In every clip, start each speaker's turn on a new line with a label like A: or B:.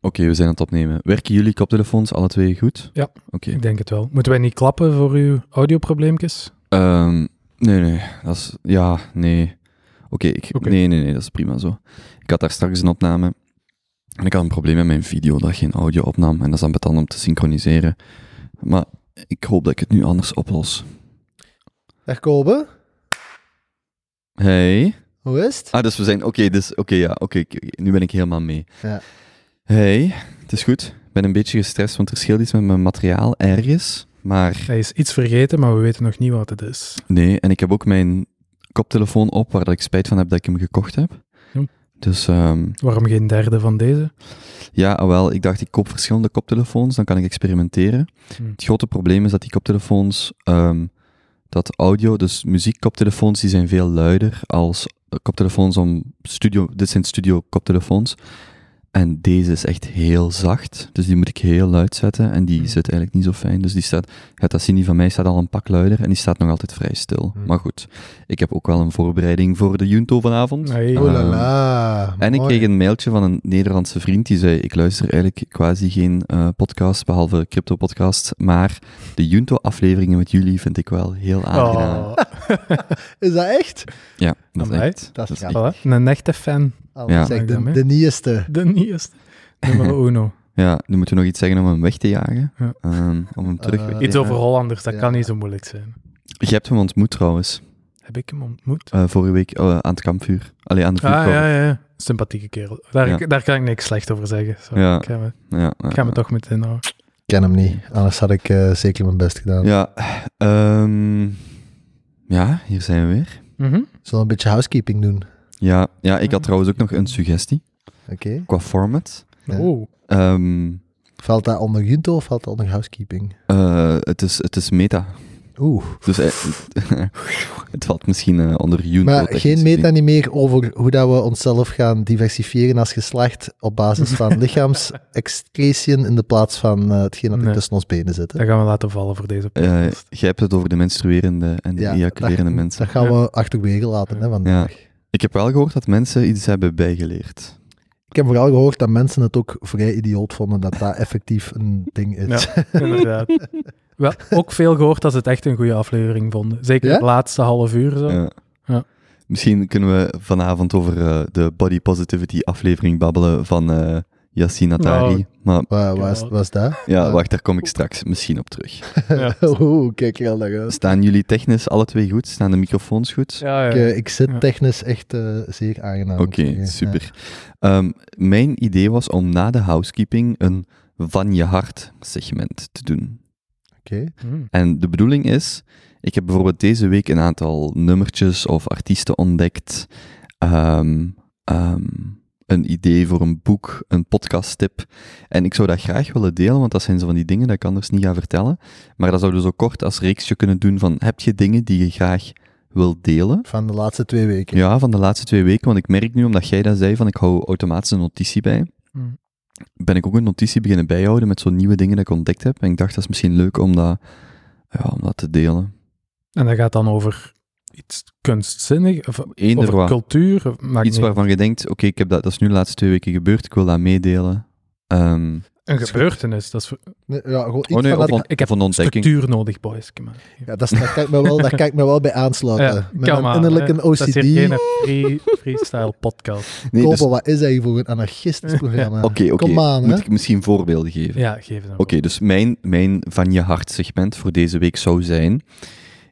A: we zijn aan het opnemen. Werken jullie koptelefoons alle twee goed?
B: Ja.
A: Oké.
B: Ik denk het wel. Moeten wij niet klappen voor uw audioprobleempjes?
A: Ehm, nee, nee. Dat is... Ja, nee. Oké, ik...
B: Oké.
A: nee, nee, nee, dat is prima zo. Ik had daar straks een opname en ik had een probleem met mijn video dat geen audio opnam en dat is dan betant om te synchroniseren. Maar ik hoop dat ik het nu anders oplos.
C: Dag Kolbe,
A: Hey.
C: hoe is het?
A: Ah, dus we zijn... Oké, dus... Oké, ja. Oké, oké, oké. nu ben ik helemaal mee.
C: Ja.
A: Hey, het is goed. Ik ben een beetje gestrest, want er scheelt iets met mijn materiaal ergens. Maar
B: Hij is iets vergeten, maar we weten nog niet wat het is.
A: Nee, en ik heb ook mijn koptelefoon op waar dat ik spijt van heb dat ik hem gekocht heb.
B: Ja.
A: Dus ehm,
B: Waarom geen derde van deze?
A: ja, wel, ik dacht ik koop verschillende koptelefoons, dan kan ik experimenteren.
B: Hm.
A: Het grote probleem is dat die koptelefoons, ehm, dat audio, dus muziekkoptelefoons, die zijn veel luider als eh, koptelefoons om studio, dit zijn studio koptelefoons. En deze is echt heel zacht, dus die moet ik heel luid zetten en die
B: Hm.
A: zit eigenlijk niet zo fijn. Dus die staat, gaat dat zien, die van mij staat al een pak luider en die staat nog altijd vrij stil.
C: Hm.
A: Maar goed, ik heb ook wel een voorbereiding voor de Junto vanavond.
B: Hey.
A: Eh,
C: Oh la la.
A: en ik
C: mooi.
A: kreeg een mailtje van een Nederlandse vriend die zei: Ik luister eigenlijk quasi geen eh, podcast, behalve crypto-podcast. Maar de Junto-afleveringen met jullie vind ik wel heel aangenaam.
B: Oh,
C: Is dat echt?
A: Ja, dat is
B: Amai.
A: echt.
C: Dat is
A: is
C: gaaf.
A: echt.
B: voilà. Een echte fan.
C: Alles
A: Ja.
C: echt
B: Dank
C: Ah, de,
B: je.
C: de nieuwste.
B: De nieuwste. Nummer uno.
A: Ja, nu moeten we nog iets zeggen om hem weg te jagen.
B: Ja. Eh,
A: Ehm, om hem terug weg te
B: Iets
A: jagen.
B: over Hollanders, dat
C: Ja.
B: kan niet zo moeilijk zijn.
A: Je hebt hem ontmoet trouwens,
B: Heb ik hem ontmoet?
A: eh, vorige week eh, aan het kampvuur. Allee, aan de
B: Ah,
A: vuurkorf.
B: ja, ja, ja. Sympathieke kerel. Daar,
A: Ja.
B: daar kan ik niks slecht over zeggen. Zo,
A: Ja.
B: Ik ga me,
A: ja, ja,
B: ik ga me
A: ja.
B: toch meteen houden.
C: Ik ken hem niet, anders had ik eh, zeker mijn best gedaan.
A: Ja, ehm, ja, hier zijn we weer.
B: Mhm.
C: Zullen we een beetje housekeeping doen?
A: Ja, ja,
B: Ah.
A: ik had trouwens ook nog een suggestie
C: Oké.
A: qua format.
C: Ja.
B: Oh,
A: Ehm,
C: Valt dat onder Junto of valt dat onder housekeeping?
A: eh, het, is, het is meta.
C: Oeh.
A: Dus eh, het valt misschien eh, onder Junto.
C: Maar
A: technisch
C: geen
A: gezien.
C: meta niet meer over hoe dat we onszelf gaan diversifieren als geslacht op basis van lichaamsexcretion in de plaats van eh, hetgeen dat er
B: Nee.
C: tussen ons benen zit. hè?
B: dat gaan we laten vallen voor deze
A: Eh,
B: podcast.
A: jij hebt het over de menstruerende en de
C: Ja,
A: ejaculerende mensen.
C: Dat gaan we achterwege laten hè, vandaag.
A: Ik heb wel gehoord dat mensen iets hebben bijgeleerd.
C: Ik heb vooral gehoord dat mensen het ook vrij idioot vonden dat dat effectief een ding is.
B: Ja, inderdaad. Wel, ook veel gehoord dat ze het echt een goede aflevering vonden. Zeker
C: Ja?
B: het laatste half uur zo.
A: Ja.
B: Ja.
A: Eh, Misschien kunnen we vanavond over eh, de body positivity aflevering babbelen van eh Yassine Atari.
B: Nou.
A: Maar
C: Wa- wa- is-
B: Ja.
C: was dat?
A: ja, wacht, daar kom ik straks misschien op terug.
B: Ja.
C: Oeh, kijk er al naar uit.
A: Staan jullie technisch alle twee goed? Staan de microfoons goed?
B: Ja, ja.
C: Ik, eh, ik zit
B: Ja.
C: technisch echt eh, zeer aangenaam.
A: Oké,
C: Ja.
A: super. Ehm, mijn idee was om na de housekeeping een van je hart segment te doen.
C: Oké.
B: Hm.
A: En de bedoeling is, ik heb bijvoorbeeld deze week een aantal nummertjes of artiesten ontdekt, ehm, ehm, een idee voor een boek, een podcasttip. En ik zou dat graag willen delen, want dat zijn zo van die dingen dat ik anders niet ga vertellen. Maar dat zouden we zo kort als reeksje kunnen doen van, heb je dingen die je graag wil delen?
C: Van de laatste twee weken.
A: Ja, van de laatste twee weken, want ik merk nu, omdat jij dat zei, van ik hou automatisch een notitie bij,
B: Hm.
C: Mm.
A: ben ik ook een notitie beginnen bijhouden met zo'n nieuwe dingen dat ik ontdekt heb. En ik dacht, dat is misschien leuk om dat, ja, om dat te delen.
B: En dat gaat dan over iets kunstzinnig, of
A: Eender
B: over
A: wat.
B: cultuur. of- Maakt
A: Iets
B: niet.
A: waarvan je denkt, oké, ik heb dat, dat is nu de laatste twee weken gebeurd, ik wil dat meedelen. Ehm,
B: Een gebeurtenis. Dat is
C: Nee, ja, gewoon iets
A: oh nee,
C: van
A: of,
C: dat...
A: on-
B: ik heb
A: of een ontdekking.
B: structuur nodig, boys. Come on.
C: Ja, dat is, daar, kan ik me wel, daar kan ik me wel bij aansluiten.
B: Ja,
C: Met
B: come
C: een
B: on,
C: innerlijke
B: hè.
C: OCD.
B: Dat is hier geen free, freestyle podcast.
A: Nee, dus-
C: Koppel, wat is dat hier voor een anarchistisch programma?
A: Oké, oké.
C: Kom aan, hè.
A: Moet ik misschien voorbeelden geven?
B: Ja, geef het
A: Oké, dus mijn, mijn van je hart segment voor deze week zou zijn.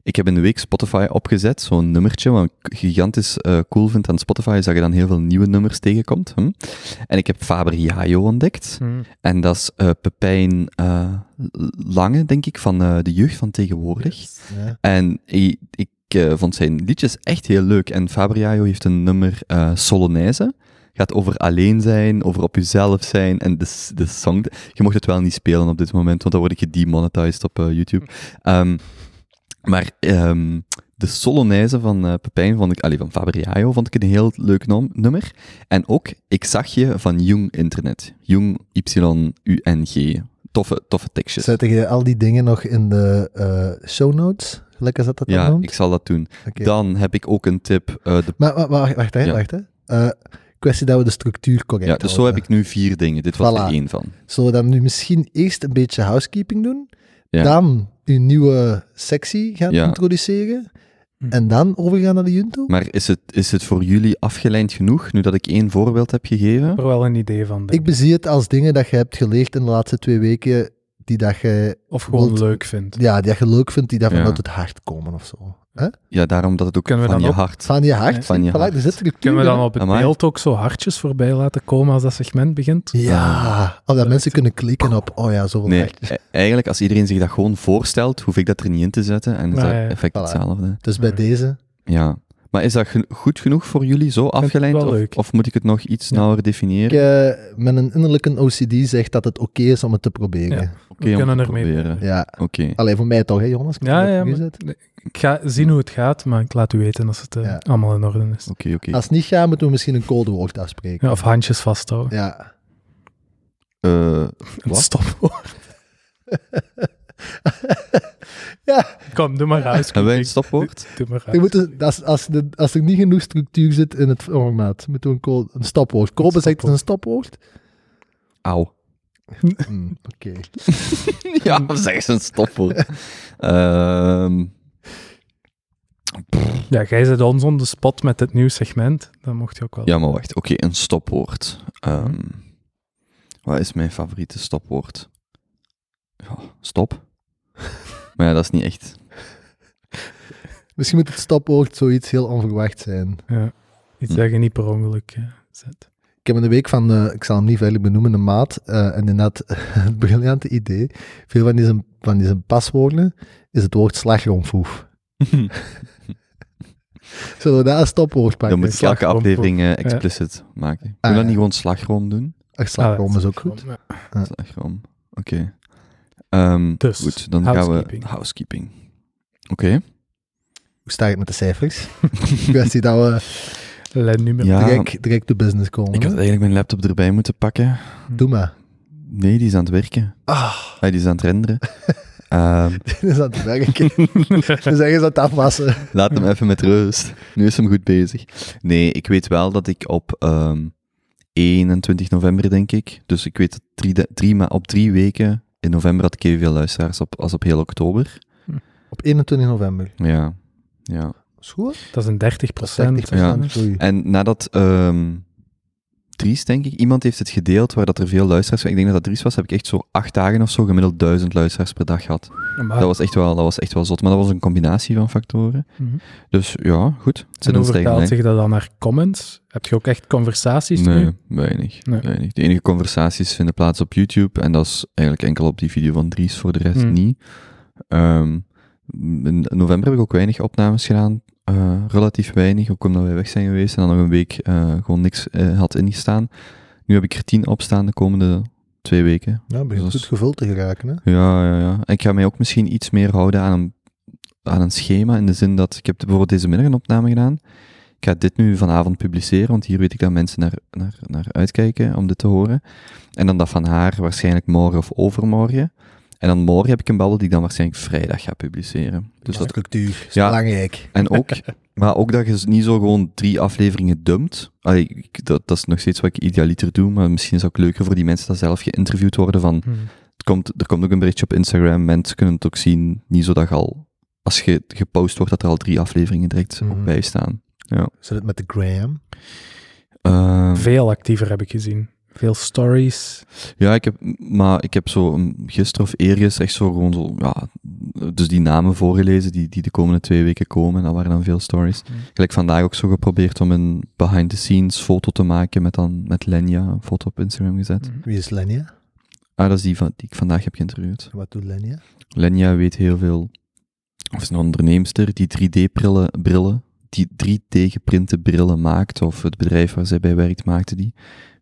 A: Ik heb in de week Spotify opgezet, zo'n nummertje. Wat ik gigantisch eh, cool vind aan Spotify is dat je dan heel veel nieuwe nummers tegenkomt. Hm? En ik heb Faber Jajo ontdekt.
B: Hm.
A: En dat is eh, Pepijn eh, Lange, denk ik, van eh, de jeugd van tegenwoordig.
C: Ja.
A: En ik, ik eh, vond zijn liedjes echt heel leuk. En Faber Jajo heeft een nummer eh Solonaise. Gaat over alleen zijn, over op jezelf zijn. En de, s- de song... Je mocht het wel niet spelen op dit moment, want dan word ik gedemonetized op eh, YouTube. Ehm, maar ehm, de Solonaise van eh, Pepijn, vond ik, allee, van Faber Jajo, vond ik een heel leuk nom- nummer. En ook Ik zag je van Jung Internet. Jung, Y-U-N-G. Toffe, toffe tekstjes.
C: Zetten je al die dingen nog in de eh, show notes? Lekker zat dat
A: ja,
C: dan noemt?
A: ik zal dat doen.
C: Oké.
A: Dan heb ik ook een tip. eh, de
C: Maar, maar wacht, wacht, hè,
A: Ja.
C: wacht. Hè. Eh, ik kwestie dat we de structuur correct
A: Ja, dus zo heb
C: houden.
A: ik nu vier dingen. Dit was
C: Voilà.
A: er één van.
C: Zullen we dan nu misschien eerst een beetje housekeeping doen?
A: Ja.
C: Dan uw nieuwe sectie gaan
A: Ja.
C: introduceren.
B: Hm.
C: En dan overgaan naar de Junto?
A: Maar is het, is het voor jullie afgeleid genoeg, nu dat ik één voorbeeld heb gegeven?
B: heb er wel een idee van. denk
C: Ik bezie het als dingen dat je hebt geleerd in de laatste twee weken, die dat je,
B: Of gewoon
C: wilt-
B: leuk vindt.
C: ja, die dat je leuk vindt, die dat
A: Ja.
C: vanuit het hart komen of zo. Hè?
A: Ja, daarom dat het ook
B: Kunnen we
A: van
B: dan
A: je
B: ook-
A: hart...
C: Van je hart,
A: Van je
C: voilà,
A: hart.
C: er zit structuur
B: Kunnen we
C: in.
B: dan op het
A: Amai.
B: beeld ook zo hartjes voorbij laten komen als dat segment begint? Ah.
C: Ja, of dat mensen kunnen klikken op, oh ja, zoveel
A: Nee,
C: hart.
A: e- eigenlijk als iedereen zich dat gewoon voorstelt, hoef ik dat er niet in te zetten en is
B: Ah,
A: dat
B: ja.
A: effect
C: Voilà.
A: hetzelfde.
C: Dus bij
B: Ja.
C: deze,
A: Ja. Maar is dat geno- goed genoeg voor jullie, zo
B: het
A: afgeleid?
B: wel
A: Of,
B: leuk.
A: of moet ik het nog iets
B: Ja.
A: nauwer
C: ik,
A: definiëren?
C: eh, met een innerlijke OCD zegt dat het oké is om het te proberen.
A: Oké,
B: we
A: om
B: kunnen
A: te
B: ermee
A: proberen.
B: beginnen.
C: Ja.
A: Oké.
C: Alleen voor mij toch, hè, jongens? Ik
B: Ja,
C: heb
B: ja,
C: het
B: maar-
C: gezet.
B: Ik ga zien hoe het gaat, maar ik laat u weten als het eh,
C: Ja.
B: allemaal in orde is.
A: Oké, oké.
C: Als het niet gaat, moeten we misschien een codewoord afspreken.
B: Ja, of handjes vasthouden.
C: Ja.
A: Eh,
B: Een
A: Wat?
B: stopwoord.
C: Ja.
B: Kom, doe maar huis.
A: hebben wij een stopwoord?
B: Doe maar
C: We
B: huis.
C: moeten, als, als, de- als er niet genoeg structuur zit in het formaat, moeten we een, code, een stopwoord. Kobe zegt het is een stopwoord.
A: Auw.
C: Hm, Oké.
A: ja, zeg eens een stopwoord. Ehm,
B: Ja, jij zit ons on the spot met dit nieuw segment. Dat mocht je ook wel.
A: ja, maar wacht. Oké, een stopwoord.
B: Mhm.
A: Ehm, wat is mijn favoriete stopwoord? Ja, stop. maar ja, dat is niet echt...
C: Misschien moet het stopwoord zoiets heel onverwacht zijn.
B: Ja. Iets
A: Hm.
B: dat je niet per ongeluk eh, zet.
C: Ik heb in de week van, eh, ik zal hem niet verder benoemen, een maat, eh, en inderdaad het briljante idee, veel van die, van die paswoorden is het woord slagroomfoef. Zullen we daar een stopwoord pakken?
A: Dan moet ik elke
B: slagroomproef.
A: aflevering eh, explicit maken. Kun je
C: Ah,
A: dat
C: ja.
A: niet gewoon slagroom doen?
C: Ach,
B: Ah,
C: slagroom Ah, is ook goed.
B: Ja.
A: Slagroom. Oké. Ehm,
B: Dus,
A: goed, dan gaan
B: housekeeping.
A: we... Housekeeping. Oké.
C: Hoe sta ik met de cijfers? kwestie dat we
B: Let nu meer.
A: Ja,
C: direct, direct to business komen.
A: ik had eigenlijk mijn laptop erbij moeten pakken.
C: Doe maar.
A: Nee, die is aan het werken.
C: Ah,
A: Hij die is aan het renderen. Ehm,
C: dit is aan het werken. Dus ergens aan het afwassen.
A: laat hem even met rust. Nu is hem goed bezig. Nee, ik weet wel dat ik op ehm, 21 november, denk ik... Dus ik weet dat drie, da- drie, ma- op drie weken in november had ik evenveel luisteraars op, als op heel oktober.
C: Op 21 november.
A: Ja, ja.
C: School?
B: Dat is een 30 procent.
A: Ja.
C: Oei.
A: En nadat ehm Dries, denk ik, iemand heeft het gedeeld waar dat er veel luisteraars waren. Ik denk dat dat Dries was, heb ik echt zo acht dagen of zo gemiddeld duizend luisteraars per dag gehad.
B: Maar,
A: Dat, was echt wel, dat was echt wel zot, maar dat was een combinatie van factoren.
B: Mhm.
A: Dus ja, goed. Het zit
B: en hoe
A: ons tegen
B: vertaalt
A: lijn.
B: zich dat dan naar comments? Heb je ook echt conversaties
A: Nee,
B: nu?
A: weinig,
B: Nee.
A: weinig. De enige conversaties vinden plaats op YouTube en dat is eigenlijk enkel op die video van Dries, voor de rest
B: Hmm.
A: niet. Ehm, in november heb ik ook weinig opnames gedaan, eh, relatief weinig, ook omdat wij weg zijn geweest en dan nog een week eh, gewoon niks eh, had ingestaan. Nu heb ik er tien op staan de komende twee weken.
C: Ja, begint
A: Dat is- Dus
C: goed gevuld te geraken, hè?
A: Ja, ja, ja. En ik ga mij ook misschien iets meer houden aan een, aan een schema. In de zin dat ik heb bijvoorbeeld deze middag een opname gedaan. Ik ga dit nu vanavond publiceren, want hier weet ik dat mensen naar, naar, naar uitkijken om dit te horen. En dan dat van haar waarschijnlijk morgen of overmorgen. En dan morgen heb ik een babbel die ik dan waarschijnlijk vrijdag ga publiceren. Dus dat,
C: structuur is
A: Ja.
C: belangrijk.
A: en ook, maar ook dat je dus niet zo gewoon drie afleveringen dumpt. Allee, ik- dat, dat is nog steeds wat ik idealiter doe, maar misschien is het ook leuker voor die mensen dat zelf geïnterviewd worden van
B: Hm.
A: het komt, er komt ook een berichtje op Instagram. Mensen kunnen het ook zien. Niet zo dat je al, als je gepost wordt, dat er al drie afleveringen direct
C: Mhm.
A: op bij staan.
C: Zit het met de gram?
A: Ehm,
B: Veel actiever heb ik gezien. Veel stories.
A: ja, ik heb, maar ik heb zo een- gisteren of eergisteren echt zo gewoon zo, ja, dus die namen voorgelezen die, die de komende twee weken komen. En dat waren dan veel stories.
B: Mhm.
A: Gelijk vandaag ook zo geprobeerd om een behind the scenes foto te maken met dan, met Lenya, een foto op Instagram gezet.
C: Wie is Lenia?
A: Ah, dat is die van, die ik vandaag heb geïnterviewd.
C: Wat doet Lenia?
A: Lenja weet heel veel. Of is een onderneemster die 3D-brillen, brillen, die 3D-geprinte brillen maakt. Of het bedrijf waar zij bij werkt maakte die.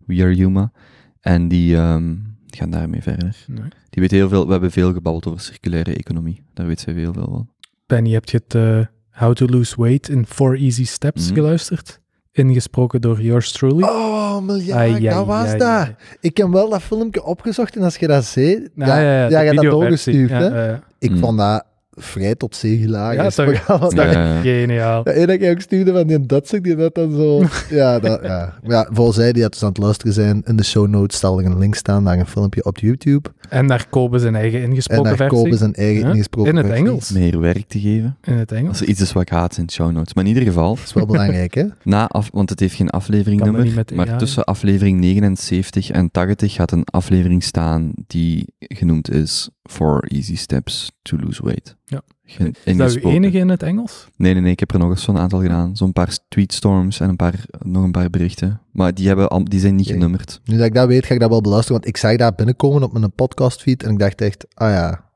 A: We Are Yuma. En die ehm, gaan daarmee verder.
B: Nee.
A: Die weet heel veel. We hebben veel gebabbeld over circulaire economie. Daar weet zij heel veel van.
B: Benny, heb je het eh, How to Lose Weight in 4 Easy Steps
A: Mhm.
B: geluisterd? Ingesproken door yours truly.
C: Oh, miljard,
B: Ai, ai,
C: dat was
B: ai,
C: dat.
B: ai.
C: Ik heb wel dat filmpje opgezocht en als je dat zei,
B: Nou,
C: ja,
B: ja,
C: ja,
B: de
C: je hebt dat
B: videoversie.
C: doorgestuurd.
B: Ja, eh,
C: hè?
B: ja, ja.
C: Ik
A: Mm.
C: vond dat vrij tot zee gelagen
B: Ja,
C: is.
B: sorry.
C: Maar dat-
A: Ja,
B: dat-
A: ja, ja.
B: Geniaal.
C: dat ene dat ik ook stuurde van die Duitser die dat dan zo... Ja, dat, ja. Maar ja, vooral zij die dat dus aan het luisteren zijn, in de show notes zal er een link staan naar een filmpje op YouTube.
B: En daar Kobe zijn eigen
C: En
B: ingesproken
C: daar
B: versie.
C: kopen zijn eigen
B: Ja,
C: ingesproken
B: in het
C: versie.
B: Engels.
A: Meer werk te geven.
B: In het Engels.
A: Als er iets is wat ik haat, zijn het show notes. Maar in ieder geval,
C: Dat is wel belangrijk, hè?
A: na af, want het heeft geen
B: Kan
A: afleveringnummer,
B: maar niet met
A: maar
B: AI.
A: tussen aflevering 79 en 80 gaat een aflevering staan die genoemd is For Easy Steps to Lose Weight.
B: Ja.
A: Ge-
B: Is dat uw
A: ingesproken.
B: enige in het Engels?
A: Nee, nee, nee, ik heb er nog eens zo'n aantal gedaan. Zo'n paar tweetstorms en een paar, nog een paar berichten. Maar die, hebben al, die zijn niet
C: Oké.
A: genummerd.
C: Nu dat ik dat weet, ga ik dat wel beluisteren, want ik zag daar binnenkomen op mijn podcastfeed en ik dacht echt, ah ja,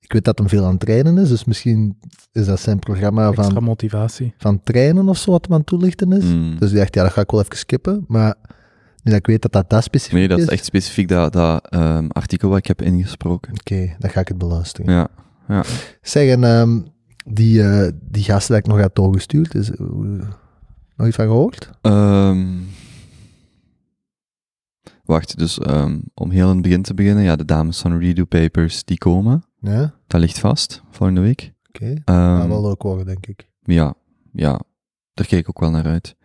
C: ik weet dat hem veel aan het trainen is, dus misschien is dat zijn programma
B: Extra
C: van,
B: motivatie.
C: van trainen of zo wat hem aan het toelichten is.
A: Mm.
C: Dus ik dacht, ja, dat ga ik wel even skippen, maar nu dat ik weet dat dat, dat specifiek
A: Nee, dat is
C: is,
A: echt specifiek dat, dat ehm, artikel wat ik heb ingesproken.
C: oké, dan ga ik het beluisteren.
A: Ja.
C: Zeg, en ehm, die, eh, die gast die ik nog had doorgestuurd, is, eh, hoe- nog iets van gehoord?
A: Ehm, wacht, dus ehm, om heel in het begin te beginnen. Ja, de dames van Redo Papers, die komen.
C: Ja, oké.
A: Dat ligt vast, volgende week. Ehm,
C: Gaat wel eh, leuk worden, denk ik.
A: Ja, ja. Daar keek ik ook wel naar uit.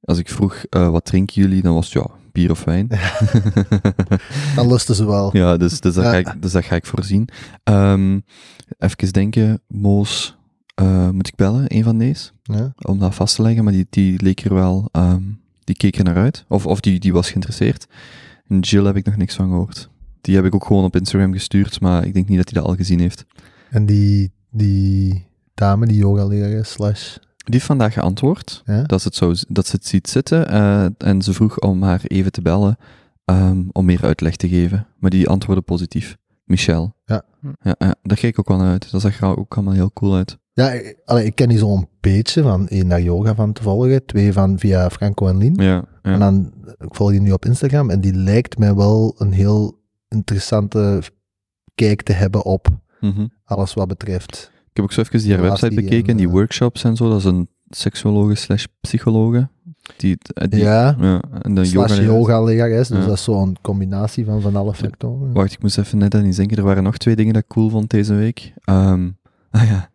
A: Als ik vroeg, eh, wat drinken jullie? Dan was het, ja, bier of wijn.
C: Dan lusten ze wel.
A: Ja, dus, dus, dat,
C: Ja.
A: ga ik, dus dat ga ik voorzien. Ehm even denken, Moos, eh, moet ik bellen, een van deze?
C: Ja.
A: Om dat vast te leggen, maar die, die leek er wel, ehm, die keek er naar uit. Of, of die, die was geïnteresseerd. En Jill heb ik nog niks van gehoord. Die heb ik ook gewoon op Instagram gestuurd, maar ik denk niet dat hij dat al gezien heeft.
C: En die, die dame, die yoga-lerares, slash...
A: Die heeft vandaag geantwoord
C: Ja?
A: dat ze het, zo, dat ze het ziet zitten eh, en ze vroeg om haar even te bellen ehm, om meer uitleg te geven. Maar die antwoordde positief. Michel.
C: Ja.
B: Hm.
A: Ja, ja, daar keek ik ook wel naar uit. Dat zag er ook allemaal heel cool uit.
C: Ja, ik- allee, ik ken die zo'n beetje van één naar yoga van te volgen, twee van via Franco en Lien.
A: Ja, ja.
C: En dan, ik volg die nu op Instagram en die lijkt mij wel een heel interessante kijk te hebben op
A: Mhm.
C: alles wat betreft.
A: Ik heb ook zo even die haar
C: Relatie
A: website bekeken en
C: en,
A: die
C: eh,
A: workshops en zo. Dat is een seksologe slash psychologe. Die, eh, die,
C: Ja,
A: en dan
C: slash
A: yoga.
C: yoga-lerares, dus
A: Ja.
C: dat is zo'n combinatie van van alle factoren.
A: Wacht, ik moest even net aan iets denken. Er waren nog twee dingen dat ik cool vond deze week. Ehm, ah ja.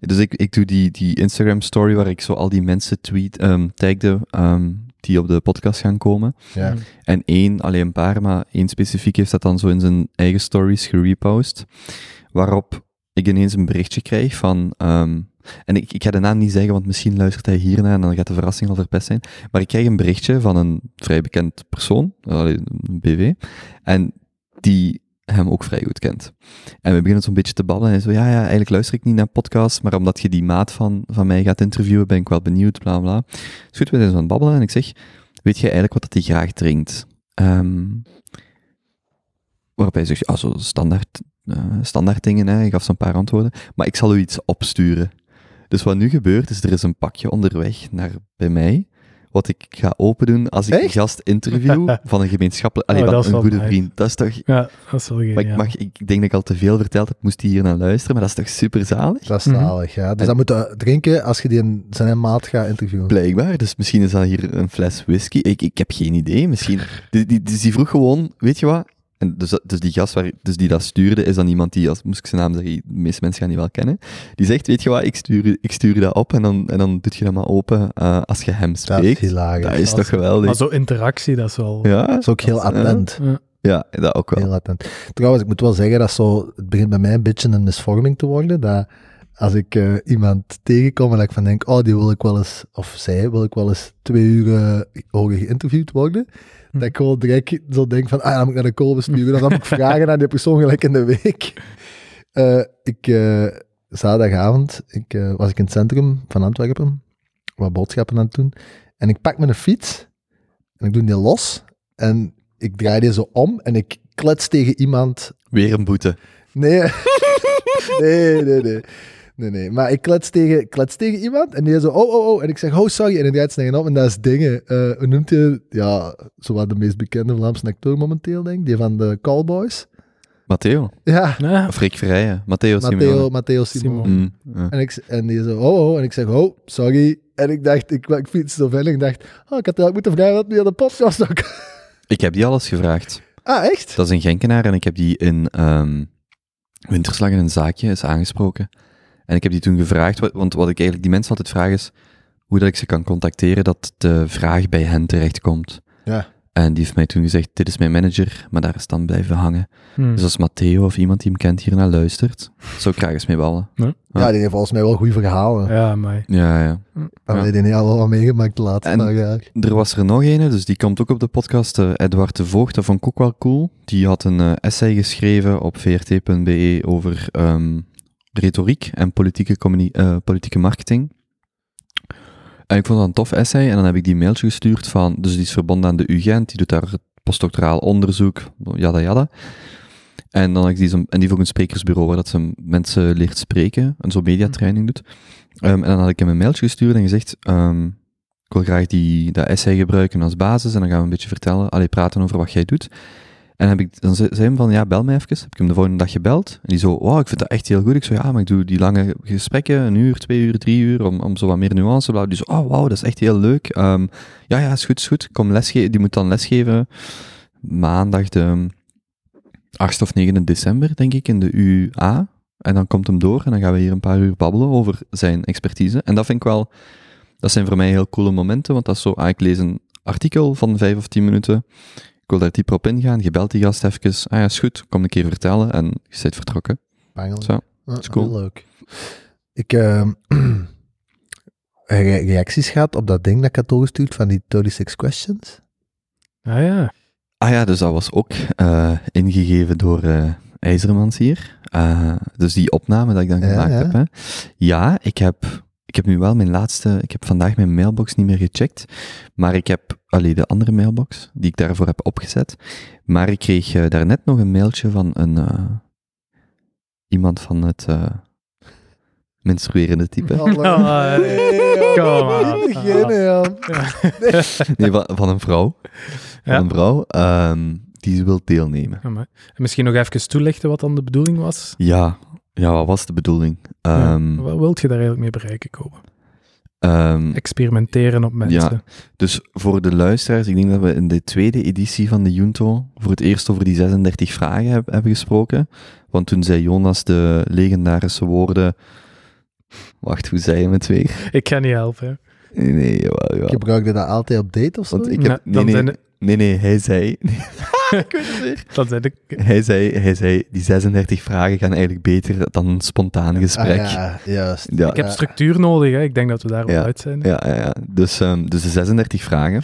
A: Dus ik, ik doe die, die Instagram story waar ik zo al die mensen tweet, ehm tagde ehm, die op de podcast gaan komen.
C: Ja.
B: Mm.
A: En één, alleen een paar, maar één specifiek heeft dat dan zo in zijn eigen stories gerepost. Waarop ik ineens een berichtje krijg van. ehm, en ik, ik ga de naam niet zeggen, want misschien luistert hij hierna en dan gaat de verrassing al verpest zijn. Maar ik krijg een berichtje van een vrij bekend persoon, allee, een BV, en die hem ook vrij goed kent. En we beginnen zo'n beetje te ballen en zo, ja, ja, eigenlijk luister ik niet naar podcasts, maar omdat je die maat van, van mij gaat interviewen, ben ik wel benieuwd, bla bla. Dus goed, we zijn zo aan het babbelen en ik zeg, weet jij eigenlijk wat dat hij graag drinkt? Ehm, waarop hij zegt, ah, zo standaard, eh, standaard dingen, hè. ik gaf zo'n paar antwoorden, maar ik zal u iets opsturen. Dus wat nu gebeurt, is er is een pakje onderweg naar bij mij, wat ik ga open doen als ik een
C: Echt?
A: gast interview van een gemeenschappelijk... Allee,
B: Oh,
A: wat
B: dat is
A: een
B: wel
A: goede
B: nice.
A: vriend. Dat is toch...
B: Ja, dat is wel
A: Maar ik,
B: geniaal.
A: mag, ik denk dat ik al te veel verteld heb, moest hij hier naar luisteren, maar dat is toch super zalig?
C: Dat is
B: Mhm.
C: zalig, ja. Dus
A: En-
C: dat moet je drinken als je die in zijn maat gaat interviewen.
A: Blijkbaar, dus misschien is dat hier een fles whisky. Ik, ik heb geen idee, misschien. Die, die, dus die vroeg gewoon, weet je wat? En dus, dat- dus die gast waar, dus die dat stuurde, is dan iemand die, als moest ik zijn naam zeggen, de meeste mensen gaan die wel kennen. Die zegt, weet je wat, ik stuur, u- ik stuur u dat op en dan, en dan doet je dat maar open eh, als je hem
C: Dat is
A: spreekt. Dat
C: hilarisch.
A: is, toch geweldig?
B: Maar zo interactie, dat is wel...
A: Ja,
C: Dat is ook heel
A: Dat is-
C: attent.
B: Ja.
A: ja, dat ook wel.
C: Heel attent. Trouwens, ik moet wel zeggen dat zo, het begint bij mij een beetje een misvorming te worden. Dat als ik eh, iemand tegenkom en dat ik van denk, oh, die wil ik wel eens, of zij wil ik wel eens twee uur eh, horen geïnterviewd worden. Dat ik gewoon direct zo denk van, ah, dan moet ik naar de kool sturen. Dan moet ik vragen aan die persoon gelijk in de week. Eh, ik, eh, zaterdagavond ik, eh, was ik in het centrum van Antwerpen, wat boodschappen aan het doen. En ik pak mijn fiets en ik doe die los. En ik draai die zo om en ik klets tegen iemand.
A: Weer een boete.
C: Nee, nee, nee, nee. Nee, nee. Maar ik klets tegen, ik klets tegen iemand en die zo, oh, oh, oh. En ik zeg, oh, sorry. En hij draait snel om en dat is dingen. Eh, hoe noemt je, ja, zowat de meest bekende Vlaamse acteur momenteel, denk ik. Die van de Callboys.
A: Matteo.
C: Ja,
B: Ja.
A: Of Rick Vrijen. Matteo Simeone.
C: Matteo, Matteo Simon.
B: Simon.
A: Mm, ja.
C: En, ik, en die zo, oh, oh. En ik zeg, oh, sorry. En ik dacht, ik, ik fiets zo verder. Ik dacht, oh, ik had eigenlijk moeten vragen wat meer de podcast ook.
A: Ik heb die alles gevraagd.
C: Ah, echt?
A: Dat is een Genkenaar en ik heb die in ehm, Winterslag in een zaakje is aangesproken. En ik heb die toen gevraagd, wa- want wat ik eigenlijk die mensen altijd vraag is hoe dat ik ze kan contacteren dat de vraag bij hen terechtkomt.
C: Ja.
A: En die heeft mij toen gezegd, dit is mijn manager, maar daar is het dan blijven hangen.
B: Hm.
A: Dus als Matteo of iemand die hem kent hiernaar luistert, zou ik graag eens mee ballen.
C: Ja, die heeft volgens mij wel goede verhalen.
B: Ja, maar
A: Ja, ja.
C: Alleen die heeft al wat meegemaakt de laatste
A: En-
C: paar jaar.
A: Er was er nog een, dus die komt ook op de podcast, eh, Edward de Voogd, dat vond ik ook wel cool. Die had een eh, essay geschreven op vrt.be E over ehm, retoriek en politieke, communi- eh, politieke marketing. En ik vond dat een tof essay, en dan heb ik die een mailtje gestuurd van, dus die is verbonden aan de UGent, die doet daar postdoctoraal onderzoek, jada jada. En dan had ik die, zo- en die voor een sprekersbureau, waar dat ze mensen leert spreken, en zo mediatraining doet. Ehm, en dan had ik hem een mailtje gestuurd en gezegd, ehm, ik wil graag die, dat essay gebruiken als basis en dan gaan we een beetje vertellen, allee, praten over wat jij doet. En heb ik, dan ze- zei hij van, ja, bel mij even. Heb ik hem de volgende dag gebeld. En die zo, wow, ik vind dat echt heel goed. Ik zo, ja, maar ik doe die lange gesprekken, een uur, twee uur, drie uur, om, om zo wat meer nuance. Bla. Die zo, oh, wow, dat is echt heel leuk. Ehm, ja, ja, is goed, is goed. Kom lesgeven. Die moet dan lesgeven maandag de 8 of 9 december, denk ik, in de UA. En dan komt hem door en dan gaan we hier een paar uur babbelen over zijn expertise. En dat vind ik wel dat zijn voor mij heel coole momenten, want dat is zo, ah, ik lees een artikel van vijf of tien minuten, ik wil daar dieper op ingaan, je belt die gast even, ah ja, is goed, kom een keer vertellen, en je bent vertrokken.
C: Bangelijk.
A: Zo,
C: dat
A: is cool.
C: leuk. Ik ehm, re- reacties gehad op dat ding dat ik had doorgestuurd van die 36 questions.
B: ja, ja.
A: Ah ja, dus dat was ook eh, ingegeven door eh, IJzermans hier, Eh, dus die opname dat ik dan
C: Ja,
A: gemaakt
C: ja.
A: heb. Hè. Ja, ik heb, ik heb nu wel mijn laatste, ik heb vandaag mijn mailbox niet meer gecheckt, maar ik heb, allee, de andere mailbox, die ik daarvoor heb opgezet, maar ik kreeg eh, daarnet nog een mailtje van een... eh, iemand van het eh, menstruerende type.
B: Oh, Allee. Come on.
C: Beginnen, ja.
A: Nee, van, van een vrouw. Van
B: Ja.
A: een vrouw ehm, die wil deelnemen.
B: Ja, maar. En misschien nog even toelichten wat dan de bedoeling was.
A: Ja, ja wat was de bedoeling?
B: Ja.
A: Ehm,
B: Wat wilt je daar eigenlijk mee bereiken, Kobe?
A: ehm,
B: Experimenteren op mensen.
A: dus voor de luisteraars, ik denk dat we in de tweede editie van de Junto voor het eerst over die 36 vragen heb- hebben gesproken. Want toen zei Jonas de legendarische woorden... Wacht, hoe zei je het weer?
B: Ik ga niet helpen. hè.
A: Nee, nee, jawel, jawel.
C: Gebruikte dat altijd op date of zo?
A: Want ik heb,
B: Nee,
A: nee,
B: dan
A: nee,
B: zijn
A: nee, nee, hij zei... ik weet het weer.
B: Dat zijn de...
A: Hij zei, hij zei, die 36 vragen gaan eigenlijk beter dan een spontaan
C: Ah,
A: gesprek. ja.
C: ja, juist.
A: Ja.
B: Ik heb structuur nodig, hè. Ik denk dat we daar wel
A: Ja.
B: uit zijn.
A: Ja, ja, Dus, ehm, dus de 36 vragen.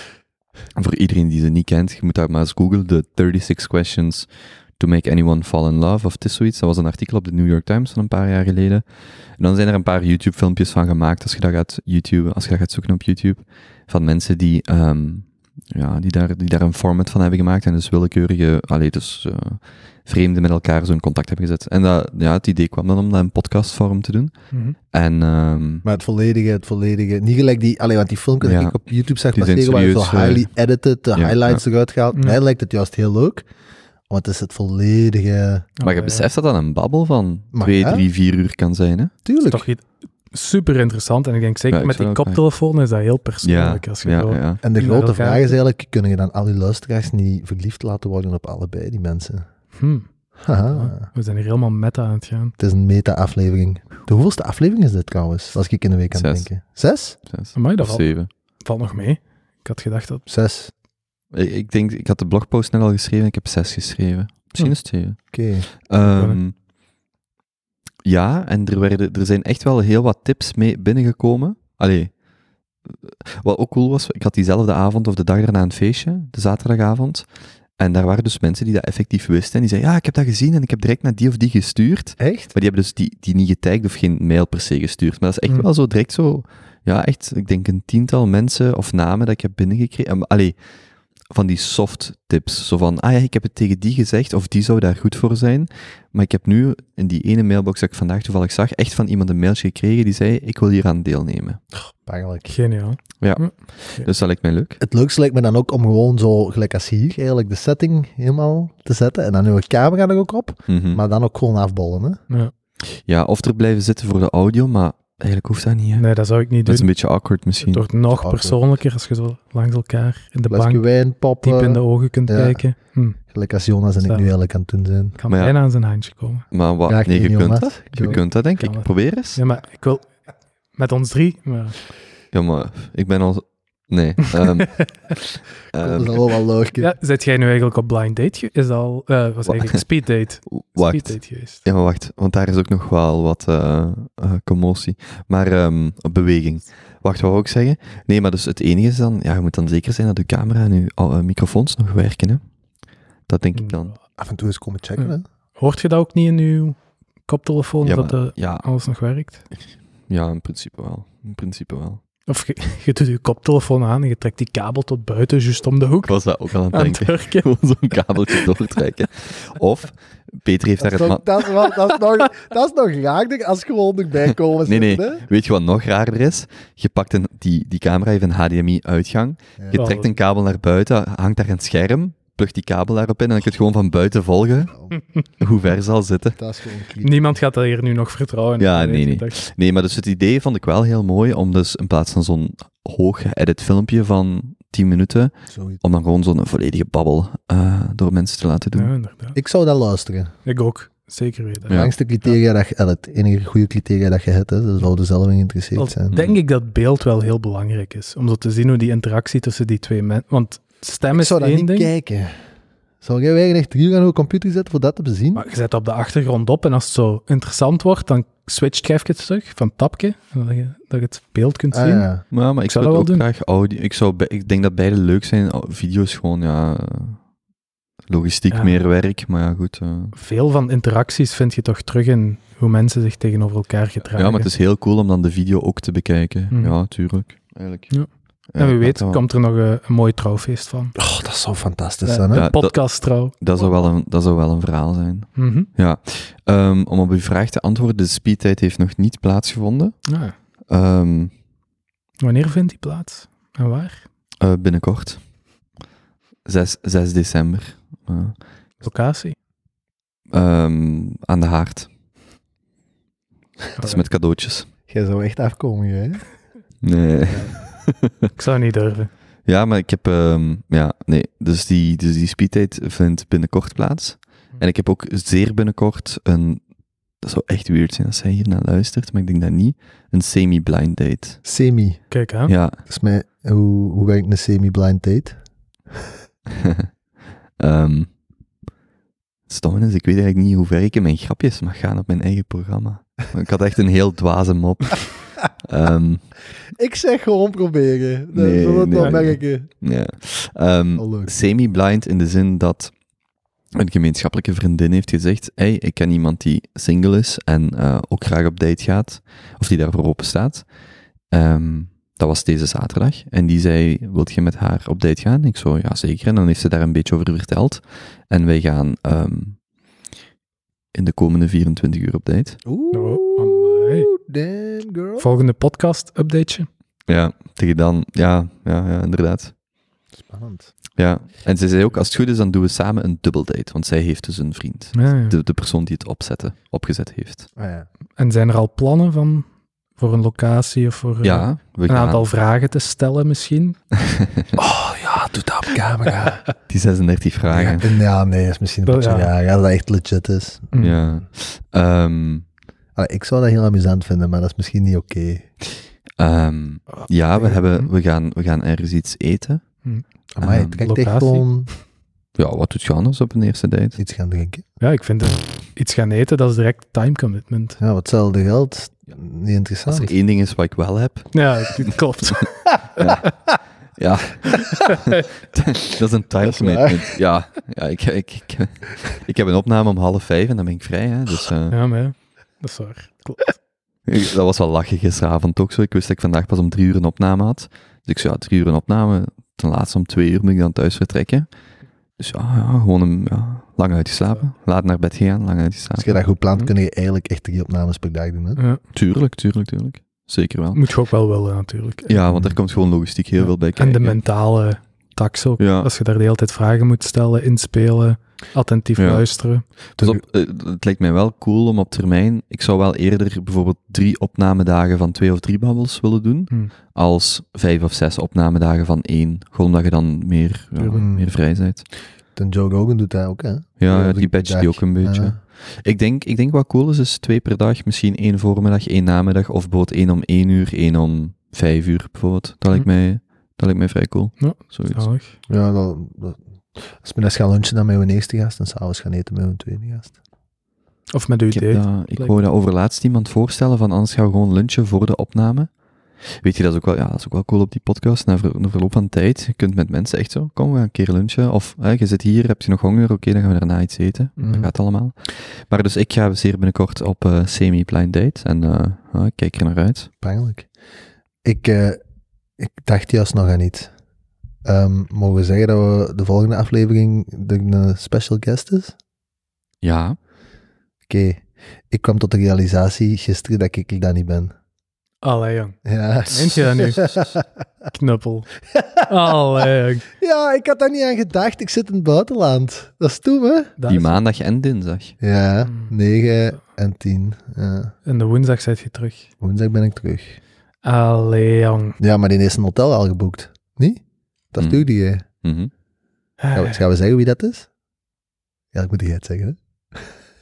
A: Voor iedereen die ze niet kent, je moet daar maar eens googlen. De 36 questions to make anyone fall in love, of het is zoiets. Dat was een artikel op de New York Times van een paar jaar geleden. En dan zijn er een paar YouTube-filmpjes van gemaakt, als je dat gaat, YouTube, als je dat gaat zoeken op YouTube, van mensen die, ehm, ja, die, daar, die daar een format van hebben gemaakt en dus willekeurige, allee, dus eh, vreemden met elkaar zo'n contact hebben gezet. En dat, ja, het idee kwam dan om dat in podcastvorm te doen.
B: Mhm.
A: En ehm,
C: Maar het volledige, het volledige. Niet gelijk die, alleen want die filmpjes
A: Ja.
C: dat ik op YouTube zag
A: Die zijn
C: passeren, waren zo
A: serieus, eh,
C: highly edited, de
A: ja,
C: highlights eruit gehaald.
B: Ja.
C: Mij lijkt het juist heel leuk, want het is het volledige...
A: Maar je
B: ja.
A: beseft dat dat een babbel van
C: Maar
A: twee,
C: ja.
A: drie, vier uur kan zijn, hè?
B: Dat is
C: Tuurlijk.
B: toch iets super interessant. En ik denk zeker
A: Ja, ik
B: met
A: zou
B: die
A: dat ook
B: koptelefoon is dat heel persoonlijk. als je
A: ja,
B: zo-
A: ja.
C: En de
B: Naar
C: grote
B: elkaar.
C: vraag is eigenlijk, kunnen je dan al die luisteraars niet verliefd laten worden op allebei die mensen?
B: Hm.
A: Ah.
C: Haha.
B: We zijn hier helemaal meta aan het gaan.
C: Het is een meta-aflevering. De hoeveelste aflevering is dit trouwens, als ik in de week aan het
A: Zes.
C: denken? Zes?
A: Zes
B: Amai, dat
A: of
B: valt,
A: zeven.
B: valt nog mee. Ik had gedacht dat...
C: Zes.
A: Ik, ik denk, ik had de blogpost net al geschreven, ik heb zes geschreven. Misschien
B: Hm.
A: is het zeven.
C: Oké.
A: Ehm,
B: kunnen.
A: ja, en er, werden, er zijn echt wel heel wat tips mee binnengekomen. Allee, eh, wat ook cool was, ik had diezelfde avond of de dag daarna een feestje, de zaterdagavond. En daar waren dus mensen die dat effectief wisten. En die zeiden, ja, ik heb dat gezien en ik heb direct naar die of die gestuurd.
C: Echt?
A: Maar die hebben dus die, die niet getagd of geen mail per se gestuurd. Maar dat is echt
B: Hmm.
A: wel zo direct zo... Ja, echt, ik denk een tiental mensen of namen dat ik heb binnengekregen. Ehm, Allee, van die soft tips. Zo van, ah ja, ik heb het tegen die gezegd of die zou daar goed voor zijn. Maar ik heb nu in die ene mailbox dat ik vandaag toevallig zag, echt van iemand een mailtje gekregen die zei, ik wil hier aan deelnemen.
C: Pijnlijk.
B: Geniaal.
A: Dus dat lijkt mij leuk.
C: Het leukste lijkt me dan ook om gewoon zo, gelijk als hier, eigenlijk de setting helemaal te zetten. En dan uw camera er ook op,
A: Mhm.
C: maar dan ook gewoon afbollen. Hè?
B: Ja.
A: Ja, of er blijven zitten voor de audio, maar eigenlijk hoeft dat niet. hè.
B: Nee, dat zou ik
A: Dat
B: niet doen.
A: is een beetje awkward misschien.
B: Het wordt nog
C: awkward.
B: persoonlijker als je zo langs elkaar in de
C: Flesje
B: bank
C: wijn, poppen.
B: diep in de ogen kunt
C: Ja.
B: kijken. Hm.
C: Gelijk als Jonas en ik
B: Zo.
C: nu eigenlijk aan het doen zijn.
B: Ik kan
A: Maar ja.
B: bijna aan zijn handje komen.
A: Maar wat?
C: Graag
A: nee, je
C: tegen
A: kunt
C: Jonas.
A: dat. Je
C: Zo.
A: kunt dat, denk
B: Kan
A: ik.
B: dat.
A: Probeer eens.
B: Ja, maar ik wil... Met ons drie, maar...
A: Ja, maar ik ben al... Nee. ehm,
C: Dat
A: ehm,
C: is al wel leuk.
B: Ja, zit jij nu eigenlijk op blind date? ge- Is dat al... eh was
A: Wa-
B: eigenlijk speed date. Speed
A: wacht.
B: date geweest.
A: Ja, maar wacht. Want daar is ook nog wel wat eh, eh, commotie. Maar ehm, beweging. Wacht, wat wou ik zeggen? Nee, maar dus het enige is dan... Ja, je moet dan zeker zijn dat je camera en je al- eh, microfoons nog werken, hè. Dat
B: Mm.
A: denk ik dan.
C: Af en toe eens komen
B: Hm.
C: checken. Hè?
B: Hoort je dat ook niet in je koptelefoon,
A: Ja,
B: dat
A: maar-
B: eh,
A: Ja,
B: alles nog werkt?
A: ja, in principe wel. In principe wel.
B: Of je, je doet je koptelefoon aan en je trekt die kabel tot buiten, juist om de hoek.
A: Ik was dat ook al aan het
B: Aan het
A: denken.
B: werken.
A: Gewoon zo'n kabeltje doortrekken. Of, Peter heeft daar
C: Dat, is
A: het... ma-
C: nog, dat, is wel- dat, is nog, dat is nog raarder als gewoon erbij komen.
A: Nee, nee.
C: zitten, hè.
A: Weet je wat nog raarder is? Je pakt een, die, die camera heeft een HDMI-uitgang.
C: Ja.
A: Je trekt een kabel naar buiten, hangt daar een scherm, plugt die kabel daarop in en dan kun je het gewoon van buiten volgen hoe ver ze al zitten.
C: Oh, Dat is gewoon kliek.
B: Niemand gaat dat hier nu nog vertrouwen.
A: Ja,
B: Dat
A: nee,
B: weet
A: nee.
B: ik, dat-
A: Nee, maar dus het idee vond ik wel heel mooi om dus in plaats van zo'n hoog geëdit filmpje van 10 minuten,
C: Zoiets.
A: om dan gewoon zo'n volledige babbel eh, door mensen te laten doen.
B: Ja, inderdaad.
C: Ik zou dat luisteren.
B: Ik ook. Zeker weten.
A: Ja.
C: Langste criteria dat je eh, Het enige goede criteria dat je hebt, hè, dat zouden zelf in geïnteresseerd
B: Al
C: zijn.
B: denk ik dat beeld wel heel belangrijk is. Om zo te zien hoe die interactie tussen die twee mensen... Want stem
C: Ik
B: is
C: zou dat
B: één
C: niet
B: ding,
C: kijken. Zou jij eigenlijk echt drie uur aan uw computer zetten voor dat te bezien?
B: maar je zet op de achtergrond op en als het zo interessant wordt, dan switcht je even terug van tapje, dat je, dat je het beeld kunt zien.
C: Ah, ja.
A: Maar, maar ik
B: zou
A: zou het ook
B: dat wel
A: graag audio... Ik, zou, be- ik denk dat beide leuk zijn. Au- Video's gewoon, ja... eh, Logistiek,
B: Ja.
A: meer werk, maar ja, goed. eh.
B: Veel van interacties vind je toch terug in hoe mensen zich tegenover elkaar gedragen.
A: Ja, maar het is heel cool om dan de video ook te bekijken.
B: Mhm.
A: Ja, tuurlijk. Eigenlijk.
B: Ja.
A: Ja,
B: en wie weet
A: dat,
B: komt er nog een, een mooi trouwfeest van.
C: Oh, dat zou fantastisch
B: Ja.
C: zijn, hè?
A: Ja.
B: Een podcasttrouw.
A: dat, zou wel een, dat zou wel een verhaal zijn.
B: Mhm.
A: Ehm, om op uw vraag te antwoorden, de speedtijd heeft nog niet plaatsgevonden.
B: Ah,
A: Ehm,
B: wanneer vindt die plaats? En waar?
A: eh, binnenkort. 6, 6 december. Eh,
B: Locatie?
A: ehm, aan de haard. Dat is met cadeautjes.
C: Jij zou echt afkomen, jij. hè?
A: Nee.
B: Ik zou niet durven.
A: Ja, maar ik heb... ehm, ja, nee. Dus die, dus die speedtijd vindt binnenkort plaats. En ik heb ook zeer binnenkort een... Dat zou echt weird zijn als zij hiernaar luistert, maar ik denk dat niet. Een semi-blind date.
C: Semi.
B: Kijk aan.
A: Ja.
C: Dat is mij, hoe, hoe werkt een semi-blind date?
A: Ehm stom is, ik weet eigenlijk niet hoe ver ik in mijn grapjes mag gaan op mijn eigen programma. Maar Ik had echt een heel dwaze mop. Ehm,
C: Ik zeg gewoon proberen. Dat
A: Nee,
C: nee, het wel
A: nee.
C: merken.
A: ja. Ehm,
C: Al leuk.
A: semi-blind in de zin dat een gemeenschappelijke vriendin heeft gezegd: Hey, ik ken iemand die single is en eh, ook graag op date gaat, of die daarvoor open staat. Ehm, dat was deze zaterdag. En die zei: Wilt je met haar op date gaan? Ik zo: Ja, zeker. En dan heeft ze daar een beetje over verteld. En wij gaan ehm, in de komende 24 uur op date.
C: Oeh,
B: Oh, amai.
C: damn girl.
B: Volgende podcast-updateje.
A: Ja, tegen dan. Ja, ja, ja inderdaad.
C: Spannend.
A: Ja. En ze zei ook: Als het goed is, dan doen we samen een dubbeldate. Want zij heeft dus een vriend.
B: Ja, ja.
A: de, de persoon die het opzetten, opgezet heeft.
C: Ah, ja.
B: En zijn er al plannen van voor een locatie of voor eh,
A: Ja, we
B: een
A: gaan.
B: aantal vragen te stellen misschien?
C: Oh ja, doe dat op camera.
A: Die 36 vragen.
C: ja, ja, nee, dat is misschien een
B: Dat-
C: beetje
B: ja.
C: raar. Als dat echt legit is.
A: Ja.
B: Mm.
A: Ehm,
C: Allee, ik zou dat heel amusant vinden, maar dat is misschien niet oké.
A: ehm, ja, we,
B: Tegen-
A: hebben, we, gaan, we gaan ergens iets eten.
C: Maar
A: Ehm,
C: het trekt echt
B: locatie.
C: gewoon
A: Ja, wat doet je anders op een eerste date?
C: iets gaan drinken.
B: Ja, ik vind het, iets gaan eten, dat is direct time commitment.
C: Ja, wat hetzelfde geld.
B: Ah.
C: Niet
A: Als er
C: interessant.
A: één ding is wat ik wel heb,
B: Ja, dat klopt.
A: ja, dat is een time
C: Dat is waar.
A: commitment. Ja, ja ik, ik, ik, ik heb een opname om half vijf en dan ben ik vrij. Hè, dus, eh,
B: Ja, maar ja, dat is waar. Klopt.
A: ik- dat was wel lachen gisteravond ook zo. Ik wist dat ik vandaag pas om drie uur een opname had. Dus ik zei, ja, drie uur een opname. Ten laatste om twee uur moet ik dan thuis vertrekken. Dus ja, ja gewoon een, ja, lang uitgeslapen. Laat naar bed gaan, lang
C: Als je
A: uitgeslapen.
C: dat goed plant, kun je eigenlijk echt drie opnames per dag doen. Hè?
B: Ja,
A: Tuurlijk, tuurlijk, tuurlijk. Zeker wel.
B: moet je ook wel willen natuurlijk.
A: Ja, want er komt gewoon logistiek heel
B: Ja.
A: veel bij
B: En
A: kijken.
B: de mentale tax ook.
A: Ja.
B: Als je daar de hele tijd vragen moet stellen, inspelen, attentief
A: Ja.
B: luisteren.
A: Dus op, eh, het lijkt mij wel cool om op termijn... Ik zou wel eerder bijvoorbeeld drie opnamedagen van twee of drie babbels willen doen,
B: Hmm.
A: als vijf of zes opnamedagen van één. Gewoon omdat je dan meer, ja,
C: Tuurlijk.
A: meer vrij bent.
C: Ten Joe Rogan doet dat ook, hè?
A: Ja,
C: Heel
A: die badge die ook een beetje.
C: Ja.
A: Ik, denk, ik denk wat cool is, is twee per dag. Misschien één voormiddag, één namiddag. Of bijvoorbeeld één om één uur, één om vijf uur bijvoorbeeld. Dat lijkt
B: Hm.
C: Mhm.
A: mij, dat lijkt mij vrij cool.
B: Ja,
A: Zoiets.
B: Zalig.
C: Ja, dat, dat- als we net gaan lunchen dan met hun eerste gast en s'avonds gaan eten met hun tweede gast.
B: Of met uw
A: Ik, heb
B: date.
A: dat, ik
B: blijkbaar.
A: hoorde dat overlaatst iemand voorstellen van anders gaan we gewoon lunchen voor de opname. Weet je, dat is ook wel, ja, dat is ook wel cool op die podcast. Na ver- na verloop van tijd, je kunt met mensen echt zo, kom, we gaan een keer lunchen. Of, hè, je zit hier, heb je nog honger? Oké, dan gaan we daarna iets eten. Dat
C: Mhm.
A: gaat allemaal. Maar dus ik ga zeer binnenkort op eh, semi-blind date. En eh, ja, ik kijk er naar uit.
C: Pijnlijk. Ik, eh, ik dacht juist nog aan iets. Ehm, mogen we zeggen dat we de volgende aflevering de, een special guest is? Oké.
A: Ja.
C: Ik kwam tot de realisatie gisteren dat ik dat niet ben.
B: Allee, jong.
C: Ja.
B: Meent je dat nu? Knuppel. Allee, jong.
C: ja, ik had daar niet aan gedacht. Ik zit in het buitenland. Dat is toen, hè?
B: Dat
A: Die
B: is-
A: maandag en dinsdag.
C: Ja,
B: Hmm.
C: 9 en 10. Ja.
B: En de woensdag zit je terug.
C: Woensdag ben ik terug.
B: Allee, jong.
C: Ja, maar die is een hotel al geboekt. Niet? Dat
A: Hmm.
C: stuurde je.
A: Mhm.
C: Gaan we, gaan we zeggen wie dat is? Ja, ik moet die het zeggen, hè?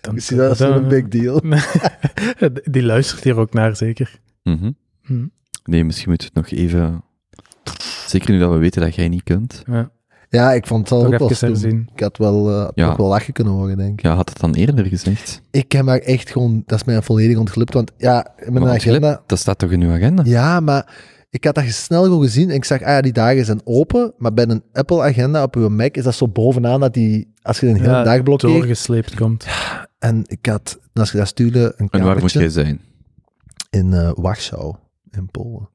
B: Dan-
C: Ik zie dat als
B: dan-
C: een big deal.
B: Die luistert hier ook naar, zeker.
A: Mhm.
B: Hm.
A: Nee, misschien moeten we het nog even... Zeker nu dat we weten dat jij niet kunt.
B: Ja,
C: Ja, ik vond het wel
B: toch
C: ook wel
B: even
C: stoem.
B: herzien.
C: Ik had wel, eh,
A: Ja.
C: nog wel lachen kunnen horen, denk ik.
A: Ja, had het dan eerder gezegd.
C: Ik heb maar echt gewoon... Dat is mij volledig ontglipt, want ja, mijn
A: Maar ontglipt?
C: agenda...
A: Dat staat toch in uw agenda?
C: Ja, maar ik had dat snel gewoon gezien en ik zag, ah ja, die dagen zijn open, maar bij een Apple-agenda op uw Mac is dat zo bovenaan dat die... Als je een hele
B: Ja,
C: dag blokkeert...
B: Doorgesleept komt.
C: En ik had, als je dat stuurde, een
A: En waar moet jij
C: kamertje
A: zijn?
C: in eh Warschau, in Polen.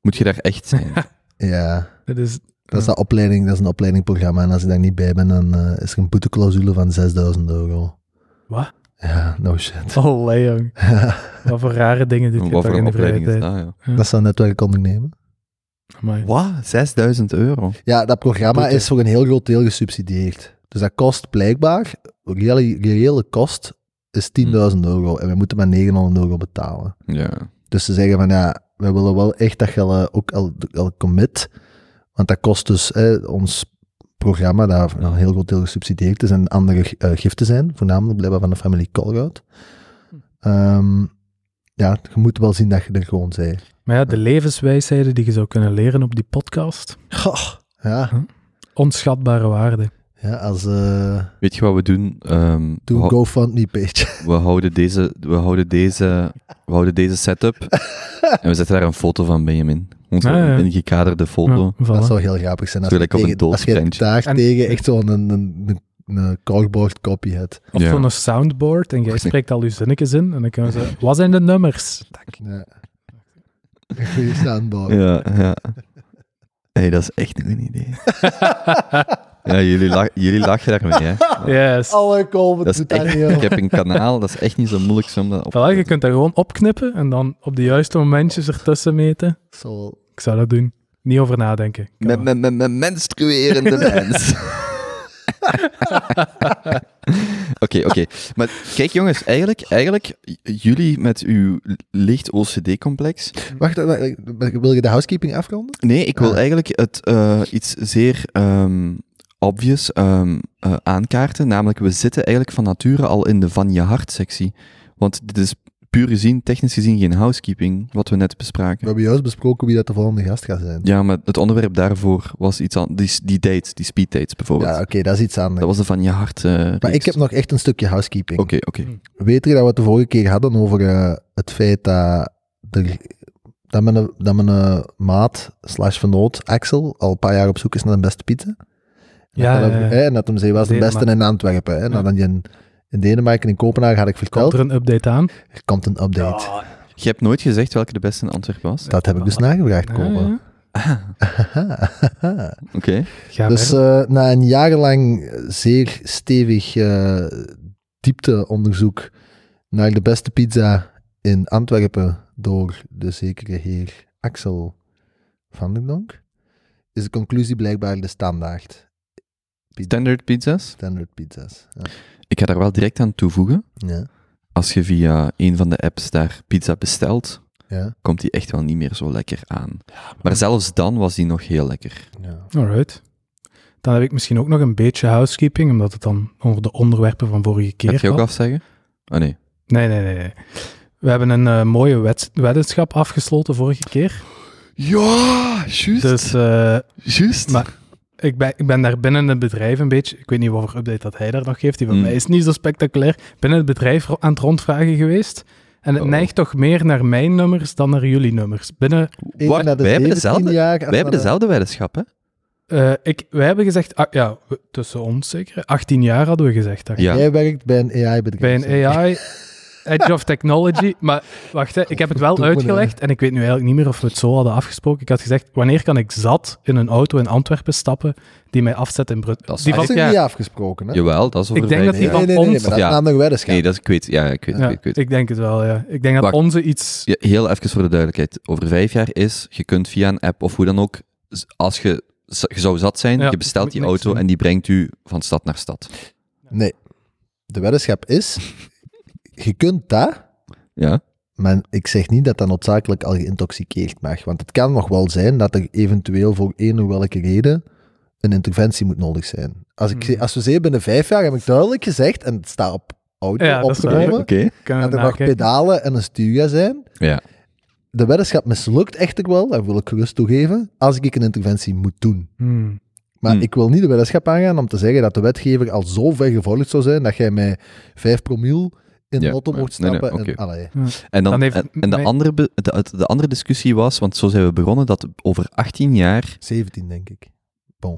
A: Moet je daar echt zijn?
C: Ja...
B: Dat is
C: Dat is, dat, opleiding, dat is een opleidingprogramma. En als ik daar niet bij ben, dan eh, is er een boeteclausule van 6000 euro.
B: Wat?
C: Ja, no shit.
B: Allee, jong. Wat voor rare dingen doet je
A: Wat
B: toch
A: voor
B: in
A: een
B: de vrije
A: opleiding is
B: tijd.
A: dat? Ja.
C: Dat zou netwerk ondernemen.
B: Amai.
A: Wat? 6000 euro?
C: Ja, dat programma
B: Boete.
C: is voor een heel groot deel gesubsidieerd. Dus dat kost blijkbaar, reële, reële kost is 10.000 euro. En we moeten maar 900 euro betalen.
A: Ja.
C: Dus ze zeggen van ja, we willen wel echt dat je eh, ook al, al commit. Want dat kost dus hè, ons programma, dat voor een heel groot deel gesubsidieerd is en andere eh, giften zijn, voornamelijk blijkbaar van de familie Colruyt. Ehm, ja, je moet wel zien dat je er gewoon bent.
B: Maar ja, de levenswijsheden die je zou kunnen leren op die podcast.
C: Goh, Ja,
B: Onschatbare waarde.
C: ja als eh
A: Weet je wat we doen? Ehm, we,
C: doe een
A: hou-
C: GoFundMe page.
A: we houden deze, we, houden deze, we houden deze setup en we zetten daar een foto van Benjamin. Onze
B: Ah, ja.
A: ingekaderde foto.
B: Ja, voilà.
C: Dat zou heel grappig zijn als
A: Zo
C: je,
A: gelijk Oh. op
C: tegen,
A: een
C: als je
A: doodsprentje.
C: daar
B: En-
C: tegen echt zo'n een, een, een, een cardboard copy hebt.
B: Of
A: Ja.
B: zo'n soundboard en jij spreekt al je zinnetjes in. En dan kunnen ze... Wat zijn de nummers?
C: Ja. Een goede soundboard.
A: Ja, ja. hey, dat is echt een goed idee. ja, jullie, lach- jullie lachen daarmee, hè?
B: Yes.
C: Alle Colbert
A: Dat is
C: doet dat
A: echt,
C: niet, joh.
A: ik heb een kanaal, dat is echt niet zo moeilijk om dat op
B: Voilà, je kunt dat gewoon opknippen en dan op de juiste momentjes ertussen meten.
C: Zo wel.
B: Ik zou dat doen. Niet over nadenken. Kan
A: Met,
B: wel.
A: met, met, met menstruerende mens. Oké, oké. Maar kijk jongens, eigenlijk, eigenlijk j- jullie met uw licht OCD-complex...
C: Wacht, eh, eh, eh, wil je de housekeeping afronden?
A: Nee, ik wil
C: Ah.
A: eigenlijk het, eh, iets zeer ehm, obvious ehm, eh, aankaarten. Namelijk, we zitten eigenlijk van nature al in de van je hart-sectie. Want dit is puur gezien, technisch gezien, geen housekeeping, wat we net
C: We
A: bespraken.
C: hebben juist besproken wie dat de volgende gast gaat zijn.
A: Ja, maar het onderwerp daarvoor was iets aan... Die, die dates, die speeddates bijvoorbeeld.
C: Ja, oké, dat is iets anders.
A: Dat was de van je hart. eh,
C: maar ik
A: reeks.
C: heb nog echt een stukje housekeeping.
A: Oké, oké.
C: Weet je dat we het de vorige keer hadden over eh, het feit dat, er, dat mijn, dat mijn eh, maat slash vernoot Axel al een paar jaar op zoek is naar de beste pizza? En
B: Ja,
C: dat,
B: ja,
C: hem-
B: ja.
C: hè, en dat hem zei, was de beste
B: Denemarken.
C: in Antwerpen. Hè, en
B: Ja.
C: dat je in, in Denemarken, in Kopenhagen, had ik
B: Komt
C: verteld.
B: er een update aan?
C: Er komt een update.
A: Je hebt nooit gezegd welke de beste in Antwerpen was.
C: Dat heb ik dus nagevraagd,
B: Ah, Ja,
C: Kopen.
B: ja.
A: Oké.
B: Ga
C: Dus
B: verder.
C: eh, na een jarenlang zeer stevig eh, diepteonderzoek naar de beste pizza in Antwerpen door de zekere heer Axel van der Donk, is de conclusie blijkbaar de standaard
A: Standard pizza's.
C: standard pizza's. Ja.
A: Ik ga daar wel direct aan toevoegen.
C: Ja.
A: Als je via een van de apps daar pizza bestelt,
C: Ja.
A: komt die echt wel
C: eh,
A: niet meer zo lekker aan. Maar zelfs dan was die nog heel lekker.
C: Ja.
B: Alright. Dan heb ik misschien ook nog een beetje housekeeping, omdat het dan over de onderwerpen van vorige keer
A: Gaat je ook
B: gaat.
A: afzeggen? Oh nee.
B: Nee, nee, nee. nee. We hebben een eh, mooie wed- weddenschap afgesloten vorige keer.
A: Ja, juist.
B: Dus eh,
A: juist.
B: Maar- ik, ben, ik ben daar binnen het bedrijf een beetje... Ik weet niet wat voor update dat hij daar nog geeft. Die van
A: Hmm.
B: mij is niet zo spectaculair. Binnen het bedrijf ro- aan het rondvragen geweest. En het
A: Oh.
B: neigt toch meer naar mijn nummers dan naar jullie nummers. Binnen,
A: Wacht, wij hebben dezelfde-
C: Jaar, ah,
A: Wij hebben dezelfde weddenschap, hè?
B: eh, ik, wij hebben gezegd... ah, ja, we- tussen ons zeker. 18 jaar hadden we gezegd. dacht ik.
A: Ja.
C: Jij werkt bij een AI-bedrijf.
B: Bij een AI, Edge of Technology. Maar wacht, hè, ik heb het wel
C: Godverdomme,
B: uitgelegd en ik weet nu eigenlijk niet meer of we het zo hadden afgesproken. Ik had gezegd, wanneer kan ik zat in een auto in Antwerpen stappen die mij afzet in
A: Dat is
B: Brussel? Die
C: Dat
A: eigenlijk-
B: van-
C: is
A: Ja.
C: niet afgesproken, hè?
A: Jawel, dat is over
B: Ik denk dat
A: vijf
B: die
A: jaar.
B: van-
C: nee, nee, nee,
B: ons-
C: maar dat
A: Ja.
C: is een andere weddenschap.
A: Nee, dat is, ik weet, ja, ik weet,
C: Ja.
A: ik weet, ik weet.
B: ik denk het wel, ja. Ik denk dat
A: Wacht.
B: onze iets...
A: Ja, heel even voor de duidelijkheid. Over vijf jaar is, je kunt via een app of hoe dan ook, z- als je, z- je zou zat zijn,
B: Ja,
A: je bestelt
B: moet
A: die
B: niks
A: auto
B: doen.
A: en die brengt u van stad naar stad.
C: Nee. De weddenschap is, je kunt dat,
A: Ja?
C: maar ik zeg niet dat dat noodzakelijk al geïntoxiceerd mag. Want het kan nog wel zijn dat er eventueel voor één of welke reden een interventie moet nodig zijn. Als, ik,
B: Hmm.
C: zeg- als we zeggen binnen vijf jaar, heb ik duidelijk gezegd, en het staat op auto
B: Ja, dat is waar.
C: opgenomen,
B: Kunnen
C: dat
B: we
C: er nog
B: nakijken?
C: pedalen en een stuurga zijn.
A: Ja.
C: De weddenschap mislukt echter wel, daar wil ik gerust toegeven, als ik een interventie moet doen.
B: Hmm.
C: Maar
A: Hmm.
C: ik wil niet de weddenschap aangaan om te zeggen dat de wetgever al zo ver gevolgd zou zijn dat jij met 5 promiel in de
A: Ja,
C: auto
A: maar-
C: mocht
A: nee, nee,
C: stappen. en,
A: oké.
C: allee.
A: En, dan,
B: Dan heeft
A: en, en de,
B: mij-
A: andere be- de, het- de andere discussie was, want zo zijn we begonnen, dat over 18 jaar...
C: 17 denk ik.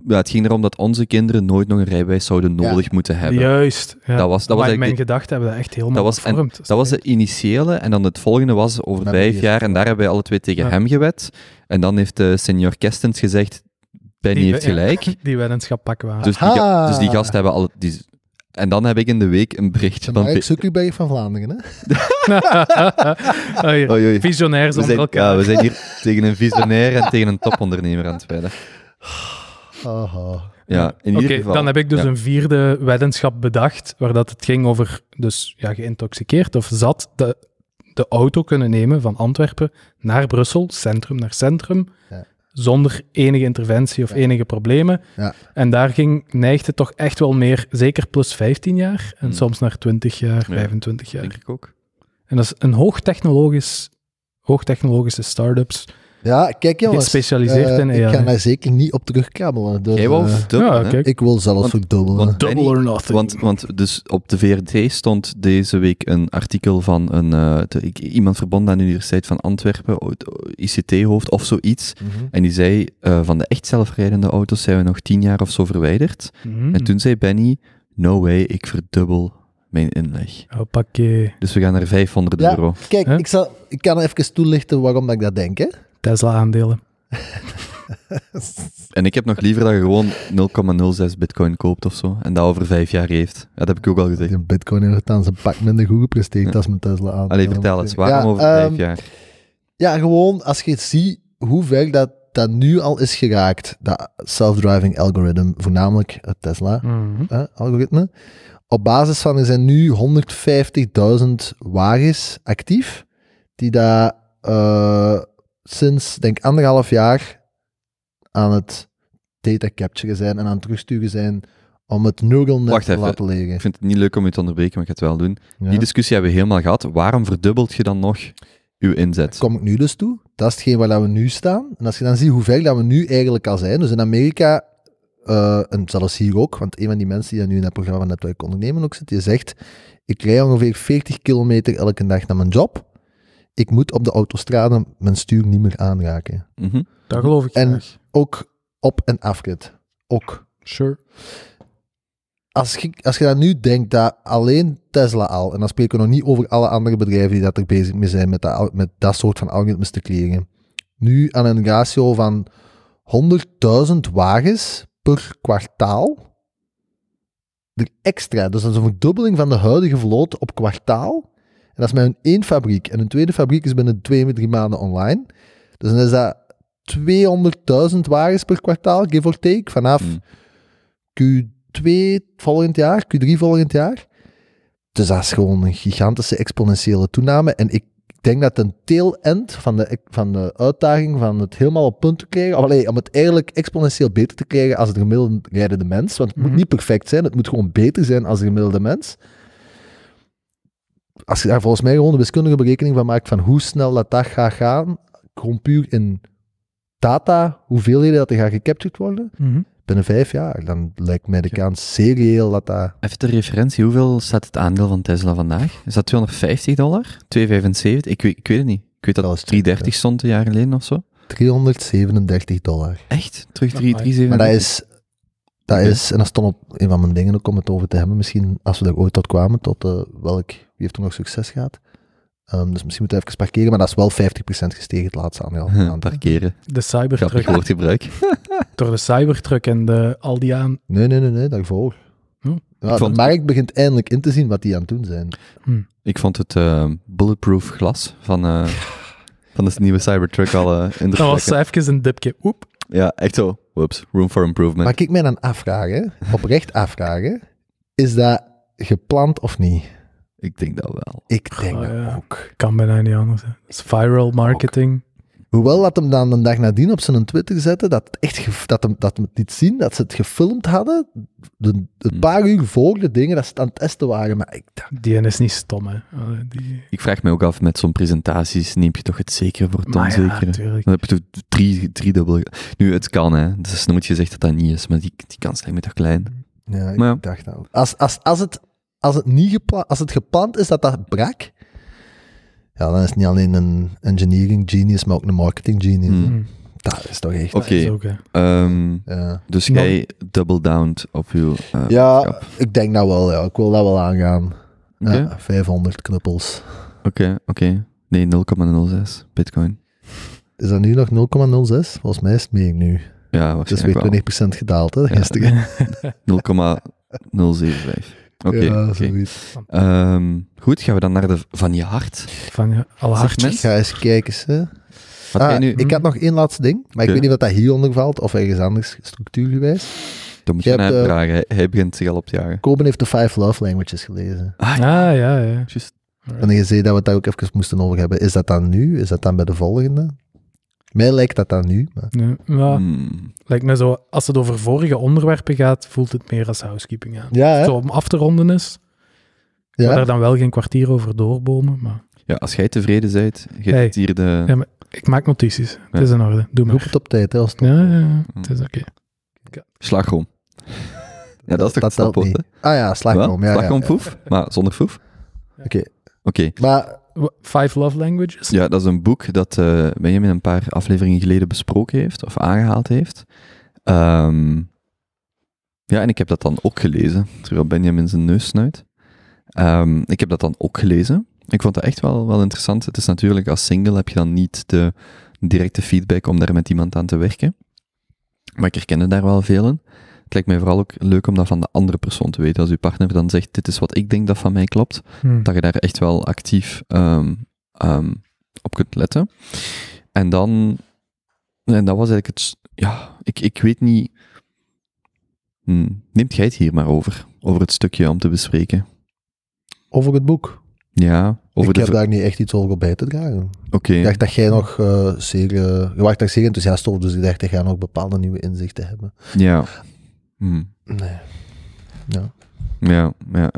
A: Ja, het ging erom dat onze kinderen nooit nog een rijbewijs zouden
C: Ja.
A: nodig moeten hebben.
B: Juist.
A: Dat was-
B: Ja.
A: dat was
B: Maar
A: eigenlijk
B: in mijn
A: die-
B: gedachten hebben we dat echt helemaal
A: Dat was- en
B: gevormd. is
A: Dat was
B: echt-
A: de initiële, en dan het volgende was over
C: Met
A: vijf
C: die-
A: jaar, en daar hebben wij alle twee tegen
B: Ja.
A: hem gewet. En dan heeft de senior Kestens gezegd, Benny
B: Die-
A: heeft gelijk.
B: Die weddenschap pakken waren.
A: Dus die, ga-
C: Aha.
A: dus die gasten hebben al... Die, en dan heb ik in de week een berichtje
C: De
A: van...
C: Mark Zuckerberg van Vlaanderen. Hè?
B: Oh, hier.
A: Oei, oei.
B: Visionairs
A: We
B: onder
A: zijn,
B: elkaar.
A: ja, we zijn hier tegen een visionair en tegen een topondernemer aan het wedden.
C: Aha.
A: Ja, in
B: Oké,
A: ieder geval.
B: dan heb ik dus
A: Ja.
B: een vierde weddenschap bedacht, waar dat het ging over, dus ja, geïntoxiceerd of zat, de, de auto kunnen nemen van Antwerpen naar Brussel, centrum naar centrum,
C: Ja.
B: zonder enige interventie of
C: Ja.
B: enige problemen.
C: Ja.
B: En daar ging, neigde het toch echt wel meer, zeker plus 15 jaar, en
A: Hmm.
B: soms naar 20 jaar,
A: Ja.
B: 25 jaar.
A: Denk ik ook.
B: En dat is een hoogtechnologisch, hoogtechnologische start-ups,
C: Ja, kijk jongens.
B: Gespecialiseerd
C: eh,
B: in
C: Ik
B: AI.
C: ga daar zeker niet op terugkrabbelen. Dus,
A: Jij wou
C: eh,
A: verdubbelen,
B: Ja,
A: hè?
B: kijk.
C: ik wil zelfs
A: Want-
C: verdubbelen.
A: want-
B: double
A: Benny,
B: or nothing.
A: Want, want dus op de VRT stond deze week een artikel van een, eh, de- ik- iemand verbonden aan de Universiteit van Antwerpen, o- o- ICT-hoofd of zoiets.
C: Mhm.
A: En die zei, eh, van de echt zelfrijdende auto's zijn we nog tien jaar of zo verwijderd.
B: Hmm.
A: En toen zei Benny, no way, ik verdubbel mijn inleg.
B: Hoppakee.
A: Dus we gaan naar 500
C: Ja.
A: euro.
C: Kijk,
B: Hè?
C: ik, zal, ik kan even toelichten waarom dat ik dat denk. Hè?
B: Tesla-aandelen.
A: En ik heb nog liever dat je gewoon 0,06 bitcoin koopt of zo. En dat over vijf jaar heeft. Ja, dat heb ik ook al gezegd.
C: Die bitcoin heeft dan zijn pak minder goed gepresteerd als mijn Tesla aan. ehm,
A: Allee, vertel eens, waarom over vijf jaar?
C: Ja, gewoon als je ziet hoe ver dat, dat nu al is geraakt, dat self-driving algoritme, voornamelijk het
A: Hm.
B: Mhm.
C: Tesla-algoritme. Op basis van er zijn nu 150.000 wagens actief, die daar eh, sinds, denk anderhalf jaar aan het data capturen zijn en aan het terugsturen zijn om het neural net
A: Wacht
C: te
A: even.
C: laten
A: Ik
C: liggen.
A: vind het niet leuk om je te onderbreken, maar ik ga het wel doen.
C: Ja.
A: Die discussie hebben we helemaal gehad. Waarom verdubbelt je dan nog uw inzet?
C: kom ik nu dus toe. Dat is hetgeen waar dat we nu staan. En als je dan ziet hoe ver dat we nu eigenlijk al zijn. Dus in Amerika, eh, en zelfs hier ook, want een van die mensen die dan nu in dat programma Netwerk Ondernemen ook zit, die zegt, ik rij ongeveer 40 kilometer elke dag naar mijn job. Ik moet op de autostrade mijn stuur niet meer aanraken.
A: Mhm.
B: Dat geloof ik
C: En-
B: graag.
C: Ook op- en afrit. Ook.
B: Sure.
C: Als je, als je dan nu denkt dat alleen Tesla al, en dan spreken we nog niet over alle andere bedrijven die dat er bezig mee zijn met dat, al- met dat soort van algoritmes te creëren, nu aan een ratio van 100.000 wagens per kwartaal, er extra, dus dat is een verdubbeling van de huidige vloot op kwartaal, en dat is met hun één fabriek, en hun tweede fabriek is binnen twee, drie maanden online, dus dan is dat 200.000 wagens per kwartaal, give or take, vanaf...
A: Mm.
C: Q2 volgend jaar, Q3 volgend jaar. Dus dat is gewoon een gigantische exponentiële toename. En ik denk dat een tail-end van de, van de uitdaging van het helemaal op punt te krijgen, of allee, om het eigenlijk exponentieel beter te krijgen als de gemiddelde rijdende mens, want het
B: Mhm.
C: moet niet perfect zijn, het moet gewoon beter zijn als de gemiddelde mens. Als je daar volgens mij gewoon een wiskundige berekening van maakt van hoe snel dat dat gaat gaan, gewoon puur in data, hoeveelheden dat er gaat gecaptured worden, binnen vijf jaar, dan lijkt mij de
B: Ja.
C: kans serieel dat dat...
A: Even ter referentie, hoeveel staat het aandeel van Tesla vandaag? Is dat 250 dollar? 275? Ik weet, ik weet het niet. Ik weet dat
C: Dat
A: het
C: is
A: 330 stond een jaar geleden of zo.
C: 337 dollar.
A: Echt? Terug
B: Ja,
A: 3,
B: maar-
A: 3,
C: Maar dat is, dat
A: Oké.
C: is, en dat stond op een van mijn dingen ook om het over te hebben, misschien als we daar ooit tot kwamen, tot eh, welk, wie heeft toen nog succes gehad. Ehm, dus misschien moeten we even parkeren, maar dat is wel 50% gestegen het laatste anderhalf
A: Huh,
C: maand.
A: Parkeren.
B: De
A: Grappig
B: Cybertruck.
A: woordgebruik.
B: Door de Cybertruck en de, al die aan.
C: Nee, nee, nee, nee, daarvoor.
B: Hm.
C: Ja,
A: Ik vond-
C: De markt begint eindelijk in te zien wat die aan het doen zijn.
A: Ik vond het eh, bulletproof glas van, eh, van de nieuwe Cybertruck al eh, in de
B: Dat was
A: plekken.
B: even een dipje. Oep.
A: Ja, echt zo. Whoops, room for improvement.
C: Maar kijk mij dan afvragen, oprecht afvragen, is dat gepland of niet?
A: Ik denk dat wel.
C: Ik denk
B: Ah, ja.
C: dat ook.
B: Kan bijna niet anders. hè. Dat is viral marketing.
C: Hoewel dat hem dan de dag nadien op zijn Twitter zette, dat, het echt ge- dat, hem, dat hem het niet zien, dat ze het gefilmd hadden, de,
A: Hmm.
C: een paar uur voor de dingen dat ze het aan het testen waren. Maar ik dacht,
B: Die ene is niet stom, hè. Eh, Die...
A: Ik vraag me ook af, met zo'n presentaties neem je toch het zekere voor het
B: Maar ja,
A: onzekere?
B: tuurlijk.
A: Dan heb je toch drie, drie dubbel. Nu, het kan, hè. Dus is nooit gezegd dat dat niet is, maar die, die kans lijkt me toch klein.
C: ja, ik
A: Maar ja.
C: dacht dat ook. Als, als, als, het, als, het niet gepla- als het gepland is dat dat brak, ja, dan is het niet alleen een engineering genius, maar ook een marketing genius.
A: Hmm.
B: Hm.
C: Dat is toch echt... eh,
A: Oké,
B: Is ook, hè.
A: ehm,
C: Ja.
A: dus
B: Maar-
A: jij double downed op je... eh,
C: ja,
A: boodschap.
C: ik denk dat wel. Ja. Ik wil dat wel aangaan.
A: Oké,
C: Ja, 500 knuppels.
A: oké, oké. Nee, 0,06 bitcoin.
C: Is dat nu nog 0,06? Volgens mij is het meer nu.
A: Ja,
C: Het is weer
A: waarschijnlijk
C: 20% gedaald, hè, gisteren.
A: wel. 0,075. Oké,
C: ja,
A: oké.
C: zoiets.
A: Ehm, goed, gaan we dan naar de van je hart.
B: Van ja, alle
A: Zeg,
B: hartjes.
A: mensen,
C: Ik ga eens kijken. Hè.
A: Wat
C: Ah,
A: jij nu?
C: Ik had nog één laatste ding, maar
A: Oké.
C: ik weet niet of dat hieronder valt of ergens anders structuurgewijs.
A: Dan moet je
C: jij
A: aan hem
C: hebt, eh,
A: vragen. Hij- Hij begint zich al op te jagen.
C: Koben heeft de Five Love Languages gelezen.
A: Ah,
B: Ah, ja, ja.
A: juist.
C: En je zei dat we het daar ook even moesten over hebben. Is dat dan nu? Is dat dan bij de volgende? Mij lijkt dat dan nu. Maar...
B: Nee,
C: Ah.
B: ja,
A: Hmm.
B: lijkt me zo, als het over vorige onderwerpen gaat, voelt het meer als housekeeping aan.
C: Ja,
B: Zo
C: hè?
B: om af te ronden is, maar daar
C: Ja?
B: dan wel geen kwartier over doorbomen. Maar
A: Ja, als jij tevreden bent, geeft
B: Hey.
A: het hier de...
B: Ja. ik maak notities. Het is in orde. Doe
C: Roep
B: maar.
C: het op tijd, hè, als het-
B: Ja, ja,
A: Hm.
B: ja. Het is oké.
A: Slagroom. Ja, dat is toch
C: dat
A: het
C: telt
A: stopwoord,
C: niet.
A: hè?
C: Ah ja, slagroom.
A: Wel,
C: Ja, ja.
A: slagroomfoef, maar zonder foef.
C: Oké.
A: Oké,
C: Maar
B: W- Five Love Languages.
A: Dus ja, dat is een boek dat eh Benjamin een paar afleveringen geleden besproken heeft, of aangehaald heeft. Ehm, ja, en ik heb dat dan ook gelezen, terwijl Benjamin zijn neus snuit. Ehm, ik heb dat dan ook gelezen. Ik vond dat echt wel, wel interessant. Het is natuurlijk, als single heb je dan niet de directe feedback om daar met iemand aan te werken. Maar ik herkende daar wel veel in. Het lijkt mij vooral ook leuk om dat van de andere persoon te weten. Als uw partner dan zegt, dit is wat ik denk dat van mij klopt,
B: Hm.
A: dat je daar echt wel actief ehm, ehm, op kunt letten. En dan, en dat was eigenlijk het, s- ja, ik, ik weet niet, Hm, neemt jij het hier maar over, over het stukje om te bespreken.
C: over het boek.
A: Ja, over
C: ik
A: de,
C: heb
A: ver-
C: daar niet echt iets over op bij te dragen.
A: oké,
C: Ik dacht dat jij nog eh, zeer, eh, je was daar zeer enthousiast over, dus ik dacht dat jij nog bepaalde nieuwe inzichten hebben.
A: ja. Hm,
C: Nee.
A: ja, ja, ja.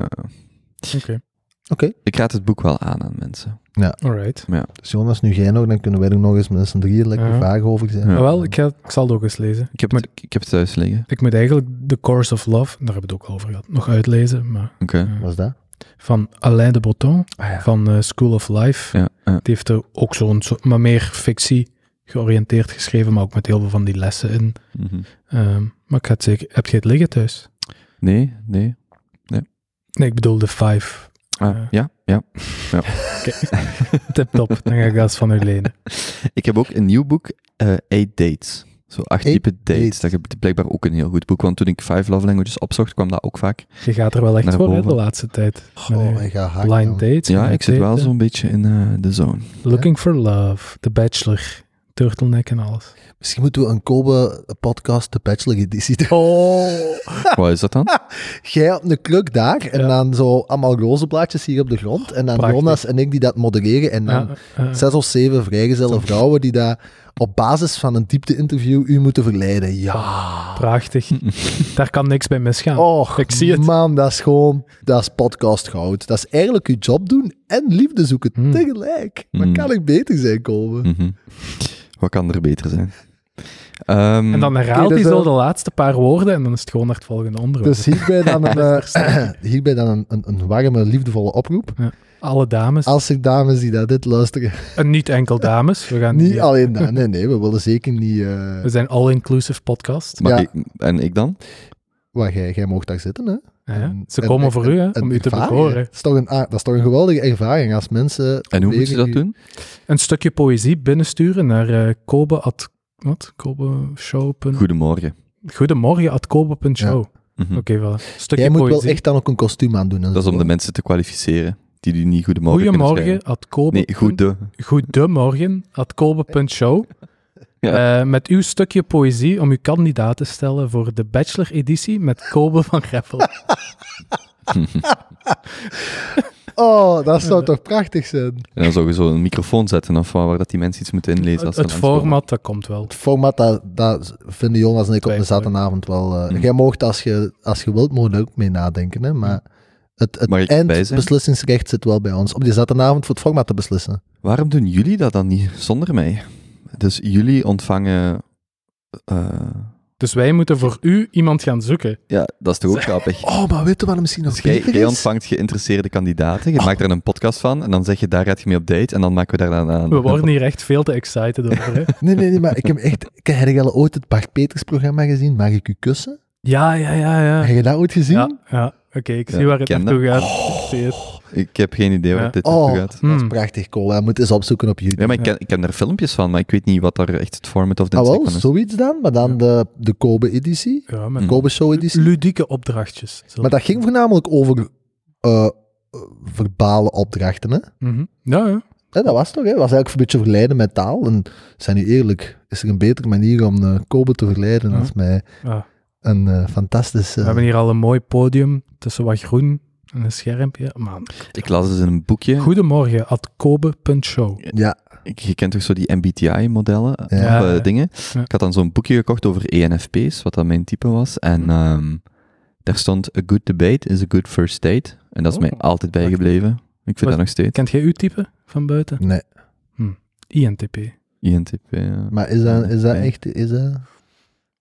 B: Oké,
A: Ik raad het boek wel aan aan mensen.
B: alright.
C: Dus Jonas, nu jij nog, dan kunnen wij er nog eens met z'n drieën lekker
B: Ja.
C: vaag over zijn.
A: Ja.
B: Ah, wel, ik, ga, ik zal het ook eens lezen.
A: Ik heb,
B: Maar-
A: het, ik heb het thuis liggen.
B: Ik moet eigenlijk The Course of Love, daar hebben we het ook al over gehad, nog uitlezen. Maar,
A: Oké.
B: eh,
C: Wat is dat?
B: van Alain de Botton
C: Ah, ja.
B: van eh, School of Life.
A: Ja, ja.
B: Die heeft er ook zo'n, zo- maar meer fictie georiënteerd geschreven, maar ook met heel veel van die lessen in.
A: Mhm.
B: Ehm, maar ik ga het zeker... Heb je het liggen thuis?
A: Nee, nee.
B: Nee, ik bedoel de Five.
A: Ah,
B: Eh.
A: Ja, ja.
B: Tip top, dan ga ik dat eens van u lenen.
A: Ik heb ook een nieuw boek, eh Eight Dates. Zo acht
C: Eight
A: type dates.
C: Dates.
A: Dat is blijkbaar ook een heel goed boek. Want toen ik Five Love Languages opzocht, kwam dat ook vaak.
B: Je gaat er wel echt
A: Naar
B: voor hè, de
A: boven.
B: laatste tijd. Met uw
C: Oh, ik ga hard.
B: blind
C: man.
B: dates.
A: Ja,
B: blind
A: ik zit wel
B: daten.
A: zo'n beetje in eh, de zone.
B: Looking for Love, The Bachelor, turtleneck en alles.
C: Misschien moeten we een Kobe podcast, de Bachelor Editie. doen.
B: Oh.
A: Wat is dat dan?
C: Jij op een kruk daar en
B: Ja.
C: dan zo allemaal roze blaadjes hier op de grond. En dan
B: Prachtig.
C: Jonas en ik die dat modereren. En dan zes of zeven vrijgezelle vrouwen die daar op basis van een diepte-interview u moeten verleiden.
A: Ah.
C: Ja.
B: Prachtig. Daar kan niks bij misgaan.
C: Och,
B: ik zie het.
C: man, dat is gewoon, dat is podcast goud. Dat is eigenlijk je job doen en liefde zoeken
B: Hmm.
C: tegelijk. Maar
A: Hmm.
C: kan ik beter zijn, Kobe?
A: Mhm. Wat kan er beter zijn? Ehm,
B: En dan herhaalt
C: Oké, dat
B: hij
C: is
B: zo
C: wel-
B: de laatste paar woorden en dan is het gewoon naar het volgende onderwerp.
C: Dus hierbij dan een,
B: Dat is
C: eh, hierbij dan een, een, een warme, liefdevolle oproep.
B: Dus Alle dames,
C: Als er dames die naar dit luisteren,
B: en niet enkel dames. We, gaan
C: niet
B: hier-
C: alleen dat. Nee, nee, we willen zeker niet... eh,
B: we zijn all-inclusive podcast.
A: maar
C: ja.
A: ik- en ik dan?
C: Waar jij, jij mocht daar zitten, hè?
B: Ja, ja.
C: En-
B: Ze
C: en-
B: komen
C: en-
B: voor u, hè, om
C: Een
B: u te
C: ervaring.
B: bekoren.
C: Dat is, toch een, a- dat is toch een geweldige ervaring als mensen...
A: En hoe moet je dat
C: proberen
A: doen?
B: Een stukje poëzie binnensturen naar eh kobe at, wat? Kobeshow.
C: Hm.
A: Goedemorgen.
B: Goedemorgen at kobe.show.
A: Mhm.
B: Oké, voilà. Stukje
C: Jij moet wel
B: poëzie.
C: echt dan ook een kostuum aan doen.
A: Dat is om de mensen te kwalificeren die die niet goedemorgen kunnen
B: Goedemorgen
A: schrijven.
B: at kobe.
A: Nee, goede.
B: Goedemorgen at kobe.show.
A: Ja.
B: Eh, met uw stukje poëzie om uw kandidaat te stellen voor de bachelor-editie met Kobe van Greffel.
C: Oh, dat zou toch prachtig zijn?
A: En dan zou je zo een microfoon zetten of waar, waar dat die mensen iets moeten inlezen. Als
B: het
A: ze
B: het
A: langskomen.
B: format, dat komt wel.
C: Het format, dat, dat vinden Jonas en ik op een
B: Twijfel, hè.
C: zaterdagavond wel... eh,
A: Hmm.
C: Jij mocht als je, als je wilt, mogen ook mee nadenken, hè? Maar het,
A: Mag
C: het
A: ik erbij zijn?
C: eindbeslissingsrecht zit wel bij ons. Op die zaterdagavond voor het format te beslissen.
A: Waarom doen jullie dat dan niet zonder mij? Dus jullie ontvangen. eh,
B: Dus wij moeten voor u iemand gaan zoeken.
A: ja, dat is toch ook grappig.
C: Oh, maar weet je wat er misschien nog
A: Dus jij,
C: beter
A: jij
C: is?
A: ontvangt geïnteresseerde kandidaten, je maakt er een podcast van en dan zeg je daar gaat je mee op date en dan maken we daar dan aan.
B: We worden hier echt veel te excited over. Hè?
C: Nee, nee, nee, maar ik heb echt... Ik heb jij al ooit het Bart Peters programma gezien? Mag ik u kussen?
B: Ja, ja, ja, ja.
C: Heb je dat ooit gezien?
B: Ja, ja. Oké, ik zie
A: Ja,
B: waar het
A: ken Oh,
B: naartoe gaat. Ik zie het.
A: Ik heb geen idee waar
B: Ja.
A: dit
C: Oh,
A: naartoe
C: dat
A: gaat.
C: is
B: Hmm.
C: prachtig cool. Hij moet eens opzoeken op YouTube.
A: Ja, maar ik ken, ik ken daar filmpjes van, maar ik weet niet wat daar echt Mm. het format of de
C: ah,
A: insteek
C: wel,
A: van is.
C: zoiets dan, maar dan de, de Kobe-editie,
B: Hmm. Ja,
A: Hmm.
B: met
C: Kobe-show-editie.
B: ludieke opdrachtjes. Zo.
C: Maar dat ging voornamelijk over eh, verbale opdrachten, hè?
B: Mhm. Ja, ja.
C: Hè, dat was toch, hè? was eigenlijk een beetje verleiden met taal. En zijn nu eerlijk, is er een betere manier om eh, Kobe te verleiden
B: Ja.
C: als mij
B: Ja.
C: een eh, fantastisch... eh,
B: We hebben hier al een mooi podium tussen wat groen en een schermpje. Man.
A: Ik las eens in een boekje.
B: Goedemorgen, at kobe.show.
C: ja,
A: Ik- Je kent toch zo die MBTI-modellen,
C: Ja.
B: Ja, ja.
A: eh, dingen.
B: Ja.
A: Ik had dan zo'n boekje gekocht over E ENFP's, wat dan mijn type was.
B: Mhm.
A: En ehm, daar stond, a good debate is a good first date. En dat is
B: Oh.
A: mij altijd bijgebleven. Ik vind
B: Wat-
A: dat nog steeds.
B: Kent jij uw type van buiten?
C: nee.
B: INTP.
A: INTP, ja.
C: Maar is dat, is dat
A: Nee.
C: echt... Is dat...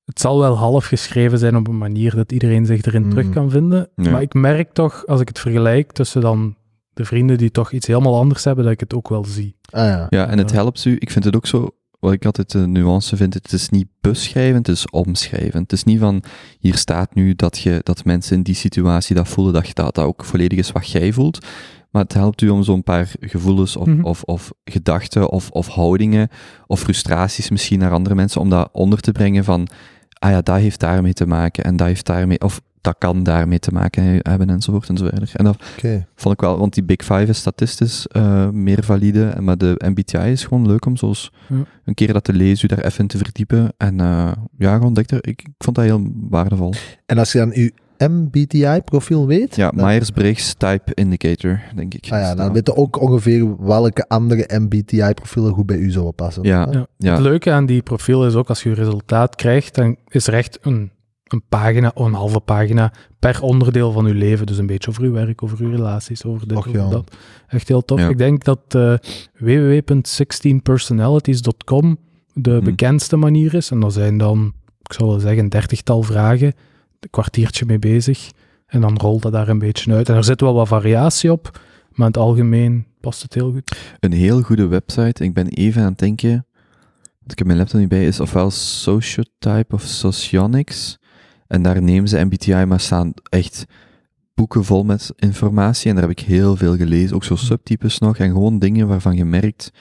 B: Het zal wel half geschreven zijn op een manier dat iedereen zich erin
C: Mm.
B: terug kan vinden.
A: Ja.
B: Maar ik merk toch, als ik het vergelijk tussen dan de vrienden die toch iets helemaal anders hebben, dat ik het ook wel zie.
C: Ah ja.
A: Ja, en het
B: Ja.
A: helpt u. Ik vind het ook zo, wat ik altijd de nuance vind, het is niet beschrijven, het is omschrijven. Het is niet van, hier staat nu dat, je, dat mensen in die situatie dat voelen, dat je dat, dat ook volledig is wat jij voelt. Maar het helpt u om zo'n paar gevoelens of,
B: Mhm.
A: of, of gedachten of, of houdingen of frustraties misschien naar andere mensen, om dat onder te brengen van, ah ja, dat heeft daarmee te maken en dat heeft daarmee, of dat kan daarmee te maken hebben enzovoort enzovoort. En dat
C: Oké.
A: Vond ik wel, want die Big Five is statistisch eh, meer valide, en- maar de MBTI is gewoon leuk om zoals
B: Ja.
A: een keer dat te lezen, u daar even in te verdiepen. En eh, ja, gewoon dichter, ik, ik vond dat heel waardevol.
C: En als je dan uw MBTI-profiel weet...
A: Ja,
C: dan-
A: Myers-Briggs Type Indicator, denk ik. Dus
C: Ah
A: Is
C: ja,
A: dat.
C: dan weten we ook ongeveer welke andere MBTI-profielen goed bij u zouden passen.
A: Ja.
B: Ja.
A: Ja.
B: Het leuke aan die profielen is ook, als je een resultaat krijgt, dan is er echt een, een pagina, een halve pagina, per onderdeel van je leven. Dus een beetje over uw werk, over uw relaties, over dit,
C: Och,
B: over
C: ja.
B: dat. Echt heel tof.
A: Ja.
B: Ik denk dat eh www.16personalities.com de
A: Hm.
B: bekendste manier is. En daar zijn dan, ik zou wel zeggen, een dertigtal vragen, een kwartiertje mee bezig. En dan rolt dat daar een beetje uit. En er zit wel wat variatie op, maar in het algemeen past het heel goed.
A: Een heel goede website, ik ben even aan het denken, want ik heb mijn laptop niet bij, is ofwel Sociotype of Socionics. En daar nemen ze MBTI, maar staan echt boeken vol met informatie. En daar heb ik heel veel gelezen. Ook zo subtypes nog. En gewoon dingen waarvan je merkt.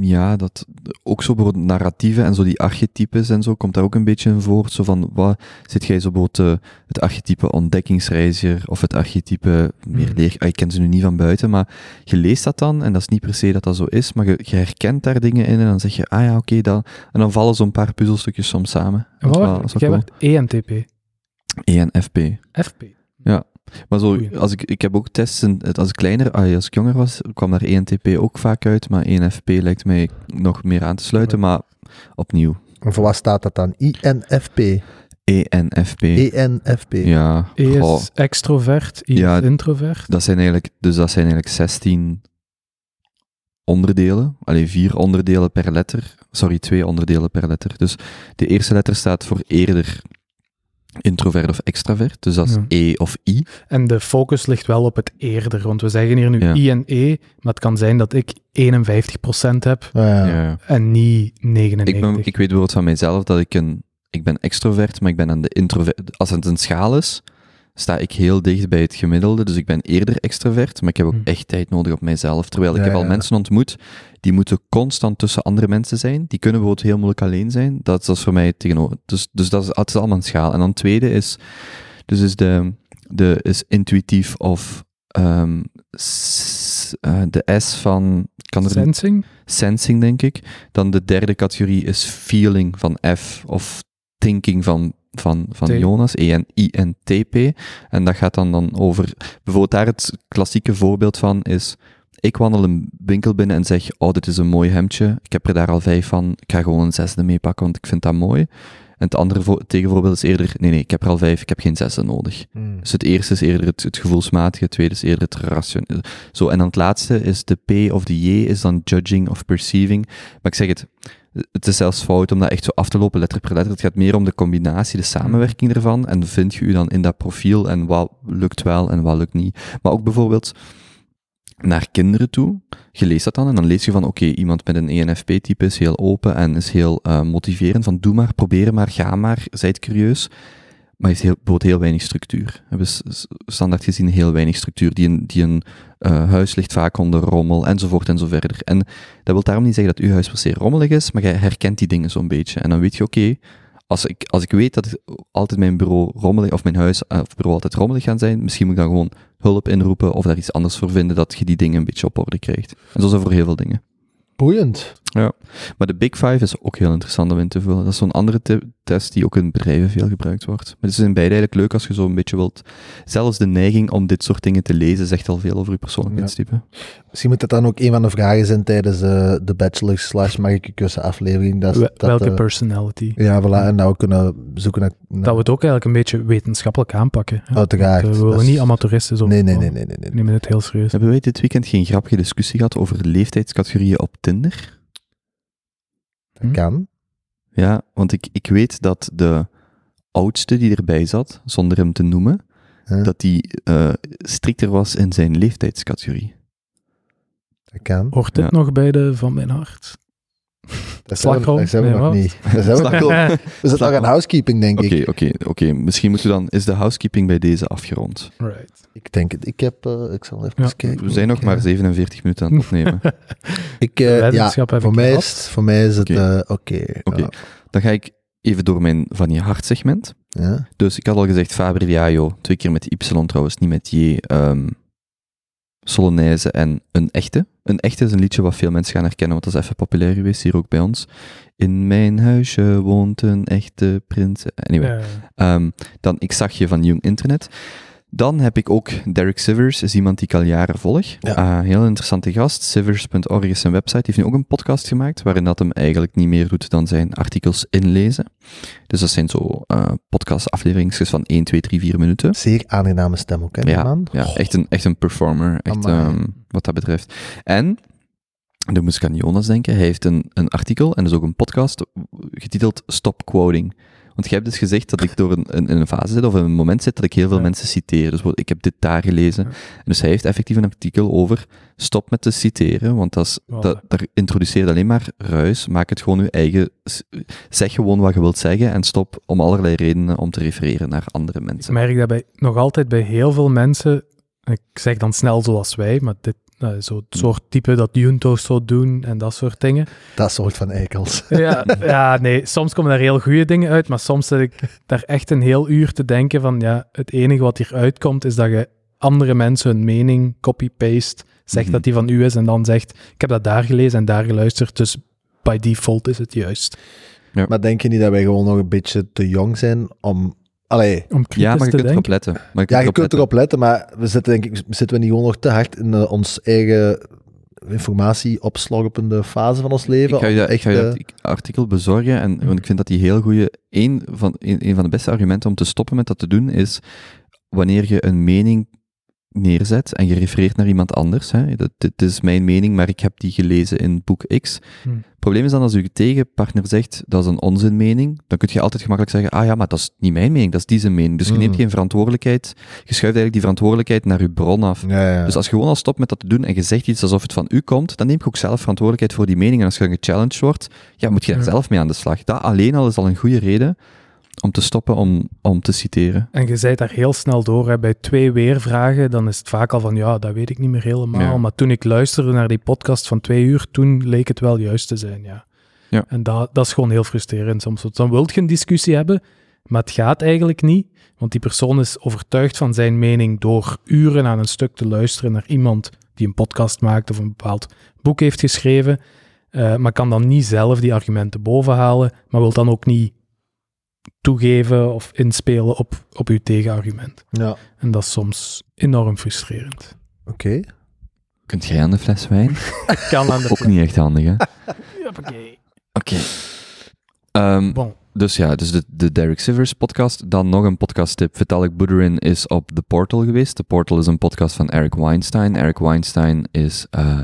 A: ja, dat ook zo bijvoorbeeld narratieven en zo die archetypes en zo komt daar ook een beetje in voort. Zo van, wat zit jij zo bijvoorbeeld eh, het archetype ontdekkingsreiziger of het archetype meer
B: Hmm.
A: leer... ah, Ik ken ze nu niet van buiten, maar je leest dat dan en dat is niet per se dat dat zo is, maar je, je herkent daar dingen in en dan zeg je, ah ja, oké, dat en dan vallen zo'n paar puzzelstukjes soms samen.
B: En wat
A: Dat is wel-
B: werd-
A: Ah, dat is
B: jij
A: wel cool.
B: werd E ENTP,
A: ENFP.
B: FP.
A: Maar zo,
B: Goeie.
A: als ik, ik heb ook tests, in- het- als ik kleiner, ah, als ik jonger was, kwam daar ENTP ook vaak uit, maar ENFP lijkt mij nog meer aan te sluiten, maar opnieuw, E
C: En voor wat staat dat dan? INFP.
A: ENFP.
C: E ENFP.
A: ja,
B: E is
A: goh,
B: extrovert, I
A: Ja.
B: is introvert.
A: dat zijn eigenlijk, dus dat zijn eigenlijk 16 onderdelen, alleen vier onderdelen per letter, sorry, twee onderdelen per letter. Dus de eerste letter staat voor eerder introvert of extravert, dus dat is
B: Ja.
A: E of I.
B: En de focus ligt wel op het eerder, want we zeggen hier nu
A: Ja.
B: I en E, maar het kan zijn dat ik 51% heb
C: Ah, ja.
A: Ja.
B: en niet 99%.
A: Ik, ben, ik weet bijvoorbeeld van mijzelf dat ik een... Ik ben extrovert, maar ik ben aan de introvert... Als het een schaal is, sta ik heel dicht bij het gemiddelde. Dus ik ben eerder extrovert, maar ik heb ook
B: Hmm.
A: echt tijd nodig op mijzelf. Terwijl ik
C: Hm. Ja,
A: heb al
C: ja.
A: mensen ontmoet, die moeten constant tussen andere mensen zijn. Die kunnen bijvoorbeeld heel moeilijk alleen zijn. Dat, is- dat is voor mij het tegenover. Dus, dus dat, is, dat is allemaal een schaal. En dan tweede is... Dus is, de, de, is intuïtief of... ehm, s- eh, de S van... Kan er een-
B: Sensing?
A: sensing, denk ik. Dan de derde categorie is feeling van F of thinking van, van,
B: T.
A: van Jonas, E E-N-I-N-T-P. En dat gaat dan, dan over, bijvoorbeeld daar het klassieke voorbeeld van is, ik wandel een winkel binnen en zeg, oh, dit is een mooi hemdje, ik heb er daar al vijf van, ik ga gewoon een zesde meepakken, want ik vind dat mooi. En het andere vo- tegenvoorbeeld is eerder, nee, nee, ik heb er al vijf, ik heb geen zesde nodig.
C: Hmm.
A: Dus het eerste is eerder het, het gevoelsmatige, het tweede is eerder het rationele. Zo, en dan het laatste is de P of de J, is dan judging of perceiving. Maar ik zeg het, het is zelfs fout om dat echt zo af te lopen, letter per letter. Het gaat meer om de combinatie, de samenwerking ervan. En vind je u dan in dat profiel en wat lukt wel en wat lukt niet. Maar ook bijvoorbeeld naar kinderen toe. Je leest dat dan en dan lees je van, oké, iemand met een E ENFP-type is heel open en is heel eh, motiverend. Van, doe maar, probeer maar, ga maar, zijt curieus maar heeft heel, bijvoorbeeld heel weinig structuur. Hebben s- s- standaard gezien heel weinig structuur. Die een, die een eh, huis ligt vaak onder rommel, enzovoort en zo verder. En dat wil daarom niet zeggen dat uw huis per se rommelig is, maar jij herkent die dingen zo'n beetje. En dan weet je, oké, als, ik, als ik weet dat ik altijd mijn bureau rommelig, of mijn huis eh, of bureau altijd rommelig gaan zijn, misschien moet ik dan gewoon hulp inroepen of daar iets anders voor vinden, dat je die dingen een beetje op orde krijgt. En zo is dat voor heel veel dingen.
C: Boeiend.
A: Maar de Big Five is ook heel interessant om in te vullen. Dat is zo'n andere te- test die ook in bedrijven veel gebruikt wordt. Maar het is in beide eigenlijk leuk als je zo een beetje wilt. Zelfs de neiging om dit soort dingen te lezen zegt al veel over je persoonlijkheidstype.
C: Misschien moet dat dan ook een van de vragen zijn tijdens eh, de bachelor slash Marike Kussen aflevering. Dat,
B: Wel-
C: dat,
B: welke
C: eh,
B: personality?
C: Ja, voilà. En dat we kunnen zoeken naar... naar-
B: Dat we het ook eigenlijk een beetje wetenschappelijk aanpakken. hè.
C: Uiteraard.
B: Want, eh, we
C: Dat
B: willen
C: is-
B: niet amateuristisch
C: Nee, nee, nee, nee, nee. nee.
B: We nemen het heel serieus.
A: Hebben wij dit weekend geen grappige discussie gehad over leeftijdscategorieën op Tinder?
C: Dat kan.
A: Ja, want ik, ik weet dat de oudste die erbij zat, zonder hem te noemen,
C: Huh?
A: dat die eh, strikter was in zijn leeftijdscategorie.
C: Dat kan.
B: Hoort dit
A: Ja.
B: nog bij de Van Mijn Hart?
C: Dat zijn we,
B: slagroom?
C: dat zijn we
B: Nee,
C: nog
B: wat?
C: niet. Dat zijn we, nog niet.
A: Slagroom.
C: we zitten nog aan housekeeping, denk
A: Oké,
C: ik.
A: oké, oké. Misschien moeten we dan... Is de housekeeping bij deze afgerond?
B: Right.
C: Ik denk het. Ik heb... eh, ik zal even
B: Ja.
C: kijken.
A: We zijn nog
C: Ik,
A: maar
C: eh,
A: 47 minuten aan het opnemen.
C: Ik, eh, ja,
B: Wetenschap heb
C: voor
B: ik
C: mij,
B: gehad.
C: is, het- voor mij is het...
A: Oké.
C: eh, Oké.
A: Oké. Dan ga ik even door mijn van je hart segment.
C: Ja. Ja.
A: Dus ik had al gezegd Fabriaio, twee keer met Y trouwens, niet met J. ehm Solonaise en Een Echte. Een Echte is een liedje wat veel mensen gaan herkennen, want dat is even populair geweest hier ook bij ons. In mijn huisje woont een echte prins. Anyway.
B: Ja.
A: Ehm, dan Ik zag je van Young Internet. Dan heb ik ook Derek Sivers, is iemand die ik al jaren volg.
C: Ja.
A: Ah, heel interessante gast. Sivers.org is zijn website. Die heeft nu ook een podcast gemaakt waarin dat hem eigenlijk niet meer doet dan zijn artikels inlezen. Dus dat zijn zo eh podcastafleveringsjes van 1, 2, 3, 4 minuten.
C: Zeer aangename stem ook, hè, die
A: Ja,
C: man?
A: ja
C: Goh,
A: echt, een, echt een performer, echt,
C: Amai.
A: ehm, wat dat betreft. En, dan moest ik aan Jonas denken, hij heeft een, een artikel en dus ook een podcast getiteld Stop Quoting. Want jij hebt dus gezegd dat ik door een, een, in een fase zit of in een moment zit dat ik heel veel
B: Ja.
A: mensen citeer. Dus bijvoorbeeld, ik heb dit daar gelezen.
B: Ja.
A: En dus hij heeft effectief een artikel over stop met te citeren, want dat, is,
B: Voilà.
A: dat, dat introduceert alleen maar ruis. Maak het gewoon je eigen... Zeg gewoon wat je wilt zeggen en stop om allerlei redenen om te refereren naar andere
B: Ik
A: mensen.
B: merk dat bij, nog altijd bij heel veel mensen, en ik zeg dan snel zoals wij, maar dit eh, zo
A: Hm.
B: het soort type dat Junto's zo doen en dat soort dingen.
C: Dat soort van eikels.
B: Ja, ja, nee, soms komen daar heel goede dingen uit, maar soms zit ik daar echt een heel uur te denken van, ja, het enige wat hier uitkomt is dat je andere mensen hun mening copy-paste, zegt
A: Mhm.
B: dat die van u is en dan zegt, ik heb dat daar gelezen en daar geluisterd, dus by default is het juist.
C: Maar denk je niet dat wij gewoon nog een beetje te jong zijn om... Allee,
B: Om kritisch
A: Ja, maar je
B: te
A: kunt erop
B: denken.
A: letten. Maar je
C: ja, je
A: kunt
C: kunt
A: erop
C: erop letten, maar we zitten, denk ik, zitten we niet gewoon nog te hard in eh, ons eigen informatie opslorpende fase van ons leven?
A: Ik ga je, dat-
C: Om
A: ik ga je
C: eh, Mm.
A: dat artik- artikel bezorgen, en, want ik vind dat die heel goede... Een van, een, een van de beste argumenten om te stoppen met dat te doen is wanneer je een mening neerzet en je refereert naar iemand anders. Hè, dat, dit is mijn mening, maar ik heb die gelezen in boek X.
C: Mm.
B: Hm.
A: Het probleem is dan als je tegenpartner zegt dat is een onzinmening, dan kun je altijd gemakkelijk zeggen, ah ja, maar dat is niet mijn mening, dat is die zijn mening. Dus je neemt
C: Mm.
A: geen verantwoordelijkheid, je schuift eigenlijk die verantwoordelijkheid naar je bron af.
C: Ja, ja.
A: Dus als je gewoon al stopt met dat te doen en je zegt iets alsof het van u komt, dan neem je ook zelf verantwoordelijkheid voor die mening. En als je dan gechallenged wordt, ja, moet je daar
B: Ja.
A: zelf mee aan de slag. Dat alleen al is al een goede reden om te stoppen om, om te citeren.
B: En je zijt daar heel snel door, hè. bij twee weervragen, dan is het vaak al van, ja, dat weet ik niet meer helemaal,
A: Ja.
B: maar toen ik luisterde naar die podcast van twee uur, toen leek het wel juist te zijn, ja.
A: Ja.
B: En dat, dat is gewoon heel frustrerend soms. Want Dan wilt je een discussie hebben, maar het gaat eigenlijk niet, want die persoon is overtuigd van zijn mening door uren aan een stuk te luisteren naar iemand die een podcast maakt of een bepaald boek heeft geschreven, eh, maar kan dan niet zelf die argumenten bovenhalen, maar wil dan ook niet toegeven of inspelen op, op uw tegenargument.
C: ja. Oké.
B: En dat is soms enorm frustrerend.
A: Kunt jij aan de fles wijn?
B: Kan aan de
A: Ook niet echt handig, hè?
B: Huppakee.
A: Oké. Ehm,
B: Bon.
A: dus ja, dus de, de Derek Sivers podcast. Dan nog een podcasttip. Vitalik Buterin is op The Portal geweest. The Portal is een podcast van Eric Weinstein. Eric Weinstein is eh,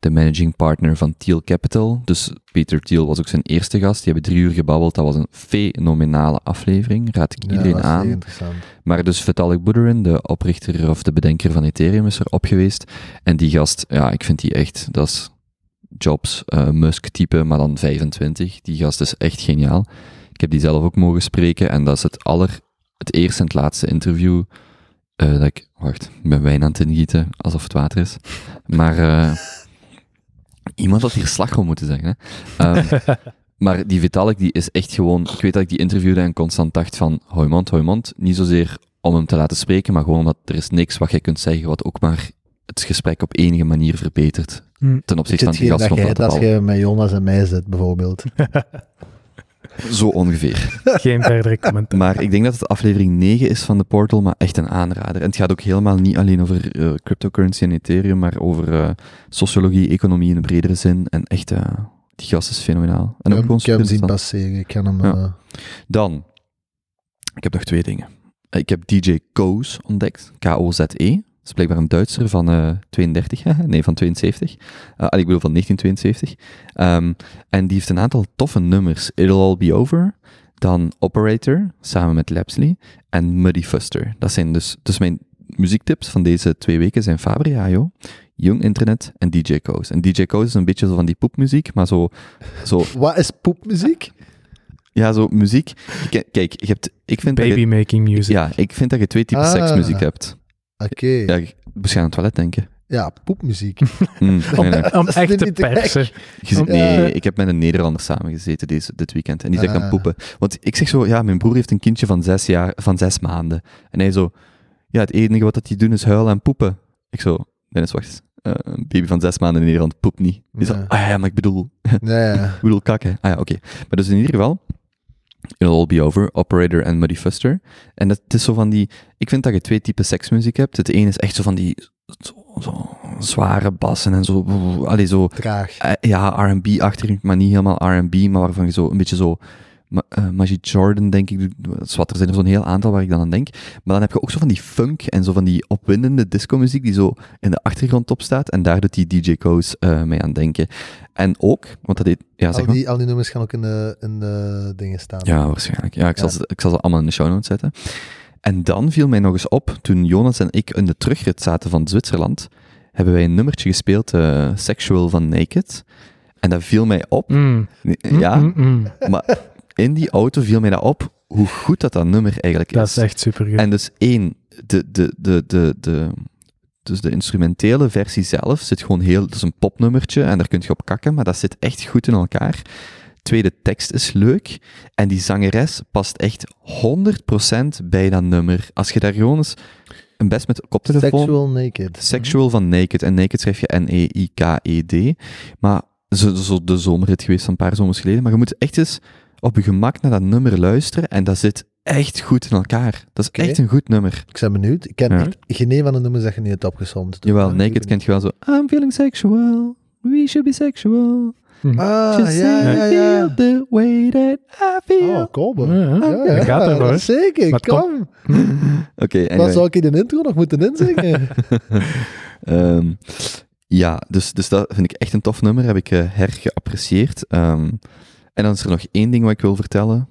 A: de managing partner van Thiel Capital. Dus Peter Thiel was ook zijn eerste gast. Die hebben drie uur gebabbeld. Dat was een fenomenale aflevering. Raad ik
C: Ja, dat
A: iedereen
C: is
A: aan.
C: heel interessant.
A: Maar dus Vitalik Buterin, de oprichter of de bedenker van Ethereum, is erop geweest. En die gast, ja, ik vind die echt, dat is Jobs, eh, Musk-type, maar dan 25. Die gast is echt geniaal. Ik heb die zelf ook mogen spreken en dat is het aller, het eerste en het laatste interview eh, dat ik, wacht, ik ben wijn aan het ingieten, alsof het water is. Maar eh, iemand had hier slagroom moeten zeggen, hè. Ehm, maar die Vitalik, die is echt gewoon... Ik weet dat ik die interviewde en constant dacht van... Hoi mond, hoi mond. Niet zozeer om hem te laten spreken, maar gewoon omdat er is niks wat jij kunt zeggen wat ook maar het gesprek op enige manier verbetert.
B: Hm.
A: Ten
C: Ik
A: opzichte van
C: zit
A: die
C: hier
A: gast
C: dat
A: van
C: jij, dat
A: Plattenbal.
C: jij met Jonas en mij zit, bijvoorbeeld.
A: Zo ongeveer.
B: Geen verdere commentaar.
A: Maar ik denk dat het aflevering 9 is van de Portal, maar echt een aanrader. En het gaat ook helemaal niet alleen over eh, cryptocurrency en Ethereum, maar over eh, sociologie, economie in een bredere zin. En echt, eh, die gast is fenomenaal. En
C: Ik
A: ook
C: heb-
A: gewoon
C: ik heb hem zien
A: superinteressant.
C: passeren. Ik kan hem...
A: Ja.
C: eh,
A: Dan, ik heb nog twee dingen. Eh, Ik heb DJ Koos ontdekt, K-O-Z-E. E. Dat is blijkbaar een Duitser van eh 32, haha, nee, van 72. Eh, ah, ik bedoel van 1972. Ehm, en die heeft een aantal toffe nummers. It'll All Be Over, dan Operator, samen met Lapsley, en Muddy Fuster. Dat zijn dus, dus mijn muziektips van deze twee weken zijn Fabriajo, Young Internet en DJ Koos. En DJ Koos is een beetje zo van die poepmuziek, maar zo, zo,
C: Wat is poepmuziek?
A: ja, zo muziek. Kijk, kijk je hebt, ik vind dat je-
B: Baby-making music.
A: ja, ik vind dat je twee typen
C: Ah.
A: seksmuziek hebt.
C: Oké.
A: Ja,
C: Ja.
A: je- misschien aan het toilet denken.
C: poepmuziek.
A: Mm, nee, nee.
B: Om
C: Dat is
B: echt te
C: niet te
B: persen.
A: Je zit-
C: Ja.
A: nee, ik heb met een Nederlander samengezeten deze, dit weekend. En die zei, ik kan
C: Ah.
A: poepen. Want ik zeg zo, ja, mijn broer heeft een kindje van zes, jaar, van zes maanden. En hij zo, ja, het enige wat dat die doen is huilen en poepen. Ik zo, Dennis, wacht eens. Eh, een baby van zes maanden in Nederland poept niet. Die zo,
C: Ja.
A: ah ja, maar ik bedoel,
C: ja, ja.
A: Ik bedoel, kak, hè. Ah ja, oké. Maar dus in ieder geval, It'll All Be Over, Operator en Muddy Fuster. En dat het is zo van die... Ik vind dat je twee typen seksmuziek hebt. Het ene is echt zo van die zo, zo zware bassen en zo... Allee, zo...
C: Traag.
A: eh, ja, R&B achter, maar niet helemaal R&B, maar waarvan je zo een beetje zo... Ma- eh, Magic Jordan, denk ik. Zwat, er zijn er zo'n heel aantal waar ik dan aan denk. Maar dan heb je ook zo van die funk en zo van die opwindende disco-muziek die zo in de achtergrond opstaat. En daar doet die DJ Koos eh, mee aan denken. En ook, want dat deed... Ja, zeg
C: Al
A: maar.
C: Oh, die, al die nummers gaan ook in de, in de dingen staan.
A: Ja, waarschijnlijk. Ja, ik, Zal
C: Ja.
A: ze, ik zal ze allemaal in de show notes zetten. En dan viel mij nog eens op, toen Jonas en ik in de terugrit zaten van Zwitserland, hebben wij een nummertje gespeeld, eh, Sexual van Naked. En dat viel mij op.
B: Mm, mm,
A: Ja,
B: mm, mm.
A: maar in die auto viel mij dat op, hoe goed dat dat nummer eigenlijk
B: Dat is echt super
A: en dus één, de, de, de, de, de, Dus de instrumentele versie zelf zit gewoon heel... Het is een popnummertje en daar kun je op kakken, maar dat zit echt goed in elkaar. Tweede tekst is leuk. En die zangeres past echt 100% bij dat nummer. Als je daar gewoon eens een best met koptelefoon...
C: Sexual naked.
A: Sexual van Naked. En Naked schrijf je E N-E-I-K-E-D. Maar zo, zo de zomerrit geweest van een paar zomers geleden. Maar je moet echt eens op je gemak naar dat nummer luisteren. En dat zit echt goed in elkaar. Dat is
C: Oké.
A: echt een goed nummer.
C: Ik ben benieuwd. Ik ken
A: Ja.
C: ik- geen een van de nummers dat je niet hebt opgesomd. Dus
A: Jawel,
C: ik ben
A: Naked
C: benieuwd.
A: kent je wel zo. I'm feeling sexual. We should be sexual.
B: Hm.
C: Ah,
A: Just
C: ja, ja,
A: say I
C: ja.
A: feel the way that I feel.
C: Oh, kom hoor.
B: Ja, ja. Dat gaat
C: ja,
B: er wel, hè.
C: Zeker,
B: Maar het
C: kom.
A: Oké,
C: Wat
A: anyway.
C: zou ik in de intro nog moeten inzingen? Eh,
A: Ehm, ja, dus, dus dat vind ik echt een tof nummer. Heb ik eh, hergeapprecieerd. Ehm, en dan is er nog één ding wat ik wil vertellen.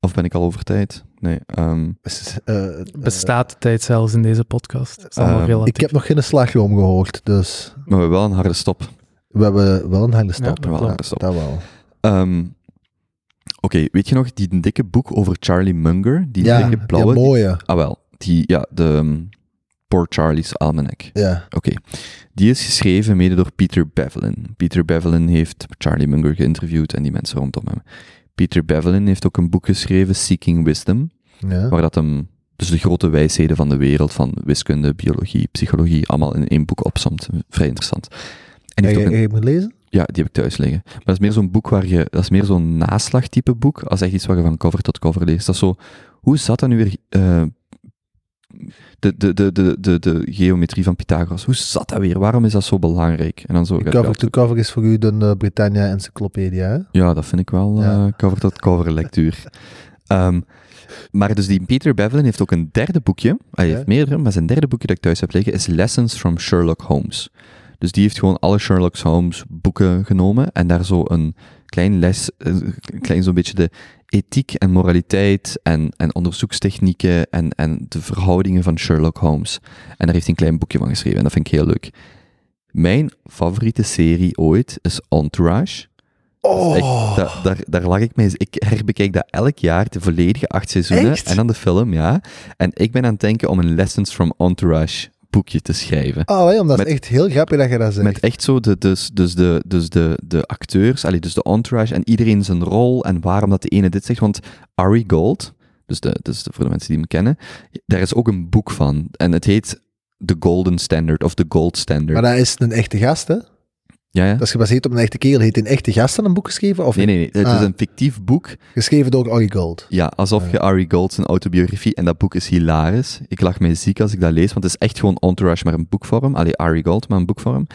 A: Of ben ik al over tijd? Nee. ehm,
C: S- eh, eh,
B: Bestaat de tijd zelfs in deze podcast? Dat is allemaal
A: Eh,
B: relatief.
C: ik heb nog geen slagroom gehoord, dus
A: maar we hebben wel een harde stop.
C: we hebben wel een harde stap.
B: Ja,
A: wel een
C: Ja,
A: harde stap.
C: Dat wel.
A: Ehm, Oké, weet je nog die dikke boek over Charlie Munger? Die
C: Ja,
A: dikke
C: ja,
A: blauwe.
C: mooie.
A: ah wel, die, ja, de ehm, Poor Charlie's Almanac.
C: Ja.
A: Oké. Die is geschreven mede door Peter Bevelin. Peter Bevelin heeft Charlie Munger geïnterviewd en die mensen rondom hem. Peter Bevelin heeft ook een boek geschreven, Seeking Wisdom,
C: ja.
A: waar dat hem dus de grote wijsheden van de wereld, van wiskunde, biologie, psychologie, allemaal in één boek opzomt. Vrij interessant. En die
C: Heb
A: heeft ook
C: je
A: een-
C: heb je hem gelezen?
A: ja, die heb ik thuis liggen. Maar dat is meer zo'n boek waar je... Dat is meer zo'n naslagtype boek, als echt iets waar je van cover tot cover leest. Dat is zo... Hoe zat dat nu weer... eh, de, de, de, de, de, de geometrie van Pythagoras. Hoe zat dat weer? Waarom is dat zo belangrijk? En dan zo... gaat-
C: Cover to cover is voor u de eh, Britannia Encyclopedia. hè?
A: Ja, dat vind ik wel
C: Ja.
A: eh, cover tot cover lectuur. Ehm, maar dus die Peter Bevelin heeft ook een derde boekje. Ah, Hij
C: Ja.
A: heeft meerdere, maar zijn derde boekje dat ik thuis heb liggen is Lessons from Sherlock Holmes. Dus die heeft gewoon alle Sherlock Holmes boeken genomen en daar zo een klein les, eh, een klein zo'n beetje de ethiek en moraliteit en, en onderzoekstechnieken en, en de verhoudingen van Sherlock Holmes. En daar heeft hij een klein boekje van geschreven en dat vind ik heel leuk. Mijn favoriete serie ooit is Entourage. Dat is echt- Dus
C: Oh!
A: da- daar, daar lag ik mee. Dus Ik herbekijk dat elk jaar, de volledige acht seizoenen.
C: Echt?
A: En dan de film, ja. En ik ben aan het denken om een Lessons from Entourage boekje te schrijven.
C: Ah, wel, omdat het
A: Met-
C: echt heel grappig dat je dat zegt.
A: Met echt zo de, dus, dus de, dus de, de acteurs, allee, dus de entourage en iedereen zijn rol en waarom dat de ene dit zegt. Want Ari Gold, dus, de, dus de- voor de mensen die hem kennen, daar is ook een boek van. En het heet The Golden Standard of The Gold Standard.
C: Maar dat is een echte gast, hè?
A: ja, ja?
C: Dat is gebaseerd op een echte kerel. Heeft een echte gast dan een boek geschreven? Of
A: Nee, nee, nee. Het
C: Ah.
A: is een fictief boek
C: geschreven door Ari Gold?
A: Ja, alsof je Ari Gold zijn autobiografie, en dat boek is hilarisch. Ik lag mij ziek als ik dat lees, want het is echt gewoon Entourage, maar een boekvorm. Allee, Ari Gold, maar een boekvorm.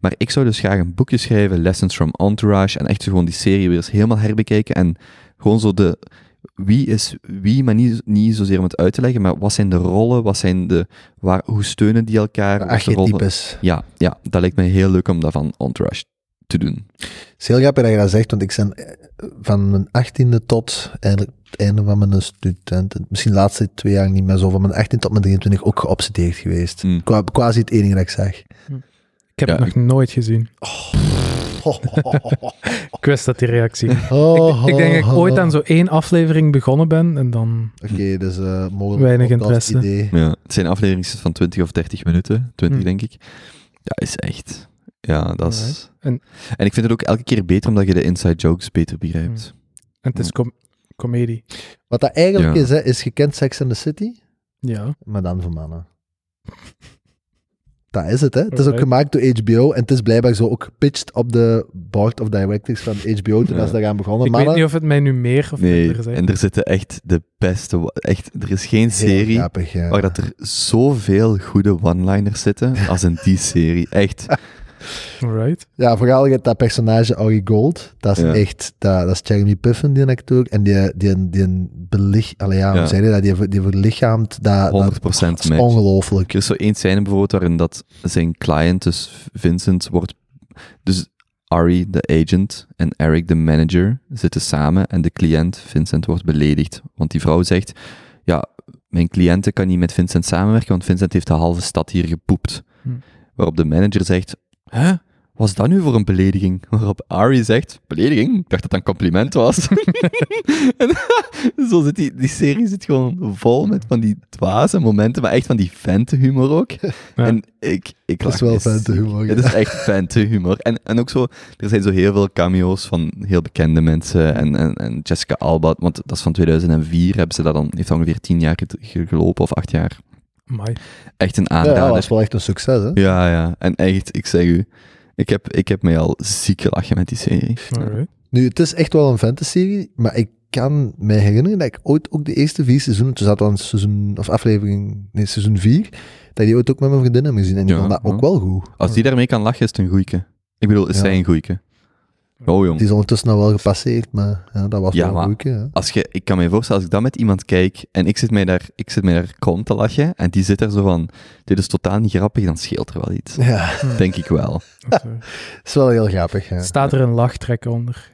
A: Maar ik zou dus graag een boekje schrijven, Lessons from Entourage, en echt zo gewoon die serie weer eens helemaal herbekijken. En gewoon zo de, wie is wie, maar niet, niet zozeer om het uit te leggen, maar wat zijn de rollen, wat zijn de, waar, hoe steunen die elkaar? wat is de rol van-
C: Archetypes.
A: Ja, ja, dat lijkt me heel leuk om dat van Entourage te doen.
C: Het is heel grappig dat je dat zegt, want ik ben eh, van mijn achttiende tot eigenlijk het einde van mijn student, misschien de laatste twee jaar niet meer zo, van mijn 18 tot mijn 23 ook geobsedeerd geweest.
A: Mm.
C: Qua, quasi het enige dat ik zag.
B: Ik heb
A: Ja,
B: het nog nooit gezien. Ik wist dat die reactie.
C: Oh.
B: ik denk dat ik ooit aan zo één aflevering begonnen ben en dan...
C: Oké, dus eh mogelijk
B: Weinig
C: podcast
B: interesse.
C: idee.
A: Ja, het zijn afleveringen van 20 of 30 minuten. 20,
B: Hmm.
A: denk ik. Ja, is echt. Ja, dat is.
B: Alright. En-
A: En ik vind het ook elke keer beter omdat je de inside jokes beter begrijpt.
B: En het is com- comedie.
C: Wat dat eigenlijk
A: Ja.
C: is, hè, is gekend Sex in the City,
B: Ja.
C: maar dan voor mannen. Dat is het, hè. Het is ook
B: Alright.
C: gemaakt door HBO en het is blijkbaar zo ook gepitcht op de board of directors van HBO toen
A: Ja.
C: ze daaraan begonnen.
B: Ik
C: Mannen-
B: weet niet of het mij nu meer of
A: Nee,
B: minder zegt.
A: en er zitten echt de beste. wa- Echt, er is geen
C: Heel
A: serie
C: grappig, ja.
A: waar dat er zoveel goede one-liners zitten als in die serie. Echt.
B: Alright.
C: Ja, vooral je hebt dat personage Ari Gold. Dat is
A: Ja.
C: echt, dat, dat is Jeremy Piven, die acteur. En die, die, die belig... Allee, ja, hoe
A: Ja.
C: zei je dat? Die, ver- die verlichaamt dat...
A: 100%
C: Dat is
A: match.
C: ongelooflijk.
A: Er is zo één scène bijvoorbeeld waarin dat zijn client, dus Vincent, wordt... Dus Ari, de agent, en Eric, de manager, zitten samen en de cliënt, Vincent, wordt beledigd. Want die vrouw zegt, ja, mijn cliënten kan niet met Vincent samenwerken, want Vincent heeft de halve stad hier gepoept.
B: Hm.
A: Waarop de manager zegt, hè? was dat nu voor een belediging? Waarop Ari zegt, belediging? Ik dacht dat dat een compliment was. en, zo zit die, die serie zit gewoon vol met van die dwaze momenten, maar echt van die ventenhumor ook. En ik, ik
C: Dat
A: lach
C: is wel
A: me
C: ventenhumor,
A: ziek.
C: ja.
A: Het is echt ventenhumor. En, en ook zo, er zijn zo heel veel cameo's van heel bekende mensen en, en, en Jessica Alba, want dat is van 2004, hebben ze dat dan, heeft dat ongeveer 10 jaar ge- ge- gelopen of 8 jaar.
B: Amai.
A: Echt een
C: Ja, dat
A: aanrader.
C: was wel echt een succes, hè?
A: Ja, ja. En echt, ik zeg u, ik heb, ik heb mij al ziek gelachen met die serie.
B: Alright.
C: Nu, het is echt wel een fantasy-serie, maar ik kan mij herinneren dat ik ooit ook de eerste vier seizoenen, toen zat al een seizoen, of aflevering, nee, seizoen vier, dat ik die ooit ook met mijn vriendin heb gezien en die
A: Ja,
C: vond dat
A: ja.
C: ook wel goed.
A: Als die daarmee kan lachen, is het een goeieke. Ik bedoel, is
C: Ja.
A: zij een goeieke? Oh, jong.
C: Die is ondertussen al wel gepasseerd, maar ja, dat was
A: Ja,
C: wel
A: maar-
C: een goeie, ja.
A: Als je, ik kan me voorstellen, als ik dat met iemand kijk en ik zit mij daar, ik zit mij daar krom te lachen en die zit er zo van, dit is totaal niet grappig, dan scheelt er wel iets.
C: Ja,
A: Denk ik wel.
B: Dat, eh,
C: dat is wel heel grappig, ja.
B: Staat er een lachtrek onder?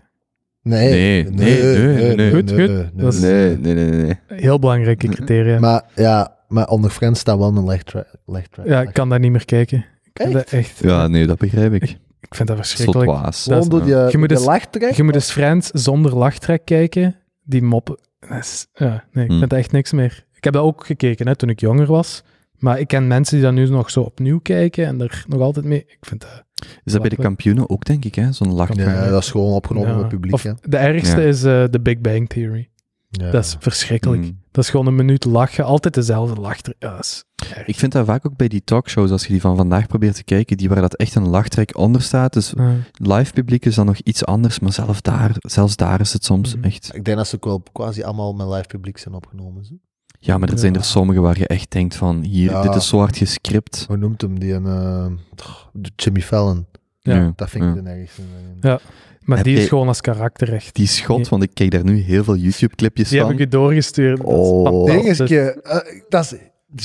C: Nee,
A: Nee, nee, nee, nee.
B: Goed, goed. Dat is-
A: Nee, nee, nee, nee. nee.
B: Heel belangrijke criteria.
C: Eh, Maar ja, maar onder Friends staat wel een leg tra- leg track.
B: ja, ik kan daar niet meer kijken. Ik vind
C: Echt?
B: dat echt.
A: Ja, nee, dat begrijp ik.
B: Ik vind dat verschrikkelijk.
A: Slotwaas.
B: Dat is-
C: Gewoon door die,
B: Je moet
C: die
B: eens-
C: lachtrack?
B: Je moet eens Friends zonder lachtrek kijken. Die moppen. dat is- Ja, nee, ik
A: Hmm.
B: vind dat echt niks meer. Ik heb dat ook gekeken hè, toen ik jonger was. Maar ik ken mensen die dat nu nog zo opnieuw kijken en er nog altijd mee. Ik vind dat.
A: Is dat bij de kampioenen ook, denk ik, hè? Zo'n lach. Mm.
C: Ja, dat is gewoon opgenomen
B: ja.
C: met publiek,
B: Of
C: hè.
B: de ergste
A: Ja.
B: is eh, de Big Bang Theory.
C: Ja.
B: Dat is verschrikkelijk.
A: Mm.
B: Dat is gewoon een minuut lachen. Altijd dezelfde lach. Ja, dat is erg.
A: Ik vind dat vaak ook bij die talkshows, als je die van vandaag probeert te kijken, die waar dat echt een lachtrek onder staat. Dus
B: Ja.
A: live publiek is dan nog iets anders, maar zelf daar, zelfs daar is het soms
B: Mhm.
A: echt...
C: Ik denk dat ze ook wel quasi allemaal met live publiek zijn opgenomen. Zo.
A: Ja, maar er zijn er sommige waar je echt denkt van, hier,
C: Ja.
A: dit is zo hard gescript.
C: Hoe noemt hem die? Een, eh, toch, de Jimmy Fallon.
B: Ja.
C: Dat vind ik
A: ja.
C: de ergste.
B: Ja. Maar
A: Heb
B: die is
A: je-
B: gewoon als karakter echt.
A: Die schot,
B: Die-
A: want ik kijk daar nu heel veel YouTube-clipjes
B: Die
A: van.
B: heb ik je doorgestuurd. Dat is
A: Oh.
C: Ding
B: fantastisch.
C: is, je, eh, dat is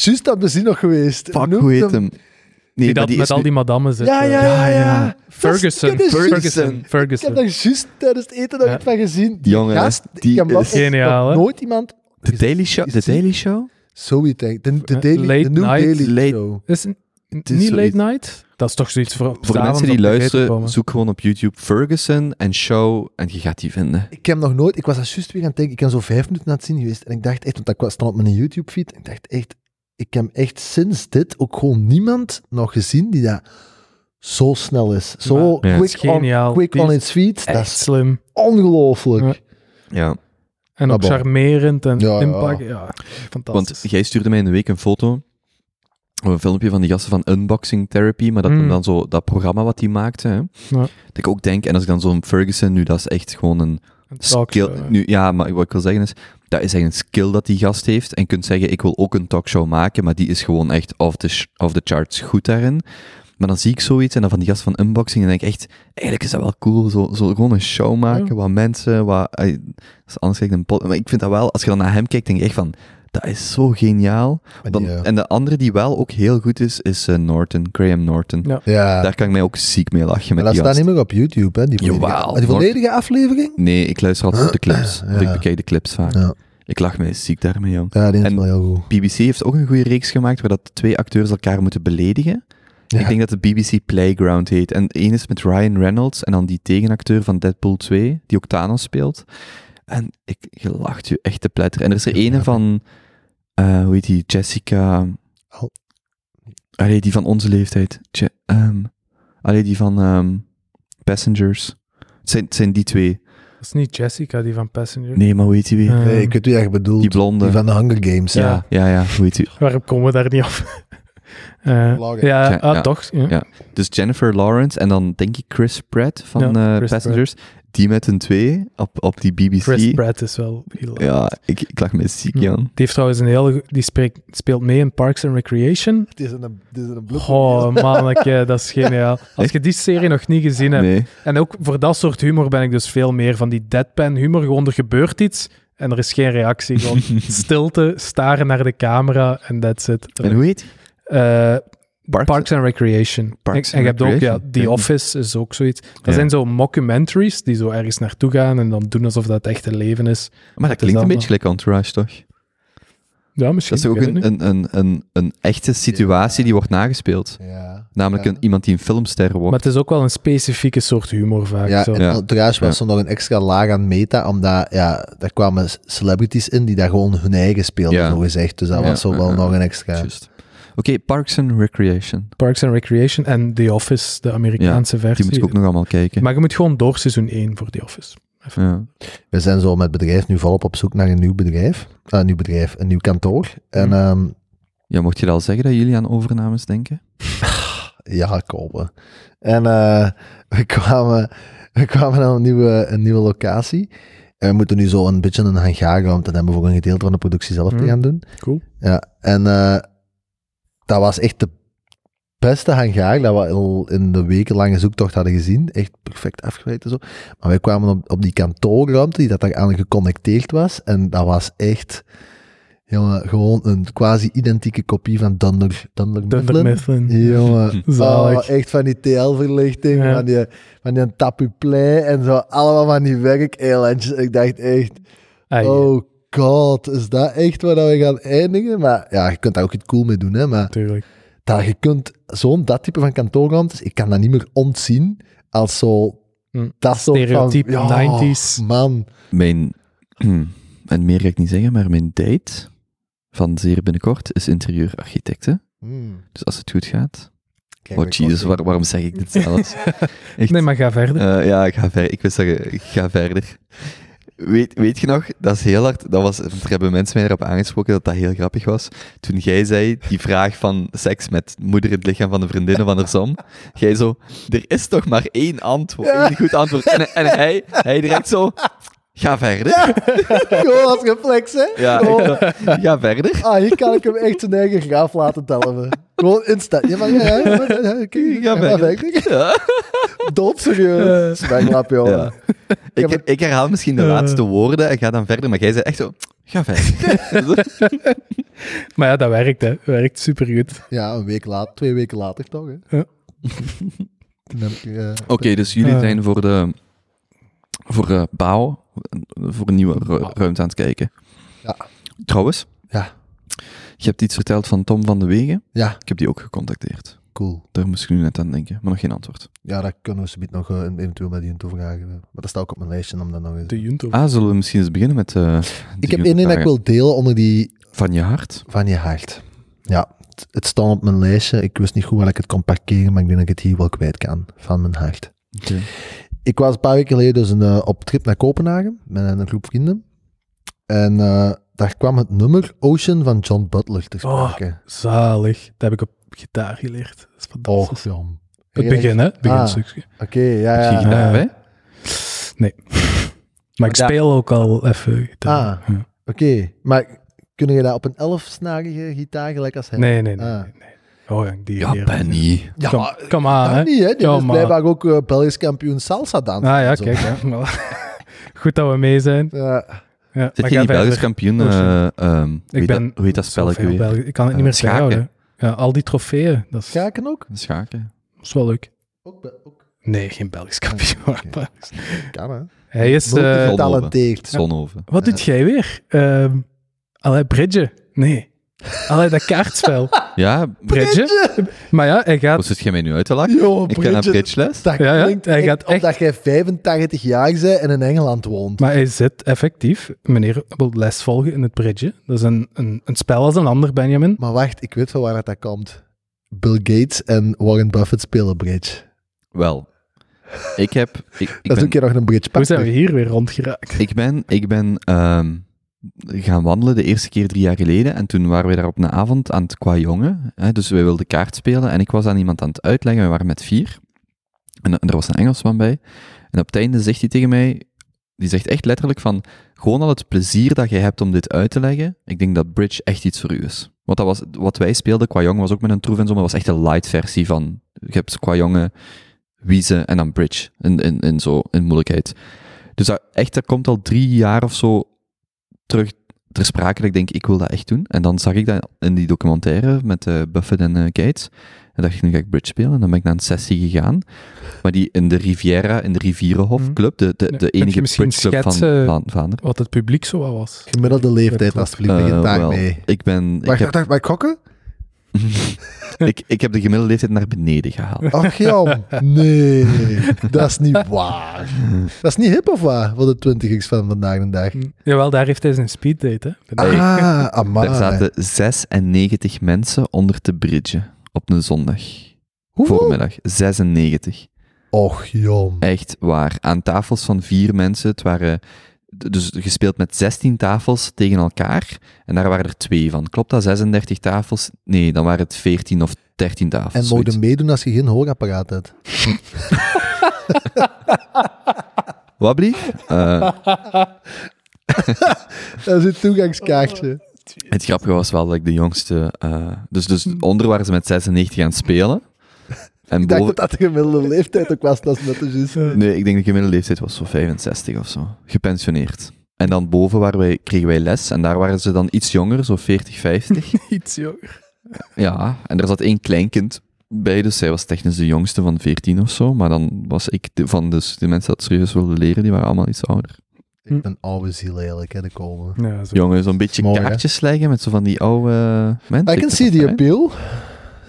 C: juist dat bezien nog geweest.
A: Fuck,
C: Noemt
A: hoe heet hem? Nee,
B: die
A: maar
B: dat met
A: is
B: al
A: nu-
B: die madammes zit.
C: Ja,
B: eh.
C: ja, ja, ja.
B: Ferguson.
C: Dat is- dat is
B: Ferguson.
A: juist.
C: Ik heb
B: Ferguson.
C: daar juist tijdens het eten nog
B: Ja.
C: iets van gezien.
A: Jongen, hè,
C: gast,
A: die
C: ik heb
A: is-
C: nog
B: Geniaal, hè?
C: nooit iemand...
A: The Daily Show? The Daily Show?
C: Zoiets, denk ik. De, de,
B: Eh,
C: daily,
B: late
C: de New
B: night,
C: Daily
A: late-
C: Show.
B: Is het
A: is
B: niet
A: zoiets.
B: late night? Dat is toch zoiets voor,
A: Voor de
B: s'avonds
A: mensen die
B: op tv te
A: luisteren,
B: komen.
A: zoek gewoon op YouTube Ferguson en Show en je gaat die vinden.
C: Ik heb nog nooit... Ik was daar juist weer aan het denken. Ik ben zo vijf minuten aan het zien geweest. En ik dacht echt... Want dat kwa- stond op mijn YouTube-feed. Ik dacht echt... Ik heb echt sinds dit ook gewoon niemand nog gezien die dat zo snel is. Zo
A: Maar- Ja.
C: quick,
B: Het is geniaal.
C: on, quick
B: Die
C: on
B: is
C: its feet. Dat
B: Echt
C: is
B: slim.
C: ongelooflijk.
B: Ja.
A: Ja,
B: En
C: Maar
B: ook
C: bon.
B: charmerend en
C: Ja, ja.
B: impact. Ja, fantastisch.
A: want jij stuurde mij in de week een foto, of een filmpje van die gasten van Unboxing Therapy, maar dat
B: Mm.
A: hem dan zo, dat programma wat die maakte, hè, dat ik ook denk, en als ik dan zo'n Ferguson, nu dat is echt gewoon een
B: Een
A: skill,
B: talkshow, ja.
A: nu, ja, maar wat ik wil zeggen is, dat is echt een skill dat die gast heeft, en je kunt zeggen, ik wil ook een talkshow maken, maar die is gewoon echt off the, sh- off the charts goed daarin. Maar dan zie ik zoiets en dan van die gast van unboxing en denk ik echt, eigenlijk is dat wel cool, zo, zo gewoon een show maken,
B: Ja.
A: wat mensen, wat, eh, als je anders kijkt een pot, maar ik vind dat wel, als je dan naar hem kijkt, denk ik echt van, dat is zo geniaal.
C: Maar
A: Dan,
C: die, eh,
A: En de andere die wel ook heel goed is, is eh, Norton, Graham Norton.
B: Ja.
C: ja,
A: Daar kan ik mij ook ziek mee lachen
C: maar
A: met
C: dat
A: die
C: staat
A: gast.
C: niet meer op YouTube, hè? Die volledige,
A: Jawel,
C: maar die
A: Lord-
C: volledige aflevering?
A: Nee, ik luister altijd op de clips.
C: Ja.
A: want Ik bekijk de clips vaak.
C: Ja.
A: Ik lach mij ziek daarmee, jong.
C: Ja, die is
A: En-
C: wel heel goed.
A: BBC heeft ook een goede reeks gemaakt waar dat twee acteurs elkaar moeten beledigen.
C: Ja.
A: Ik denk dat het BBC Playground heet. En de ene is met Ryan Reynolds en dan die tegenacteur van Deadpool 2, die ook Thanos speelt. En ik, je lacht je echt te pletteren. En er is er
C: Ja.
A: ene van, eh, hoe heet die, Jessica...
C: Al-
A: Allee, die van onze leeftijd. Je, ehm, allee, die van ehm, Passengers. Het zijn, het zijn die twee.
B: Dat is niet Jessica, die van Passenger.
A: Nee, maar hoe heet die weer?
B: Eh,
C: Nee, ik weet wie je bedoelt.
A: die
C: Die,
A: blonde.
C: van de Hunger Games.
B: Ja.
C: Ja.
A: ja, ja, hoe heet die?
B: Waarom komen we daar niet op? Eh,
C: Lager.
B: ja,
A: Ja,
B: ah,
A: ja.
B: toch? Ja.
A: Ja. Dus Jennifer Lawrence en dan denk ik Chris Pratt van
B: Ja,
A: eh,
B: Chris
A: Passengers. Die met hun twee op, op die BBC.
B: Chris Pratt is wel heel
A: Ja, ik, ik lag me ziek,
B: Hm.
A: Jan.
B: Die heeft trouwens een hele... go- Die spreekt, speelt mee in Parks and Recreation.
C: Het is een, het is een blooper.
B: Oh, manneke, dat is geniaal. Als je die serie nog niet gezien hebt...
A: Nee.
B: En ook voor dat soort humor ben ik dus veel meer van die deadpan humor. Gewoon, er gebeurt iets en er is geen reactie. Gewoon stilte, staren naar de camera en that's it.
A: En hoe heet die?
B: Eh,
A: Parks-
B: Parks and Recreation.
A: Parks
B: en, en je
A: and
B: hebt ook, ja,
A: Recreation.
B: The
A: Ja.
B: Office is ook zoiets. Dat
A: Ja.
B: zijn zo mockumentaries die zo ergens naartoe gaan en dan doen alsof dat het echte leven is.
A: Maar dat
B: is
A: klinkt een
B: dan-
A: beetje gelijk Entourage, toch?
B: Ja,
A: Dat
B: misschien.
A: is toch ook
B: ik weet het
A: een,
B: niet.
A: een, een, een, een echte situatie die wordt nagespeeld?
C: Ja.
A: Namelijk
C: Ja.
A: een, iemand die een filmster
B: Maar
A: wordt.
B: het is ook wel een specifieke soort humor vaak.
C: Ja,
B: zo.
C: en
A: Ja.
C: trouwens was
A: Ja.
C: er nog een extra laag aan meta, omdat ja, daar kwamen c- celebrities in die daar gewoon hun eigen speelden,
A: Ja.
C: zo gezegd. Dus dat
A: Ja,
C: was zo
A: ja,
C: wel
A: ja.
C: nog een extra.
A: Juist. Oké, Parks and Recreation.
B: Parks and Recreation en The Office, de Amerikaanse
A: Die
B: versie.
A: moet ik ook nog allemaal kijken.
B: Maar je moet gewoon door seizoen 1 voor The Office.
A: Ja.
C: We zijn zo met bedrijf nu volop op zoek naar een nieuw bedrijf. Eh, een nieuw bedrijf, een nieuw kantoor. En
A: Mhm.
C: ehm,
A: ja, mocht je dat al zeggen dat jullie aan overnames denken?
C: ja, kopen. En eh, we kwamen, we kwamen naar een nieuwe, een nieuwe locatie. En we moeten nu zo een beetje een hangaarruimte hebben voor een gedeelte van de productie zelf te
B: Mhm.
C: gaan doen.
B: Cool.
C: Ja, en eh, dat was echt de beste hangaar dat we al in de wekenlange zoektocht hadden gezien. Echt perfect afgewerkt en zo. Maar wij kwamen op, op die kantoorruimte die dat daar aan geconnecteerd was. En dat was echt jongen, gewoon een quasi identieke kopie van Dunder, Dunder
B: Thunder
C: Mifflin.
B: Mifflin.
C: Jongen,
B: Zalig.
C: oh, echt van die TL-verlichting,
B: Ja.
C: van die, van die tapuplei en zo, allemaal van die werk-elandjes. Ik dacht echt,
B: Ai,
C: Oh god, is dat echt waar dat we gaan eindigen? Maar ja, je kunt daar ook iets cool mee doen, hè. Maar
B: Tuurlijk.
C: dat, je kunt zo'n dat type van kantoorruimtes, ik kan dat niet meer ontzien als zo...
B: Hm.
C: Dat soort
B: Stereotype
C: van,
B: 90s.
C: Man,
A: Mijn, en meer ga ik niet zeggen, maar mijn date van zeer binnenkort is interieurarchitecte.
C: Hmm.
A: Dus als het goed gaat.
C: Kijk,
A: Oh
C: ik
A: jezus,
C: was-
A: waar- waarom zeg ik dit zelfs? Echt.
B: Nee, maar ga verder.
A: Eh, ja, ik ga verder. Ik wil zeggen, ik ga verder. Weet, weet je nog, dat is heel hard. Dat was, want er hebben mensen mij erop aangesproken dat dat heel grappig was. Toen jij zei, die vraag van seks met moeder in het lichaam van de vriendinnen van haar zoon. Jij zo, er is toch maar één antwoord, één goed antwoord. En, en hij, hij direct zo, ga verder.
C: Gewoon als reflex, hè.
A: Ja,
C: Gewoon,
A: ik- ga verder.
C: ah, hier kan ik hem echt zijn eigen graaf laten tellen. Gewoon instant. Ja, maar ja, ja, ja, ja, ja, kijk,
A: Ja,
C: ja, maar
A: verder.
C: werkelijk.
A: Ja.
C: Doodserieus. Spanglap, jongen.
A: Ja. Ik, her- ik herhaal misschien de
B: Eh.
A: laatste woorden en ga dan verder, maar jij zei echt zo, ga verder.
B: Maar ja, dat werkt, hè. Werkt supergoed.
C: Ja, een week later, twee weken later toch, hè?
B: Ja.
C: Toen heb ik, eh,
A: Oké, dus jullie
B: Eh.
A: zijn voor de voor eh, bouw, voor een nieuwe ru- ruimte aan het kijken.
C: Ja.
A: Trouwens,
C: Ja.
A: je hebt iets verteld van Tom van de Wegen.
C: ja,
A: Ik heb die ook gecontacteerd.
C: cool.
A: Daar moest ik nu net aan denken, maar nog geen antwoord.
C: Ja, dat kunnen we zometeen nog eh, eventueel bij die toevragen. Maar dat staat ook op mijn lijstje om dat nog eens...
B: De Junto.
A: Ah, zullen we misschien eens beginnen met... eh, die
C: Ik heb één ding dat ik
A: vragen.
C: wil delen onder die
A: Van je hart?
C: van je hart. Ja, het, het stond op mijn lijstje. Ik wist niet goed waar ik het kon parkeren, maar ik denk dat ik het hier wel kwijt kan. Van mijn hart.
A: Oké.
C: ik was een paar weken geleden dus een, eh, op trip naar Kopenhagen met een groep vrienden. En eh, daar kwam het nummer Ocean van John Butler te
B: Oh.
C: sprake.
B: Zalig. Dat heb ik op gitaar geleerd. Dat is
C: Oh,
B: fantastisch.
C: John.
B: Het begin, hè. Het
C: Ah.
B: beginstukje.
C: Oké, ja,
A: Heb je
C: ja.
A: gitaar
B: Ah.
A: bij?
B: Nee. Maar ik
A: daar-
B: speel ook al even gitaar.
C: Ah.
B: Ja.
C: Oké, maar kun je dat op een elfsnarige gitaar gelijk als hij?
B: Nee, nee, nee.
C: Ah.
B: nee, nee. Oh, ja, die
A: Ja,
B: leren.
A: Benny.
C: Ja,
B: Kom, kom aan,
C: dat
B: hè.
C: niet, hè. Die
B: Ja,
C: is
B: maar-
C: blijkbaar ook eh, Belgisch kampioen salsa dansen.
B: Ah ja,
C: en zo. Eh,
B: kijk. Hè. Goed dat we mee zijn.
C: Ja,
B: Ja,
A: Zit
B: maar
A: je
B: ga
A: niet
B: verder.
A: Belgisch kampioen?
B: Oh, sorry.
A: eh, ehm, hoe, heet
B: ben
A: dat, hoe heet dat spelletje
B: Zoveel
A: weer?
B: Belgen. Ik kan het
A: Eh,
B: niet meer
A: schaken.
B: bijhouden. Ja, al die trofeeën. Dat is,
C: schaken ook?
A: Schaken.
B: dat is wel leuk.
C: Ook, be- ook
B: Nee, geen Belgisch
A: Oh,
B: kampioen.
C: Oké. kan, hè.
B: Hij is... eh,
A: Multigoal.
C: Getalenteerd.
A: Zonhoven.
B: wat doet jij weer? Ehm allee, Bridge. Nee. Allee, dat kaartspel.
A: Ja,
B: Bridge? Maar ja, hij gaat...
A: hoe zit jij mij nu uit te lachen?
C: Yo,
A: Ik ga naar
C: Bridget,
A: bridgeles.
C: Dat
B: Ja, ja,
C: klinkt
B: hij
C: echt
B: gaat echt-
C: omdat jij 85 jaar bent en in Engeland woont.
B: Maar hij zit effectief... Meneer wil les volgen in het Bridge. Dat is een, een, een spel als een ander, Benjamin.
C: Maar wacht, ik weet van waar dat komt. Bill Gates en Warren Buffett spelen bridge.
A: Wel, ik heb. Ik, ik
C: dat is
A: ben,
C: ook keer nog een bridge
B: Hoe zijn we
C: partner.
B: hier weer rondgeraakt?
A: ik ben, ik ben ehm, gaan wandelen de eerste keer drie jaar geleden. En toen waren we daar op een avond aan het qua jongen. Hè, dus wij wilden kaart spelen. En ik was aan iemand aan het uitleggen. We waren met vier. En, en er was een Engelsman bij. En op het einde zegt hij tegen mij. Die zegt echt letterlijk van. Gewoon al het plezier dat jij hebt om dit uit te leggen. Ik denk dat Bridge echt iets voor u is. Want dat was, wat wij speelden qua jongen was ook met een troef en zo. Maar dat was echt een light versie van. Je hebt qua jongen. Wiezen en dan bridge. In, in, in, zo, in moeilijkheid. Dus dat, echt, dat komt al drie jaar of zo terug ter sprake. dat Ik denk, ik wil dat echt doen. En dan zag ik dat in die documentaire met eh, Buffett en eh, Gates. En dacht ik, nu ga ik bridge spelen. En dan ben ik naar een sessie gegaan. Maar die in de Riviera, in de Rivierenhof
B: Mhm.
A: Club, de, de,
B: Ja,
A: de
B: kun je
A: enige
B: misschien
A: bridgeclub van,
B: schetsen-
A: van Vlaanderen.
B: Wat het publiek zo wel was.
C: Gemiddelde leeftijd, alsjeblieft, begin
A: Eh,
C: daar
A: wel,
C: mee.
A: Ik ben...
C: Wacht,
A: ik heb,
C: wacht, wacht, bij kokken?
A: ik, ik heb de gemiddelde leeftijd naar beneden gehaald.
C: Ach Jan, nee, dat is niet waar. Dat is niet hip of waar voor de 20x van vandaag de dag.
B: Jawel, daar heeft hij zijn speeddate, hè? Ben-
A: Hey.
C: Ah, amai.
A: Daar zaten 96 mensen onder te bridgen op een zondag.
C: Hoeveel?
A: Voormiddag. 96.
C: Och Jan.
A: Echt waar. Aan tafels van vier mensen. Het waren d- dus gespeeld met 16 tafels tegen elkaar. En daar waren er twee van. Klopt dat? 36 tafels? Nee, dan waren het 14 of 13 tafels.
C: En mogen
A: zoiets.
C: meedoen als je geen hoorapparaat hebt.
A: Wat blief? Eh,
C: Dat is een toegangskaartje.
A: het grappige was wel dat ik de jongste... eh, dus, dus onder waren ze met 96 aan het spelen. En
C: Hm. Ik dacht dat
A: boven...
C: dat de gemiddelde leeftijd ook was, dat is net als juist.
A: Nee, ik denk de gemiddelde leeftijd was zo 65 of zo. Gepensioneerd. En dan boven waren wij, kregen wij les. En daar waren ze dan iets jonger, zo 40, 50.
B: Iets, joh.
A: Ja, en er zat één kleinkind bij, dus zij was technisch de jongste van 14 of zo. Maar dan was ik de- van dus de mensen dat serieus wilden leren, die waren allemaal iets ouder.
C: Ik ben oude ziel eigenlijk, hè, de komen.
B: Ja, zo.
A: Jongen, zo'n beetje
C: Mooi, hè?
A: kaartjes leggen met zo van die oude eh, mensen.
C: I can
A: Ik
C: see
A: vind
C: the
A: dat fijn.
C: appeal.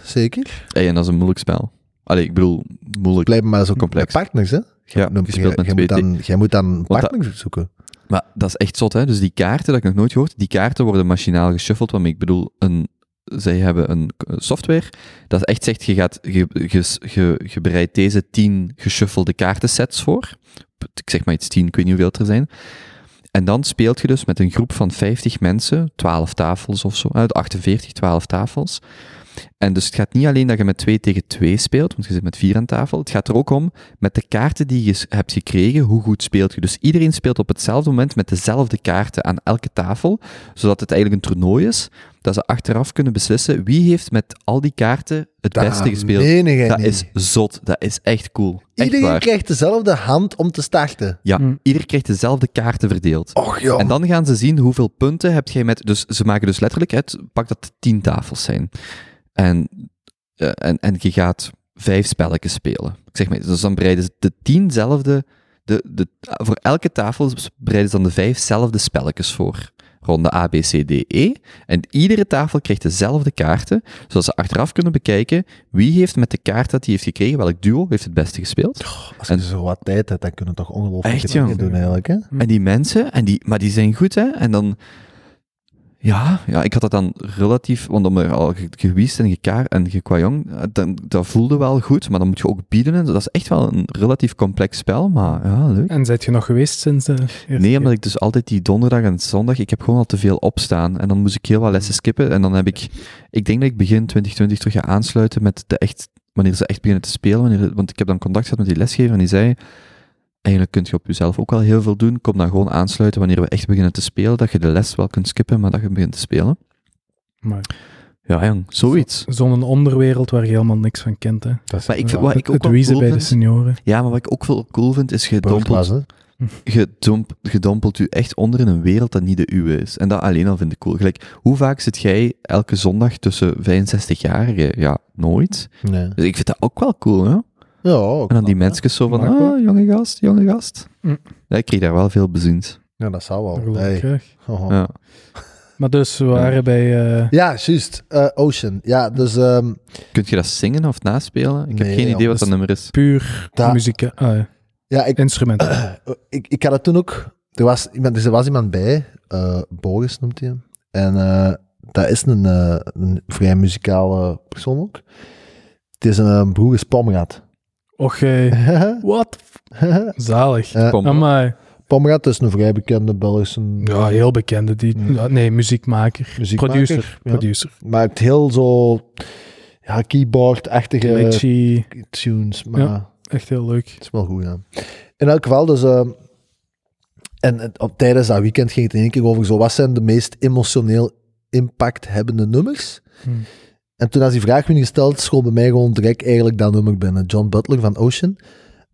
C: Zeker.
A: Hey, en dat is een moeilijk spel. Allee, ik bedoel, moeilijk.
C: Blijf maar zo
A: Complex.
C: complex. partners, hè?
A: ja,
C: Dan-
A: je speelt met
C: jij
A: twee
C: moet dan, jij moet dan een
A: dat-
C: partner zoeken.
A: Maar dat is echt zot, hè? Dus die kaarten, dat heb ik nog nooit gehoord, die kaarten worden machinaal geshuffeld. Want ik bedoel, een, zij hebben een eh, software dat echt zegt: je, gaat, je, je, je, je bereidt deze tien geshuffelde kaartensets voor. Ik zeg maar iets tien, ik weet niet hoeveel er zijn. En dan speelt je dus met een groep van 50 mensen, 12 tafels of zo, uit 48, 12 tafels. En dus het gaat niet alleen dat je met 2 tegen 2 speelt, want je zit met 4 aan tafel. Het gaat er ook om met de kaarten die je s- hebt gekregen, hoe goed speelt je. Dus iedereen speelt op hetzelfde moment met dezelfde kaarten aan elke tafel, zodat het eigenlijk een toernooi is, dat ze achteraf kunnen beslissen wie heeft met al die kaarten het beste gespeeld.
C: meen jij
A: dat
C: niet.
A: is zot, dat is echt cool. Echt
C: Iedereen
A: waar.
C: krijgt dezelfde hand om te starten.
A: Ja,
B: Hm.
A: ieder krijgt dezelfde kaarten verdeeld.
C: Och joh.
A: En dan gaan ze zien hoeveel punten heb jij met... Dus ze maken dus letterlijk uit, pak dat tien tafels zijn. En, eh, en, en je gaat vijf spelletjes spelen. Ik zeg maar, dus dan breiden ze de tienzelfde... De, de, voor elke tafel breiden ze dan de vijfzelfde spelletjes voor. Ronde A, B, C, D, E. En iedere tafel krijgt dezelfde kaarten, zodat ze achteraf kunnen bekijken wie heeft met de kaart dat hij heeft gekregen, welk duo heeft het beste gespeeld.
C: Als je
A: en-
C: zo wat tijd hebt, dan kunnen we toch ongelooflijk
A: Echt,
C: dingen
A: jong.
C: doen eigenlijk. Hè?
A: En die mensen, en die, maar die zijn goed, hè? En dan. Ja, ja, ik had dat dan relatief, want om er al ge- gewiest en gekaar en gekwajong, eh, dan, dat voelde wel goed, maar dan moet je ook bieden. En zo. dat is echt wel een relatief complex spel, maar ja, leuk.
B: En zijt je nog geweest sinds de eerste
A: Nee,
B: keer?
A: omdat ik dus altijd die donderdag en zondag, ik heb gewoon al te veel opstaan. En dan moest ik heel wat lessen skippen. En dan heb ik, ik denk dat ik begin 2020 terug ga aansluiten met de echt, wanneer ze echt beginnen te spelen. Wanneer, want ik heb dan contact gehad met die lesgever en die zei, eigenlijk kun je op jezelf ook wel heel veel doen. Kom dan gewoon aansluiten wanneer we echt beginnen te spelen. Dat je de les wel kunt skippen, maar dat je begint te spelen.
B: Maar
A: Ja, jong, zoiets.
B: Zo'n onderwereld waar je helemaal niks van kent, hè. Dat is
A: Maar ik-
B: wel
A: wat ik
B: het-
A: ook
B: het
A: wel
B: wiezen
A: cool
B: bij de
A: vind-
B: senioren.
A: Ja, maar wat ik ook veel cool vind, is gedompeld,
C: Burglas, hè?
A: gedomp, gedompelt u echt onder in een wereld dat niet de uwe is. En dat alleen al vind ik cool. Gelijk, hoe vaak zit jij elke zondag tussen 65-jarigen? Ja, nooit.
C: Nee.
A: Dus ik vind dat ook wel cool, hè? En
C: Ja, ook
A: dan die
C: wel, hè.
A: mensen zo van,
B: Mag wel.
A: ah, jonge gast, jonge gast.
B: Mm.
A: Ja, ik kreeg daar wel veel beziend.
C: Ja, dat zou
B: Dat
C: wel.
B: geloof ik
C: Hey.
B: graag.
C: Oh.
A: Ja.
B: Maar dus, we waren bij... eh,
C: Ja, juist. Eh, Ocean. Ja, dus ehm,
A: Kun je dat zingen of naspelen? Ik
C: Nee,
A: heb geen idee wat
C: jongens.
A: dat nummer is.
B: puur
C: Da-
B: muziek, eh,
C: ja, ik, eh,
B: instrumenten.
C: ik, ik had dat toen ook. Er was iemand, dus er was iemand bij, eh, Boris noemt hij hem. En eh, dat is een, eh, een vrij muzikale persoon ook. Het is een eh, broer Pomrat.
B: Och, eh, wat? Zalig.
C: Eh,
A: Kom.
B: Amai.
C: Pomrat is een vrij bekende Belgische
B: Ja, heel bekende. Die,
C: Hmm.
B: ja, nee, muziekmaker.
C: muziekmaker.
B: Producer.
C: ja.
B: Producer.
C: Maar het heel zo ja, keyboard-achtige
B: Glitchy.
C: tunes. Maar
B: Ja. Echt heel leuk.
C: Het is wel goed, ja. In elk geval, dus... eh, en eh, op, tijdens dat weekend ging het in één keer over zo, wat zijn de meest emotioneel impacthebbende nummers?
B: Hmm.
C: En toen als die vraag werd gesteld, school bij mij gewoon direct eigenlijk dat nummer binnen. John Butler van Ocean.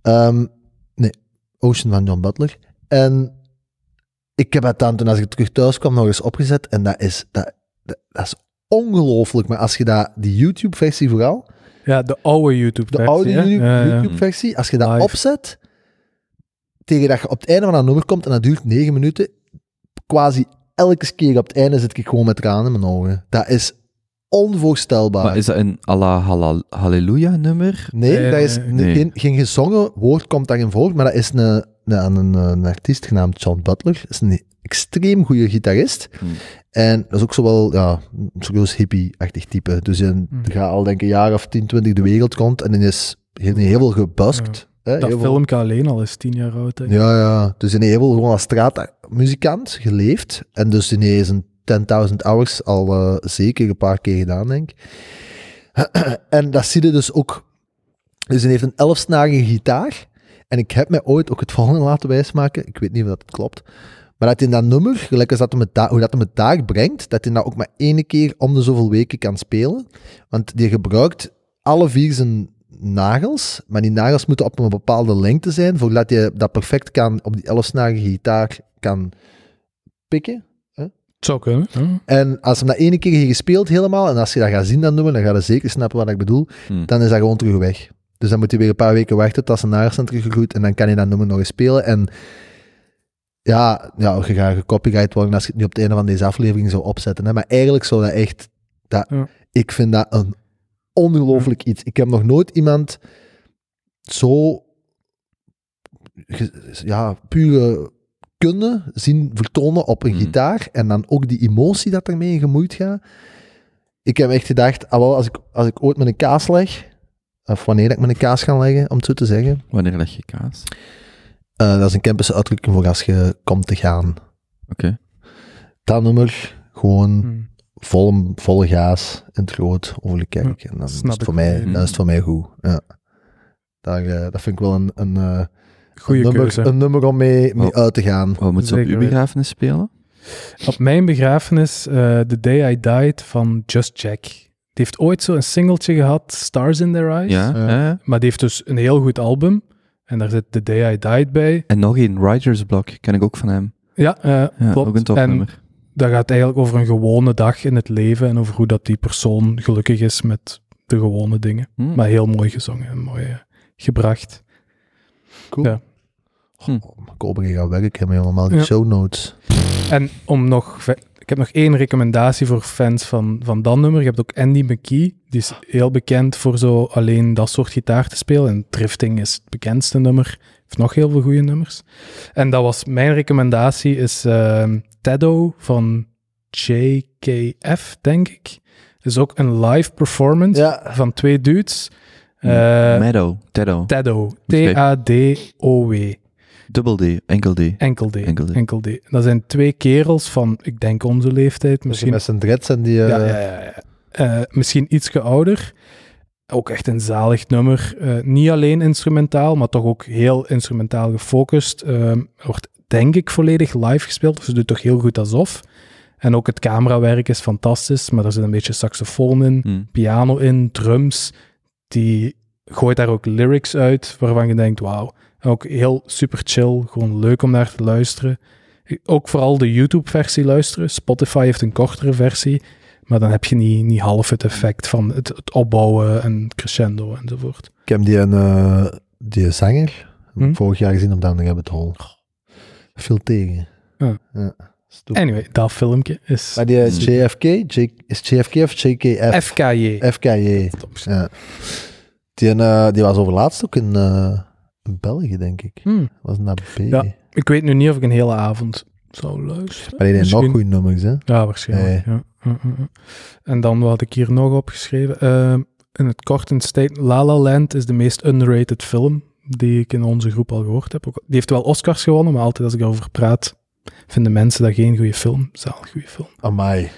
C: Ehm, nee, Ocean van John Butler. En ik heb het dan, toen als ik terug thuis kwam, nog eens opgezet. En dat is, dat, dat, dat is ongelooflijk. Maar als je dat, die YouTube-versie vooral,
B: Ja, de oude YouTube.
C: de oude YouTube-
B: YouTube.
C: YouTube-versie, als je dat
B: Live.
C: opzet, tegen dat je op het einde van dat nummer komt en dat duurt negen minuten, quasi elke keer op het einde zit ik gewoon met tranen in mijn ogen. Dat is onvoorstelbaar.
A: Maar is dat een Allah halal- Halleluja nummer?
C: Nee,
B: Nee,
C: dat is
B: nee,
C: n-
A: nee.
C: Geen, geen gezongen woord komt daarin voor, maar dat is een, een, aan een, eh, een artiest genaamd John Butler. Dat is een extreem goede gitarist.
A: Hmm.
C: En dat is ook zowel ja, een serieus hippie-achtig type. Dus je
B: Hmm.
C: gaat al denk ik een jaar of 10, 20 de wereld rond en dan is heel, heel veel gebuskt. hè,
B: Dat
C: heel veel-
B: filmpje alleen al is tien jaar oud. denk ik.
C: Ja, ja. Dus in heel veel gewoon als straatmuzikant geleefd. En dus ineens een 10.000 hours al eh, zeker een paar keer gedaan, denk ik. en dat zie je dus ook. Dus hij heeft een elfsnarige gitaar. En ik heb mij ooit ook het volgende laten wijsmaken. Ik weet niet of dat het klopt. Maar dat hij dat nummer, gelijk als dat hem het daar, hoe dat hem het daar brengt, dat hij dat ook maar ene keer om de zoveel weken kan spelen. Want die gebruikt alle vier zijn nagels, maar die nagels moeten op een bepaalde lengte zijn, voordat je dat perfect kan op die elfsnarige gitaar kan pikken.
B: Het zou kunnen. hè.
C: En als hem dat ene keer heeft gespeeld helemaal, en als je dat gaat zien, dat nummer, dan ga je zeker snappen wat ik bedoel,
A: Hmm.
C: dan is dat gewoon terug weg. Dus dan moet je weer een paar weken wachten tot zijn nagels zijn teruggegroeid en dan kan je dat nummer nog eens spelen. En ja, ja je gaat gecopyright worden als je het nu op het einde van deze aflevering zou opzetten. Hè? Maar eigenlijk zou dat echt... Dat,
B: Ja.
C: Ik vind dat een ongelooflijk iets. Ik heb nog nooit iemand zo... ge- Ja, pure kunde zien vertonen op een
A: Mhm.
C: gitaar en dan ook die emotie dat ermee gemoeid gaat. Ik heb echt gedacht, ah, wel, als, ik, als ik ooit mijn kaas leg, of wanneer dat ik mijn kaas ga leggen, om het zo te zeggen,
A: Wanneer leg je kaas?
C: eh, dat is een Campus uitdrukking voor als je komt te gaan.
A: Oké.
C: Dat nummer, gewoon
B: Hm.
C: vol, volle gaas in het groot over de kerk. en dan is
B: Hm, snap
C: het
B: ik
C: voor mij,
B: wat
A: Hm.
B: je
C: dan is het voor mij goed. Ja. Daar, eh, dat vind ik wel een, een, eh, een
B: Goeie
C: nummer,
B: keuze.
C: een nummer om mee, mee
A: Oh.
C: uit te gaan.
A: Wat moet ze op
B: Zeker
A: uw
B: weten.
A: begrafenis spelen?
B: Op mijn begrafenis, eh, The Day I Died van Just Jack. Die heeft ooit zo een singeltje gehad, Stars in Their Eyes. Eh,
A: Ja.
C: Ja.
A: hè?
B: Maar die heeft dus een heel goed album. En daar zit The Day I Died bij.
A: En nog één, Writer's Block, ken ik ook van hem.
B: Ja, eh,
A: Ja,
B: klopt.
A: ook een
B: en
A: topnummer.
B: dat gaat eigenlijk over een gewone dag in het leven en over hoe dat die persoon gelukkig is met de gewone dingen.
A: Hm.
B: Maar heel mooi gezongen en mooi eh, gebracht.
C: Cool.
B: Ja.
A: Hm.
C: Oh, ik hoop dat je gaat werken met allemaal die
B: Ja.
C: show notes.
B: En om nog... ve- Ik heb nog één recommendatie voor fans van, van dat nummer. Je hebt ook Andy McKee. Die is heel bekend voor zo alleen dat soort gitaar te spelen. En Drifting is het bekendste nummer. Heeft nog heel veel goede nummers. En dat was mijn recommendatie, is ehm Teddo van JKF, denk ik. is ook een live performance
C: Ja.
B: van twee dudes. Eh,
A: Meadow, Teddo,
B: Teddo. T-A-D-O-W.
A: Double D, enkel D.
B: Enkel D.
A: Enkel D.
B: Enkel D. Dat zijn twee kerels van, ik denk onze leeftijd,
C: Misschien
B: misschien
C: met zijn dreads en die... eh,
B: ja, ja, ja, ja. Eh, misschien iets ouder. Ook echt een zalig nummer. Eh, niet alleen instrumentaal, maar toch ook heel instrumentaal gefocust. Ehm, wordt denk ik volledig live gespeeld. Dus ze doet toch heel goed alsof. En ook het camerawerk is fantastisch, maar er zit een beetje saxofoon in,
A: Hm.
B: piano in, drums. Die gooit daar ook lyrics uit waarvan je denkt, wauw. En ook heel super chill, gewoon leuk om naar te luisteren. Ook vooral de YouTube-versie luisteren. Spotify heeft een kortere versie, maar dan heb je niet, niet half het effect van het, het opbouwen en crescendo enzovoort.
C: Ik heb die, een, eh, die zanger
B: Hm?
C: vorig jaar gezien op de Rabbit Hole. Veel tegen.
B: Ja.
C: Stoer.
B: Anyway, dat filmpje is
C: Maar die eh,
A: Hmm.
B: Mm.
C: JFK, J- is JFK of JKF?
B: FKJ.
C: Eh, FKJ. Ja. Die, een, eh, die was overlaatst ook in, eh, in België, denk ik.
B: Hmm.
C: Was een B.
B: Ja. Ik weet nu niet of ik een hele avond zou luisteren.
C: Maar die heeft nog
B: Misschien.
C: goede nummers, hè?
B: Ja, waarschijnlijk. Ja. Mm, mm, mm. En dan wat ik hier nog opgeschreven. ehm, in het kort een state, La La Land is de meest underrated film die ik in onze groep al gehoord heb. Ook- Die heeft wel Oscars gewonnen, maar altijd als ik erover praat, vinden mensen dat geen goede film. Zalig goede film.
C: Amai.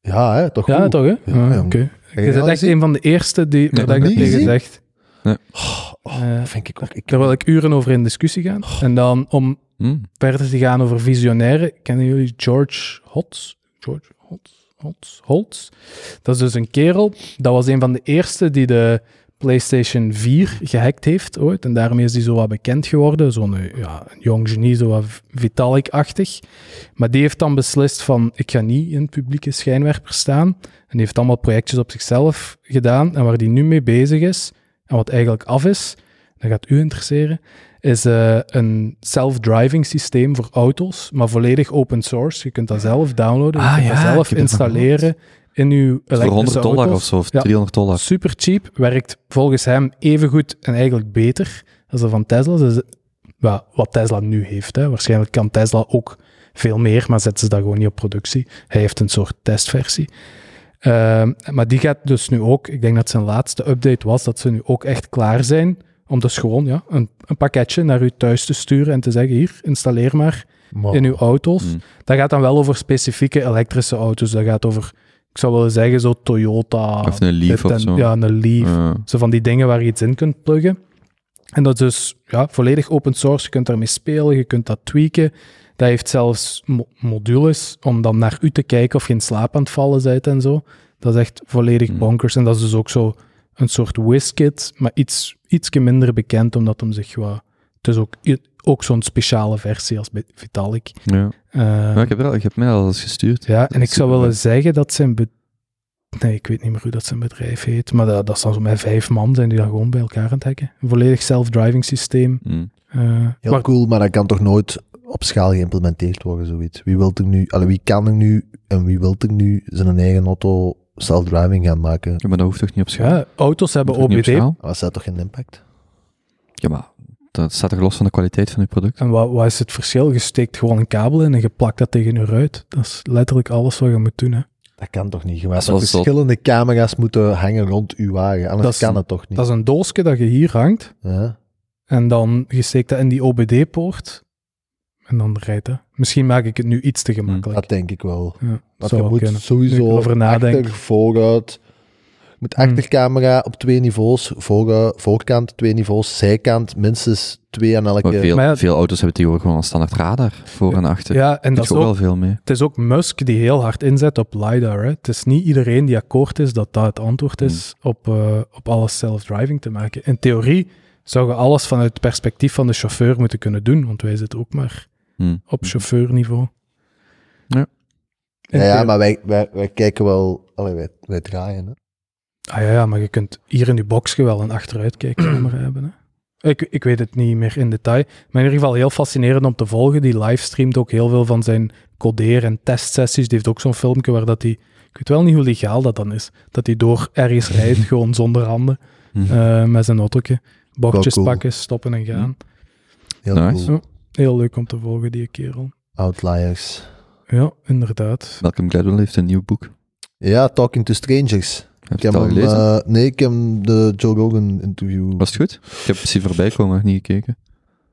C: Ja, hè? Toch
B: Ja,
C: goed.
B: toch hè? Ah,
C: jong.
B: oké.
C: Heb je
B: Je
C: die
B: bent
C: al
B: echt
C: gezien?
B: een van de eerste die waar
A: heb
B: dat ik
A: hem
B: dat
C: niet
B: tegen
C: gezien.
B: zegt.
C: Oh,
B: Eh,
C: vind ik ook. Ik,
B: Daar wil ik uren over in discussie gaan.
C: Oh.
B: En dan om
A: Hm.
B: verder te gaan over visionaire. Kennen jullie George Hotz? George Hotz? Hotz? Holtz? Dat is dus een kerel. Dat was een van de eerste die de PlayStation 4 gehackt heeft ooit. En daarmee is hij zo wat bekend geworden. Zo'n eh, ja, een jong genie, zo wat Vitalik-achtig. Maar die heeft dan beslist van, ik ga niet in publieke schijnwerper staan. En die heeft allemaal projectjes op zichzelf gedaan. En waar die nu mee bezig is, en wat eigenlijk af is, dat gaat u interesseren, is eh, een self-driving systeem voor auto's, maar volledig open source. Je kunt dat zelf downloaden, je
A: Ah
B: kunt
A: ja,
B: dat
A: ik
B: zelf
A: heb ervan
B: installeren. in uw
A: Voor
B: elektrische
A: 100 dollar
B: auto's.
A: of zo, of
B: Ja.
A: 300 dollar.
B: Super cheap, werkt volgens hem even goed en eigenlijk beter als dat van Tesla. Dus, ja, wat Tesla nu heeft. Hè. Waarschijnlijk kan Tesla ook veel meer, maar zetten ze dat gewoon niet op productie. Hij heeft een soort testversie. Ehm, maar die gaat dus nu ook, ik denk dat zijn laatste update was, dat ze nu ook echt klaar zijn om dus gewoon ja, een, een pakketje naar u thuis te sturen en te zeggen, hier, installeer maar
C: Maar,
B: in uw auto's.
A: Mm.
B: Dat gaat dan wel over specifieke elektrische auto's. Dat gaat over, ik zou willen zeggen, zo Toyota.
A: Of een Leaf
B: dit
A: of
B: en-
A: zo.
B: Ja, een Leaf.
A: Ja.
B: Zo van die dingen waar je iets in kunt pluggen. En dat is dus ja, volledig open source. Je kunt daarmee spelen, je kunt dat tweaken. Dat heeft zelfs mo- modules om dan naar u te kijken of je in slaap aan het vallen bent en zo. Dat is echt volledig
A: Mm.
B: bonkers. En dat is dus ook zo een soort WizKit, maar iets ietsje minder bekend, omdat hem zich wat... Het is ook, ook zo'n speciale versie als bij Vitalik.
A: Ja.
B: Eh,
A: Ja, ik heb, er al, ik heb mij al eens gestuurd.
B: ja, en ik zou
A: Superleuk.
B: willen zeggen dat zijn be- Nee, ik weet niet meer hoe dat zijn bedrijf heet. Maar dat, dat zal zo met vijf man zijn die dat gewoon bij elkaar aan het hacken. Een volledig self-driving systeem.
A: Mm.
B: eh,
C: heel
B: waar-
C: cool, maar dat kan toch nooit op schaal geïmplementeerd worden, zoiets. Wie, wilt er nu, allee, wie kan er nu en wie wil er nu zijn eigen auto self-driving gaan maken?
A: Ja, maar dat hoeft toch niet op schaal?
B: ja, auto's hebben
A: Hoeft toch niet op
B: OBD.
A: schaal?
C: Maar dat staat toch geen impact?
A: Ja, maar dat staat toch los van de kwaliteit van je product?
B: En wat, wat is het verschil? Je steekt gewoon een kabel in en je plakt dat tegen je ruit. Dat is letterlijk alles wat je moet doen. Hè.
C: Dat kan toch niet? Je gaat
A: Zoals
C: toch verschillende camera's moeten hangen rond uw wagen, anders
B: Dat is-
C: kan het toch niet?
B: Dat is een doosje dat je hier hangt.
C: Ja?
B: En dan je steekt dat in die OBD-poort. En dan rijdt dat. Misschien maak ik het nu iets te
C: Hmm, Dat
B: gemakkelijk.
C: denk ik wel.
B: Ja,
C: Want
B: zou
C: je
B: wel
C: moet
B: kunnen. Ik
C: sowieso
B: wil over nadenken. Hmm.
C: achter, vooruit. Je moet achtercamera op twee niveaus, voor, voorkant twee niveaus, zijkant minstens twee aan elke...
A: Maar veel,
B: eh, Maar ja-
A: veel auto's hebben tegenwoordig gewoon een standaard radar voor en achter.
B: Ja, en
A: Daar
B: dat
A: doet
B: is
A: je ook
B: ook
A: wel veel mee.
B: Het is ook Musk die heel hard inzet op LiDAR. Hè. Het is niet iedereen die akkoord is dat dat het antwoord is op, eh, op alles self-driving te maken. In theorie zou je alles vanuit het perspectief van de chauffeur moeten kunnen doen, want wij zitten ook maar
A: Hm.
B: op chauffeurniveau.
A: Ja.
B: In
C: ja, ja,
B: theo-
C: maar wij, wij, wij kijken wel... Allee, wij, wij draaien. Hè?
B: Ah, ja, ja, maar je kunt hier in je boxje wel een achteruitkijkcamera hebben. Hè. Ik, ik weet het niet meer in detail. Maar in ieder geval heel fascinerend om te volgen. Die livestreamt ook heel veel van zijn codeer- en testsessies. Die heeft ook zo'n filmpje waar dat hij... Ik weet wel niet hoe legaal dat dan is. Dat hij door ergens rijdt, gewoon zonder handen,
A: Hm.
B: eh, met zijn autootje. Bochtjes
C: Wel cool.
B: pakken, stoppen en gaan.
A: Mhm.
C: Heel
A: Nice.
C: cool.
B: Heel leuk om te volgen, die kerel.
C: Outliers.
B: Ja, inderdaad.
A: Malcolm Gladwell heeft een nieuw boek.
C: Ja, Talking to Strangers.
A: Heb
C: Ik
A: je
C: heb
A: het al
C: hem,
A: gelezen?
C: eh, nee, ik heb hem de Joe Rogan interview.
A: Was het goed? Ik heb het zien voorbij komen, maar niet gekeken.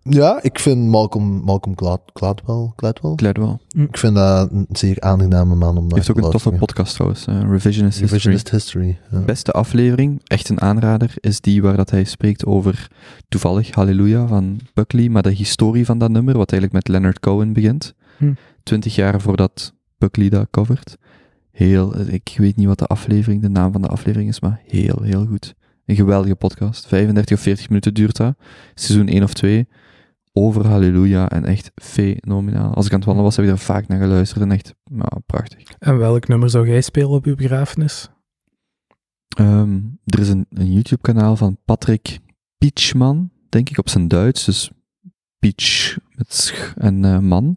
C: Ja, ik vind Malcolm, Malcolm Glad- Gladwell, Gladwell?
A: Gladwell.
C: Ik vind dat een zeer aangename man om naar
A: heeft ook
C: te
A: een toffe
C: luisteren.
A: podcast trouwens, eh, Revisionist History.
C: Revisionist History. ja.
A: Beste aflevering, echt een aanrader, is die waar dat hij spreekt over toevallig Halleluja van Buckley, maar de historie van dat nummer, wat eigenlijk met Leonard Cohen begint.
B: Hm.
A: Twintig jaar voordat Buckley dat covert. Heel, eh, ik weet niet wat de aflevering, de naam van de aflevering is, maar heel, heel goed. Een geweldige podcast. 35 of 40 minuten duurt dat. Seizoen 1 of 2. Over Halleluja en echt fenomenaal. Als ik aan het wandelen was, heb ik daar vaak naar geluisterd en echt nou, prachtig.
B: En welk nummer zou jij spelen op uw begrafenis?
A: Ehm, er is een, een YouTube-kanaal van Patrick Pietschman, denk ik, op zijn Duits. Dus Pietsch met sch en eh, man.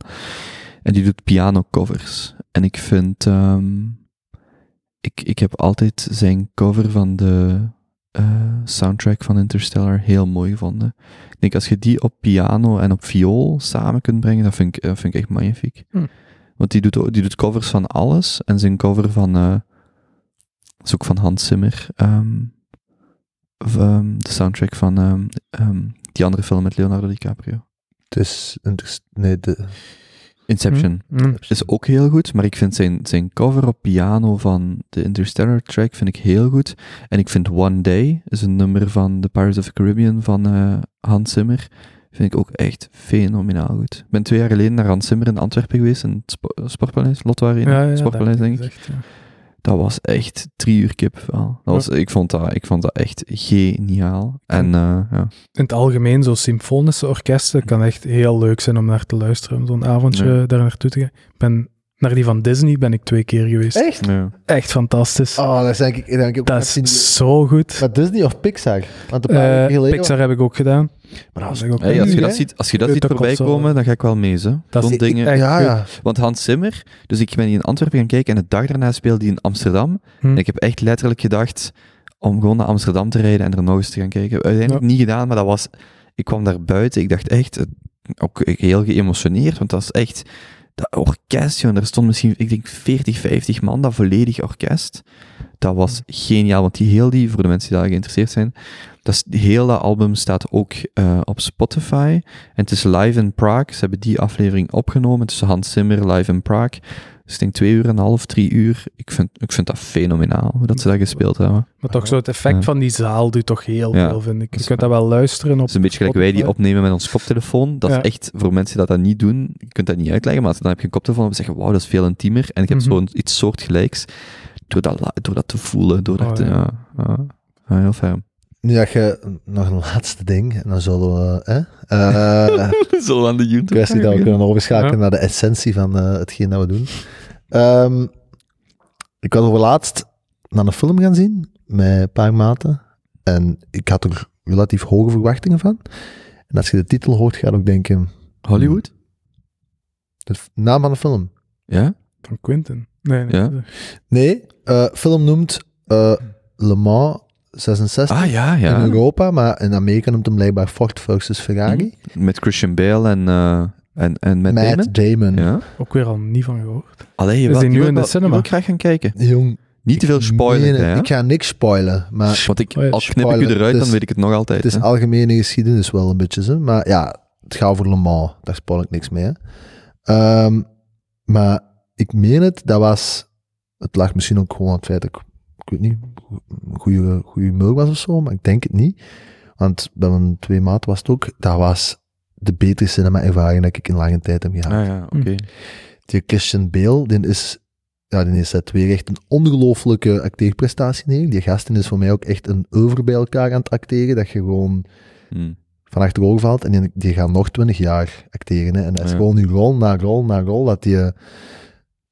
A: En die doet piano-covers. En ik vind... ehm, ik, ik heb altijd zijn cover van de eh, soundtrack van Interstellar heel mooi gevonden. Ik denk, als je die op piano en op viool samen kunt brengen, dat vind ik, dat vind ik echt magnifiek.
B: Hm.
A: Want die doet, ook- die doet covers van alles. En zijn cover van... eh, dat is ook van Hans Zimmer. ehm, of, ehm, de soundtrack van ehm, ehm, die andere film met Leonardo DiCaprio.
C: Het is... inter- Dus, Nee, de...
A: Inception.
B: Hm?
A: Is ook heel goed, maar ik vind zijn, zijn cover op piano van de Interstellar track vind ik heel goed. En ik vind One Day, is een nummer van The Pirates of the Caribbean van eh, Hans Zimmer, vind ik ook echt fenomenaal goed. Ik ben twee jaar geleden naar Hans Zimmer in Antwerpen geweest, in het spo- Sportpaleis, Lotto Arena,
B: Ja, ja, dat
A: Sportpaleis
B: heb je
A: denk ik.
B: gezegd, ja.
A: Dat was echt drie uur kip. Dat was, ik, vond dat, ik vond dat echt geniaal. En eh, ja.
B: in het algemeen, zo'n symfonische orkesten kan echt heel leuk zijn om naar te luisteren. om Zo'n avondje
A: Ja.
B: daar naartoe te gaan. Ik ben Naar die van Disney ben ik twee keer geweest.
C: Echt?
B: Echt fantastisch.
C: Oh, dat is denk ik... Denk ik ook
B: dat
C: net zien-
B: is zo goed.
C: Maar Disney of Pixar? Want een paar jaar
B: Eh,
C: geleden...
B: Pixar heb ik ook gedaan.
C: Maar
B: Dat
C: als-
B: heb ik ook
A: Hey,
C: Ja,
A: als je
C: nu,
A: dat
C: hè?
A: ziet, als je dat
B: Je
A: ziet
B: kunt ook
A: voorbij
B: op zo'n-
A: komen, dan ga ik wel mee. Zo.
B: Dat is
A: Zo'n
B: ik-
A: dingen.
B: echt
C: ja,
B: goed.
C: ja.
A: Want Hans Zimmer, dus ik ben in Antwerpen gaan kijken en de dag daarna speelde hij in Amsterdam.
B: Hm.
A: En ik heb echt letterlijk gedacht om gewoon naar Amsterdam te rijden en er nog eens te gaan kijken. Uiteindelijk niet gedaan, maar dat was... Ik kwam daar buiten, ik dacht echt... eh, Ook heel geëmotioneerd, want dat is echt... Dat orkest, jongen, daar stond misschien, ik denk, 40, 50 man, dat volledig orkest. Dat was
B: Mm.
A: geniaal, want die heel die, voor de mensen die daar geïnteresseerd zijn, dat is, heel dat album staat ook eh, op Spotify. En het is live in Prague. Ze hebben die aflevering opgenomen. tussen Hans Zimmer, live in Prague. Dus ik denk twee uur en een half, drie uur. Ik vind, ik vind dat fenomenaal, hoe dat ze dat gespeeld hebben.
B: Maar toch zo het effect
A: Ja.
B: van die zaal doet toch heel
A: Ja.
B: veel, vind ik.
A: Dat
B: Je
A: is
B: kunt dat wel luisteren op...
A: Het is een beetje gelijk wij die opnemen met ons koptelefoon. Dat is
B: Ja.
A: echt, voor mensen die dat niet doen, je kunt dat niet uitleggen, maar dan heb je een koptelefoon en zeggen, wauw, dat is veel intiemer. En ik heb
B: Mhm.
A: zo'n iets soortgelijks door dat, la- door dat te voelen. Door dat
B: Oh,
A: te-
B: ja.
A: ja. ja. Ja, heel fijn.
C: Nu dat je nog een laatste ding, en dan zullen we... Hè? Eh,
A: Zo aan de YouTube.
C: kwestie dat we kunnen overschakelen
B: Ja.
C: naar de essentie van eh, hetgeen dat we doen. Ehm, ik was overlaatst naar een film gaan zien, met een paar maten. En ik had er relatief hoge verwachtingen van. En als je de titel hoort, ga je ook denken,
A: Hollywood?
C: de f- naam van de film.
A: Ja?
B: Van Quentin. Nee, nee.
A: Ja.
B: nee.
C: Nee, eh, film noemt eh, Le Mans 66
A: Ah ja,
C: in
A: ja.
C: Europa, maar in Amerika noemt hem blijkbaar Ford versus Ferrari.
A: Met Christian Bale en, eh en, en Mhm, met
C: Matt
A: Damon?
C: Damon.
A: Ja.
B: Ook weer al niet van gehoord.
A: Allee, je
B: Is
A: wil-
B: die
A: je
B: nu
A: wil
B: in de
A: wel- je
B: cinema?
A: wil graag gaan kijken.
C: Jong,
A: Niet te veel spoilen,
C: meen het.
A: hè? Ah,
C: Ik ga niks spoilen, maar
A: Want ik,
B: Oh ja,
A: al knip ik u
C: spoiler.
A: eruit,
C: Het
A: dan
C: is-
A: weet ik het nog altijd.
C: Het is
A: hè.
C: algemene geschiedenis wel een beetje, hè? maar ja, het gaat over Le Mans, daar spoil ik niks mee. hè. Ehm, maar ik meen het, dat was, het lag misschien ook gewoon aan het feit dat ik, ik weet niet, goede humeur was of zo, maar ik denk het niet. Want bij mijn twee maat was het ook, dat was de betere cinema-ervaring dat ik in lange tijd heb gehad.
A: Ah ja, oké.
C: Die Christian Bale, die is, ja, die is dat twee echt een ongelooflijke acteerprestatie neer. Die gasten is voor mij ook echt een over bij elkaar aan het acteren, dat je gewoon
B: Mm.
A: Hm.
C: van achterover valt en die, die gaat nog twintig jaar acteren. Hè. En dat is
A: Ja.
C: gewoon nu rol na rol na rol. Dat die, eh,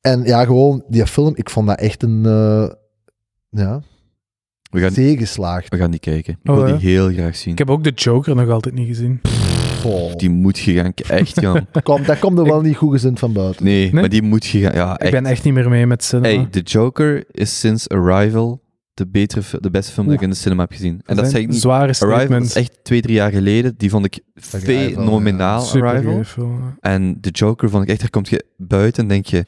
C: en ja, gewoon die film, ik vond dat echt een eh ja,
A: We, gaan,
C: zeer geslaagd.
A: we gaan die kijken. Ik
B: Oh,
A: wil die
B: ja.
A: heel graag zien.
B: Ik heb ook de Joker nog altijd niet gezien.
C: Goh,
A: Die moet je gaan kijken. Echt, Jan.
C: kom, dat komt er wel niet goed gezind van buiten.
A: Nee,
B: Nee?
A: maar die moet je gaan... Ja, echt.
B: Ik ben echt niet meer mee met cinema.
A: Hey, The Joker is sinds Arrival de, betere, fi- de beste film die ik in de cinema heb gezien. En dat
B: zijn
A: zeg ik niet...
B: Zware
A: Arrival
B: statements.
A: is echt twee, drie jaar geleden. Die vond ik
C: Arrival, ja.
A: fenomenaal, Arrival.
B: Supergoeie film, ja.
A: En de Joker vond ik echt, daar kom je buiten en denk je,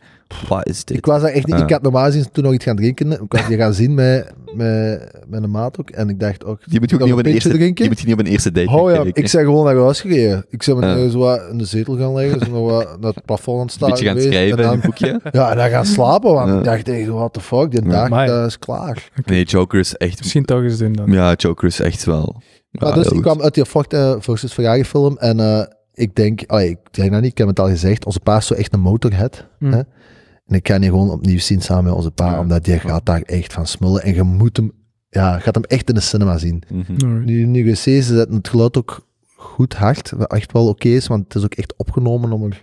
A: wat is dit?
C: Ik, was daar echt niet,
A: Ja.
C: ik had normaal gezien toen nog iets gaan drinken. Ik was die gaan zien met, met, met een maat ook. En ik dacht ook,
A: Je moet je ook
C: nog
A: niet op een eerste,
C: drinken?
A: je moet je niet op een eerste date
C: Oh ja,
A: kijken.
C: ik zei gewoon naar huis gereden. Ik zei me
A: Ja.
C: eh, zo wat in de zetel gaan leggen, zo nog wat naar het plafond aan het
A: een
C: staan
A: beetje gaan
C: geweest.
A: schrijven
C: En
A: in
C: dan-
A: een boekje.
C: Ja, en dan gaan slapen, want
A: Ja.
C: ik dacht echt, what the fuck, die
A: Ja.
C: dag
B: Maar-
C: dat is klaar.
A: Nee, Joker is echt...
B: Misschien toch eens doen dan.
A: Ja, Joker is echt wel...
C: Maar
A: ja,
C: dus
A: heel
C: ik
A: goed.
C: kwam uit die Ford eh, versus Ferrari film en eh, ik denk, allee, ik denk dat niet, ik heb het al gezegd, onze pa is zo echt een motorhead.
B: Mm.
C: Hè? En ik ga die gewoon opnieuw zien samen met onze pa,
A: Ja.
C: omdat die gaat daar echt van smullen en je moet hem, ja, je gaat hem echt in de cinema zien.
A: Mhm.
B: Alright.
C: Nu, nu wc's ze zetten het geluid ook goed hard, wat echt wel oké is, want het is ook echt opgenomen om er,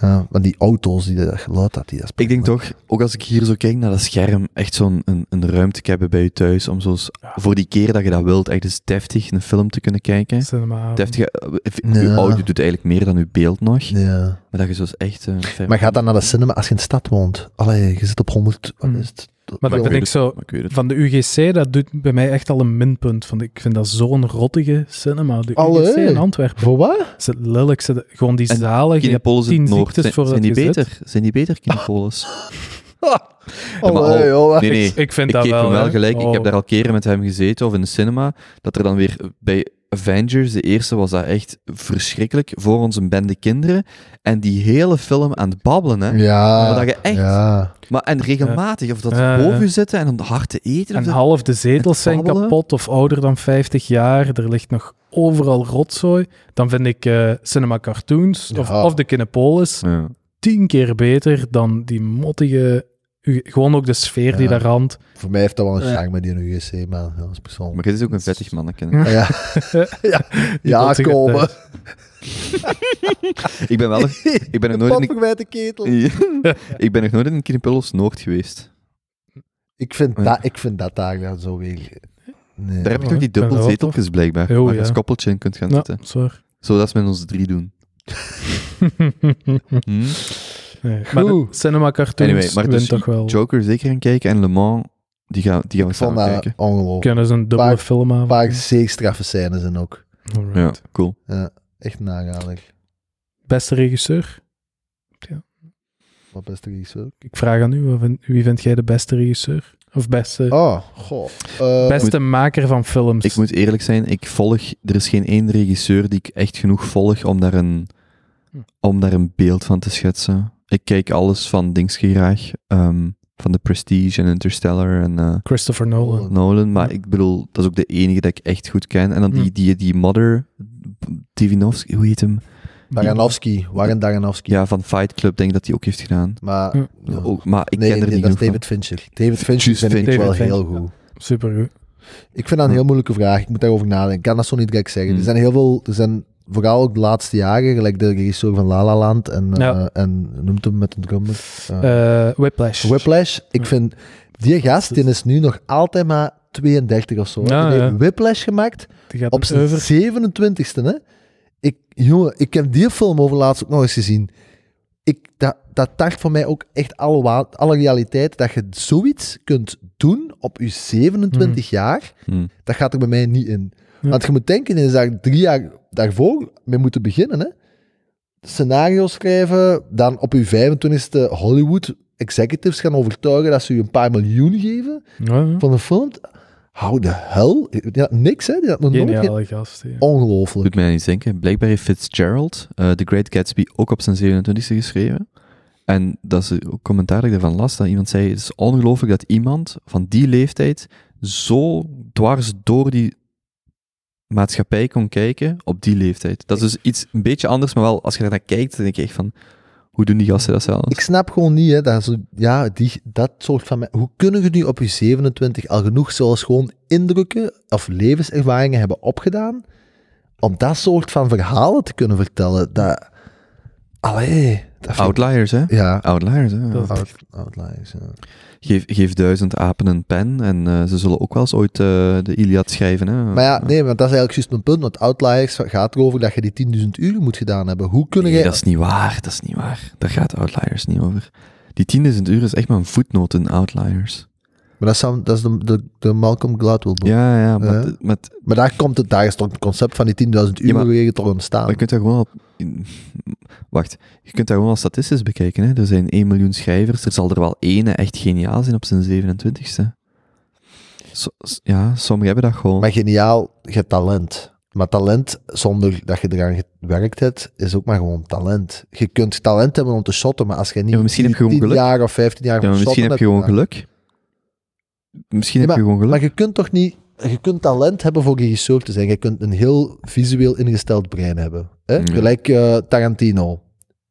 C: ja, want die auto's, die dat geluid had, die dat is
A: Ik denk toch, ook als ik hier zo kijk naar dat scherm, echt zo'n een, een ruimte te hebben bij je thuis, om zoals voor die keer dat je dat wilt, echt eens deftig een film te kunnen kijken.
B: Cinema.
A: Deftig, eh, eh,
C: Ja.
A: je audio doet eigenlijk meer dan je beeld nog,
C: Ja.
A: maar dat je zoals echt... eh, ver-
C: Maar ga dan naar de cinema als je in de stad woont. Allee, je zit op 100. Wat
B: Mm.
C: is het?
B: Maar dat
A: weet
B: vind ik
A: het.
B: zo...
A: Hmm. Maar ik weet het.
B: Van de UGC, dat doet bij mij echt al een minpunt. Want ik vind dat zo'n rottige cinema. De
C: Allee.
B: UGC in Antwerpen.
C: Voor wat?
B: Is het lelijkste. de- Gewoon die
A: En
B: zalen. Je hebt
A: Kinepolis in
B: tien
A: het noord,
B: ziektes
A: zijn,
B: voordat
A: zijn die
B: je zit.
A: beter? Zijn die beter, Kinepolis? Ja, maar
C: Oh, Allee,
A: al-
C: joh.
A: nee, nee.
B: Ah, Ik vind
A: Ik
B: dat
A: geef
B: wel.
A: hem wel
B: hè.
A: gelijk. Ik
B: Oh.
A: heb daar al keren met hem gezeten of in de cinema. Dat er dan weer eh, bij Avengers, de eerste, was dat echt verschrikkelijk voor onze bende kinderen. En die hele film aan het babbelen, hè?
C: Ja.
A: Maar dat je echt-
C: Ja.
A: Maar, en regelmatig, of dat ze
B: Ja, ja.
A: boven je zitten en dan hard te eten. Of
B: En
A: dat-
B: half de zetels
A: het
B: zijn
A: babbelen.
B: kapot of ouder dan 50 jaar. Er ligt nog overal rotzooi. Dan vind ik eh, Cinema Cartoons of,
C: Ja.
B: of de Kinepolis
A: Ja.
B: tien keer beter dan die mottige... u- Gewoon ook de sfeer die
C: Ja.
B: daar hangt.
C: Voor mij heeft dat wel een
B: Ja.
C: charme met die UGC, maar ja, dat is persoonlijk. Ah,
A: Maar dit is ook een vettig manneken.
C: Ja, ja,
B: Die
C: ja
B: botsing
C: komen.
B: thuis.
A: ik ben wel... nog- Ik ben nog nooit in
C: Papa bij de ketel.
A: een... ik ben nog nooit in een Kinepullos Noord geweest.
C: Ik vind,
A: Ja.
C: dat, ik vind dat daar dan zo weer... Nee.
A: Daar heb je toch die
B: ik ben er
A: dubbel
B: wel
A: zeteltjes blijkbaar,
B: Jo,
A: waar je
B: ja.
A: als koppeltje in kunt gaan
B: Ja,
A: zitten.
B: dat is waar.
A: Zodat ze met ons drie doen. Hm?
B: nee, maar de
C: Goed.
B: cinema cartoons
A: Anyway, maar
B: wint
A: dus
B: toch wel.
A: Joker zeker gaan kijken en Le Mans, die gaan, die gaan we
C: Ik
A: samen
C: vond dat
A: kijken.
C: ongelooflijk.
B: Kunnen ze een dubbele
C: Paar-
B: film
C: Een
B: aan?
C: paar zeer straffe scènes en ook.
A: Ja, cool.
C: Echt nagalig.
B: Beste regisseur?
C: Wat beste regisseur.
B: Ik vraag aan u, wat vind- wie vind jij de beste regisseur? Of beste,
C: Oh, goh. Eh,
B: beste maker van films?
A: Ik moet eerlijk zijn, ik volg... Er is geen één regisseur die ik echt genoeg volg om daar een,
B: Hm.
A: om daar een beeld van te schetsen. Ik kijk alles van Dingske graag. ehm, van The Prestige en Interstellar en eh,
B: Christopher
C: Oh,
B: Nolan.
A: Nolan. Maar
B: Ja.
A: ik bedoel, dat is ook de enige dat ik echt goed ken. En dan die,
B: Hm.
A: die, die Mother... Divinovsky, hoe heet hem?
C: Daganowski. Warren Daganowski.
A: Ja, van Fight Club denk ik dat hij ook heeft gedaan.
C: Maar...
B: Ja.
C: Ja.
A: Ook, maar Hm, ik
C: nee,
A: ken er
C: nee,
A: niet
C: dat
A: genoeg
C: is
A: van.
C: David Fincher. David Fincher
A: Just
C: vind ik
A: Fincher.
C: wel
B: David
C: heel
B: Fincher, Hm.
C: goed.
B: Supergoed.
C: Ik vind dat een
A: Ja.
C: heel moeilijke vraag. Ik moet daarover nadenken. Ik kan dat zo niet direct zeggen.
B: Hm.
A: Hmm.
C: Er zijn heel veel... Er zijn vooral ook de laatste jaren, gelijk de regisseur van La La Land en, eh,
B: Ja.
C: en noemt hem met een drummer. eh,
B: Eh, hm. Whiplash.
C: Whiplash, ik
B: Ja.
C: vind... Die gast, die is nu nog altijd maar 32 of zo.
B: Ja,
C: die heeft
B: ja.
C: Whiplash gemaakt
B: Die gaat
C: op
B: een
C: zijn
B: over.
C: 27ste, hè? Ik, jongen, ik heb die film over laatst ook nog eens gezien. Ik, dat, dat tart voor mij ook echt alle, wa- alle realiteit. Dat je zoiets kunt doen op je 27 jaar,
A: Hm.
C: dat gaat er bij mij niet in.
B: Hmm. Ja.
C: Want je moet denken, je zou drie jaar daarvoor mee moeten beginnen. Hè? Scenario schrijven, dan op je 25ste Hollywood executives gaan overtuigen dat ze je een paar miljoen geven
B: Ja, ja.
C: van een film. Hou de hel. Die had niks, hè? Die had nog nooit ge-
B: Geniale gast. ja.
C: Ongelooflijk.
A: Doet mij niet denken. Blijkbaar heeft Fitzgerald eh The Great Gatsby ook op zijn 27e geschreven. En dat is ook commentaar dat ik daarvan las, dat iemand zei, het is ongelooflijk dat iemand van die leeftijd zo dwars door die maatschappij kon kijken op die leeftijd. Dat is dus iets een beetje anders, maar wel, als je daar naar kijkt, dan denk je echt van, hoe doen die gasten dat zelf?
C: Ik snap gewoon niet, hè, dat, ze- ja, die, dat soort van... me- Hoe kunnen je nu op je 27 al genoeg zelfs gewoon indrukken of levenservaringen hebben opgedaan om dat soort van verhalen te kunnen vertellen? Dat, allee... Dat vind-
A: Outliers, hè?
C: Ja,
A: Outliers, hè?
B: Dat-
C: out, outliers, ja.
A: Geef, geef duizend apen een pen en eh, ze zullen ook wel eens ooit eh, de Iliad schrijven, hè?
C: Maar ja, nee, want dat is eigenlijk juist mijn punt, want outliers gaat erover dat je die 10.000 uren moet gedaan hebben. Hoe kunnen
A: Nee,
C: jij...
A: dat is niet waar. Dat is niet waar. Daar gaat Outliers niet over. Die 10.000 uur is echt maar een voetnoot in Outliers.
C: Maar dat is, dan- dat is de, de, de Malcolm Gladwell boek.
A: Ja, ja, maar,
C: Ja.
A: t- maar, t-
C: Maar daar, komt het, daar is toch het concept van die 10.000 uren
A: Ja, maar-
C: weer toch ontstaan.
A: maar je kunt daar gewoon al... Wacht, je kunt daar gewoon al statistisch bekijken. Hè? Er zijn 1 miljoen schrijvers, er zal er wel ene echt geniaal zijn op zijn 27ste. Zo- s- ja, sommigen hebben dat gewoon.
C: Maar geniaal, je hebt talent. Maar talent zonder dat je eraan gewerkt hebt, is ook maar gewoon talent. Je kunt talent hebben om te shotten, maar als je niet
A: Ja, maar misschien heb je gewoon
C: 10
A: geluk.
C: jaar of 15 jaar
A: Ja, maar
C: van
A: misschien
C: shotten
A: heb je gewoon
C: hebt
A: geluk. Misschien
C: Ja,
A: heb je gewoon geluk.
C: gedaan. Maar je kunt toch niet... Je kunt talent hebben voor regisseur te zijn. Je kunt een heel visueel ingesteld brein hebben. Hè?
A: Ja.
C: Gelijk eh, Tarantino.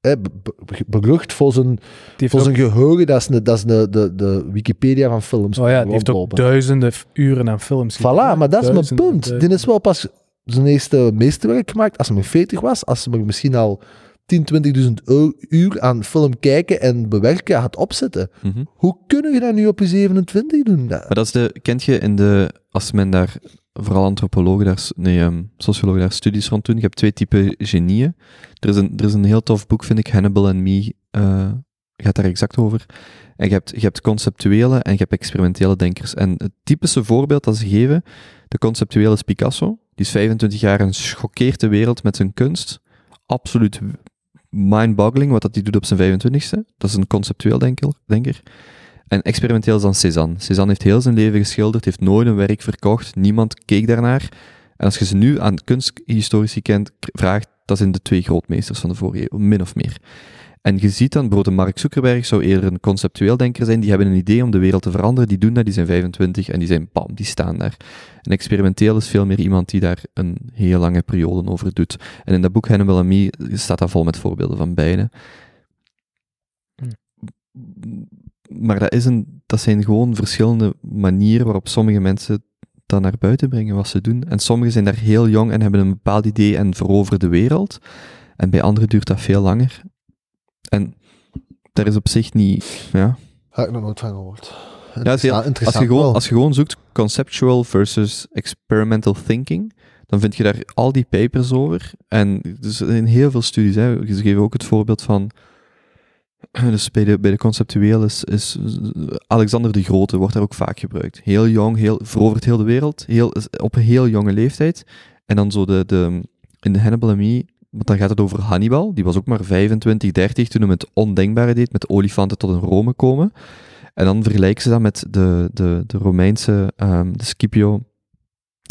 C: Hè? be- be- Berucht voor zijn,
B: Die heeft
C: voor
B: ook-
C: zijn geheugen. Dat is, de, dat is de, de, de Wikipedia van films.
B: Oh ja, die heeft ook
C: rondlopen.
B: duizenden f- uren aan films
C: Voilà, maar dat is mijn
B: Duizenden,
C: punt. Dit
B: duizenden.
C: is wel pas zijn eerste meesterwerk gemaakt als hij maar 40 was. Als hij maar misschien al 10, 20.000 eu- uur aan film kijken en bewerken had opzetten.
A: Mhm.
C: Hoe kunnen je dat nu op je 27 doen? Dat-
A: Maar dat is de, kent je in de, als men daar, vooral antropologen daar, nee, ehm, sociologen daar studies rond doen, je hebt twee typen genieën. Er is een, er is een heel tof boek, vind ik, Hannibal and Me, eh, gaat daar exact over. En je hebt, je hebt conceptuele en je hebt experimentele denkers. En het typische voorbeeld dat ze geven, de conceptuele is Picasso. Die is 25 jaar en schokkeert de wereld met zijn kunst. Absoluut mind-boggling wat dat die doet op zijn 25ste. Dat is een conceptueel denker. denker. En experimenteel is dan Cézanne. Cézanne heeft heel zijn leven geschilderd, heeft nooit een werk verkocht, niemand keek daarnaar. En als je ze nu aan kunsthistorici kent, k- vraagt, dat zijn de twee grootmeesters van de vorige eeuw, min of meer. En je ziet dan, bijvoorbeeld een Mark Zuckerberg zou eerder een conceptueel denker zijn, die hebben een idee om de wereld te veranderen, die doen dat, die zijn 25 en die zijn bam, die staan daar. En experimenteel is veel meer iemand die daar een heel lange periode over doet. En in dat boek Hannibal and Me staat dat vol met voorbeelden van beide.
B: Hm.
A: Maar dat, is een, dat zijn gewoon verschillende manieren waarop sommige mensen dat naar buiten brengen wat ze doen. En sommigen zijn daar heel jong en hebben een bepaald idee en veroveren de wereld. En bij anderen duurt dat veel langer. En daar is op zich niet... Ja.
C: Heb ik nog nooit van gehoord.
A: Ja, is heel- Als, je gewoon, als je gewoon zoekt conceptual versus experimental thinking, dan vind je daar al die papers over. En dus in heel veel studies, hè, ze geven ook het voorbeeld van... Dus bij de, bij de conceptuele is, is Alexander de Grote wordt daar ook vaak gebruikt. Heel jong, heel, verovert heel de wereld, heel, op een heel jonge leeftijd. En dan zo de, de, in de Hannibal en Me, want dan gaat het over Hannibal. Die was ook maar 25, 30 toen hij het ondenkbare deed, met olifanten tot in Rome komen. En dan vergelijken ze dat met de, de, de Romeinse, ehm, de Scipio,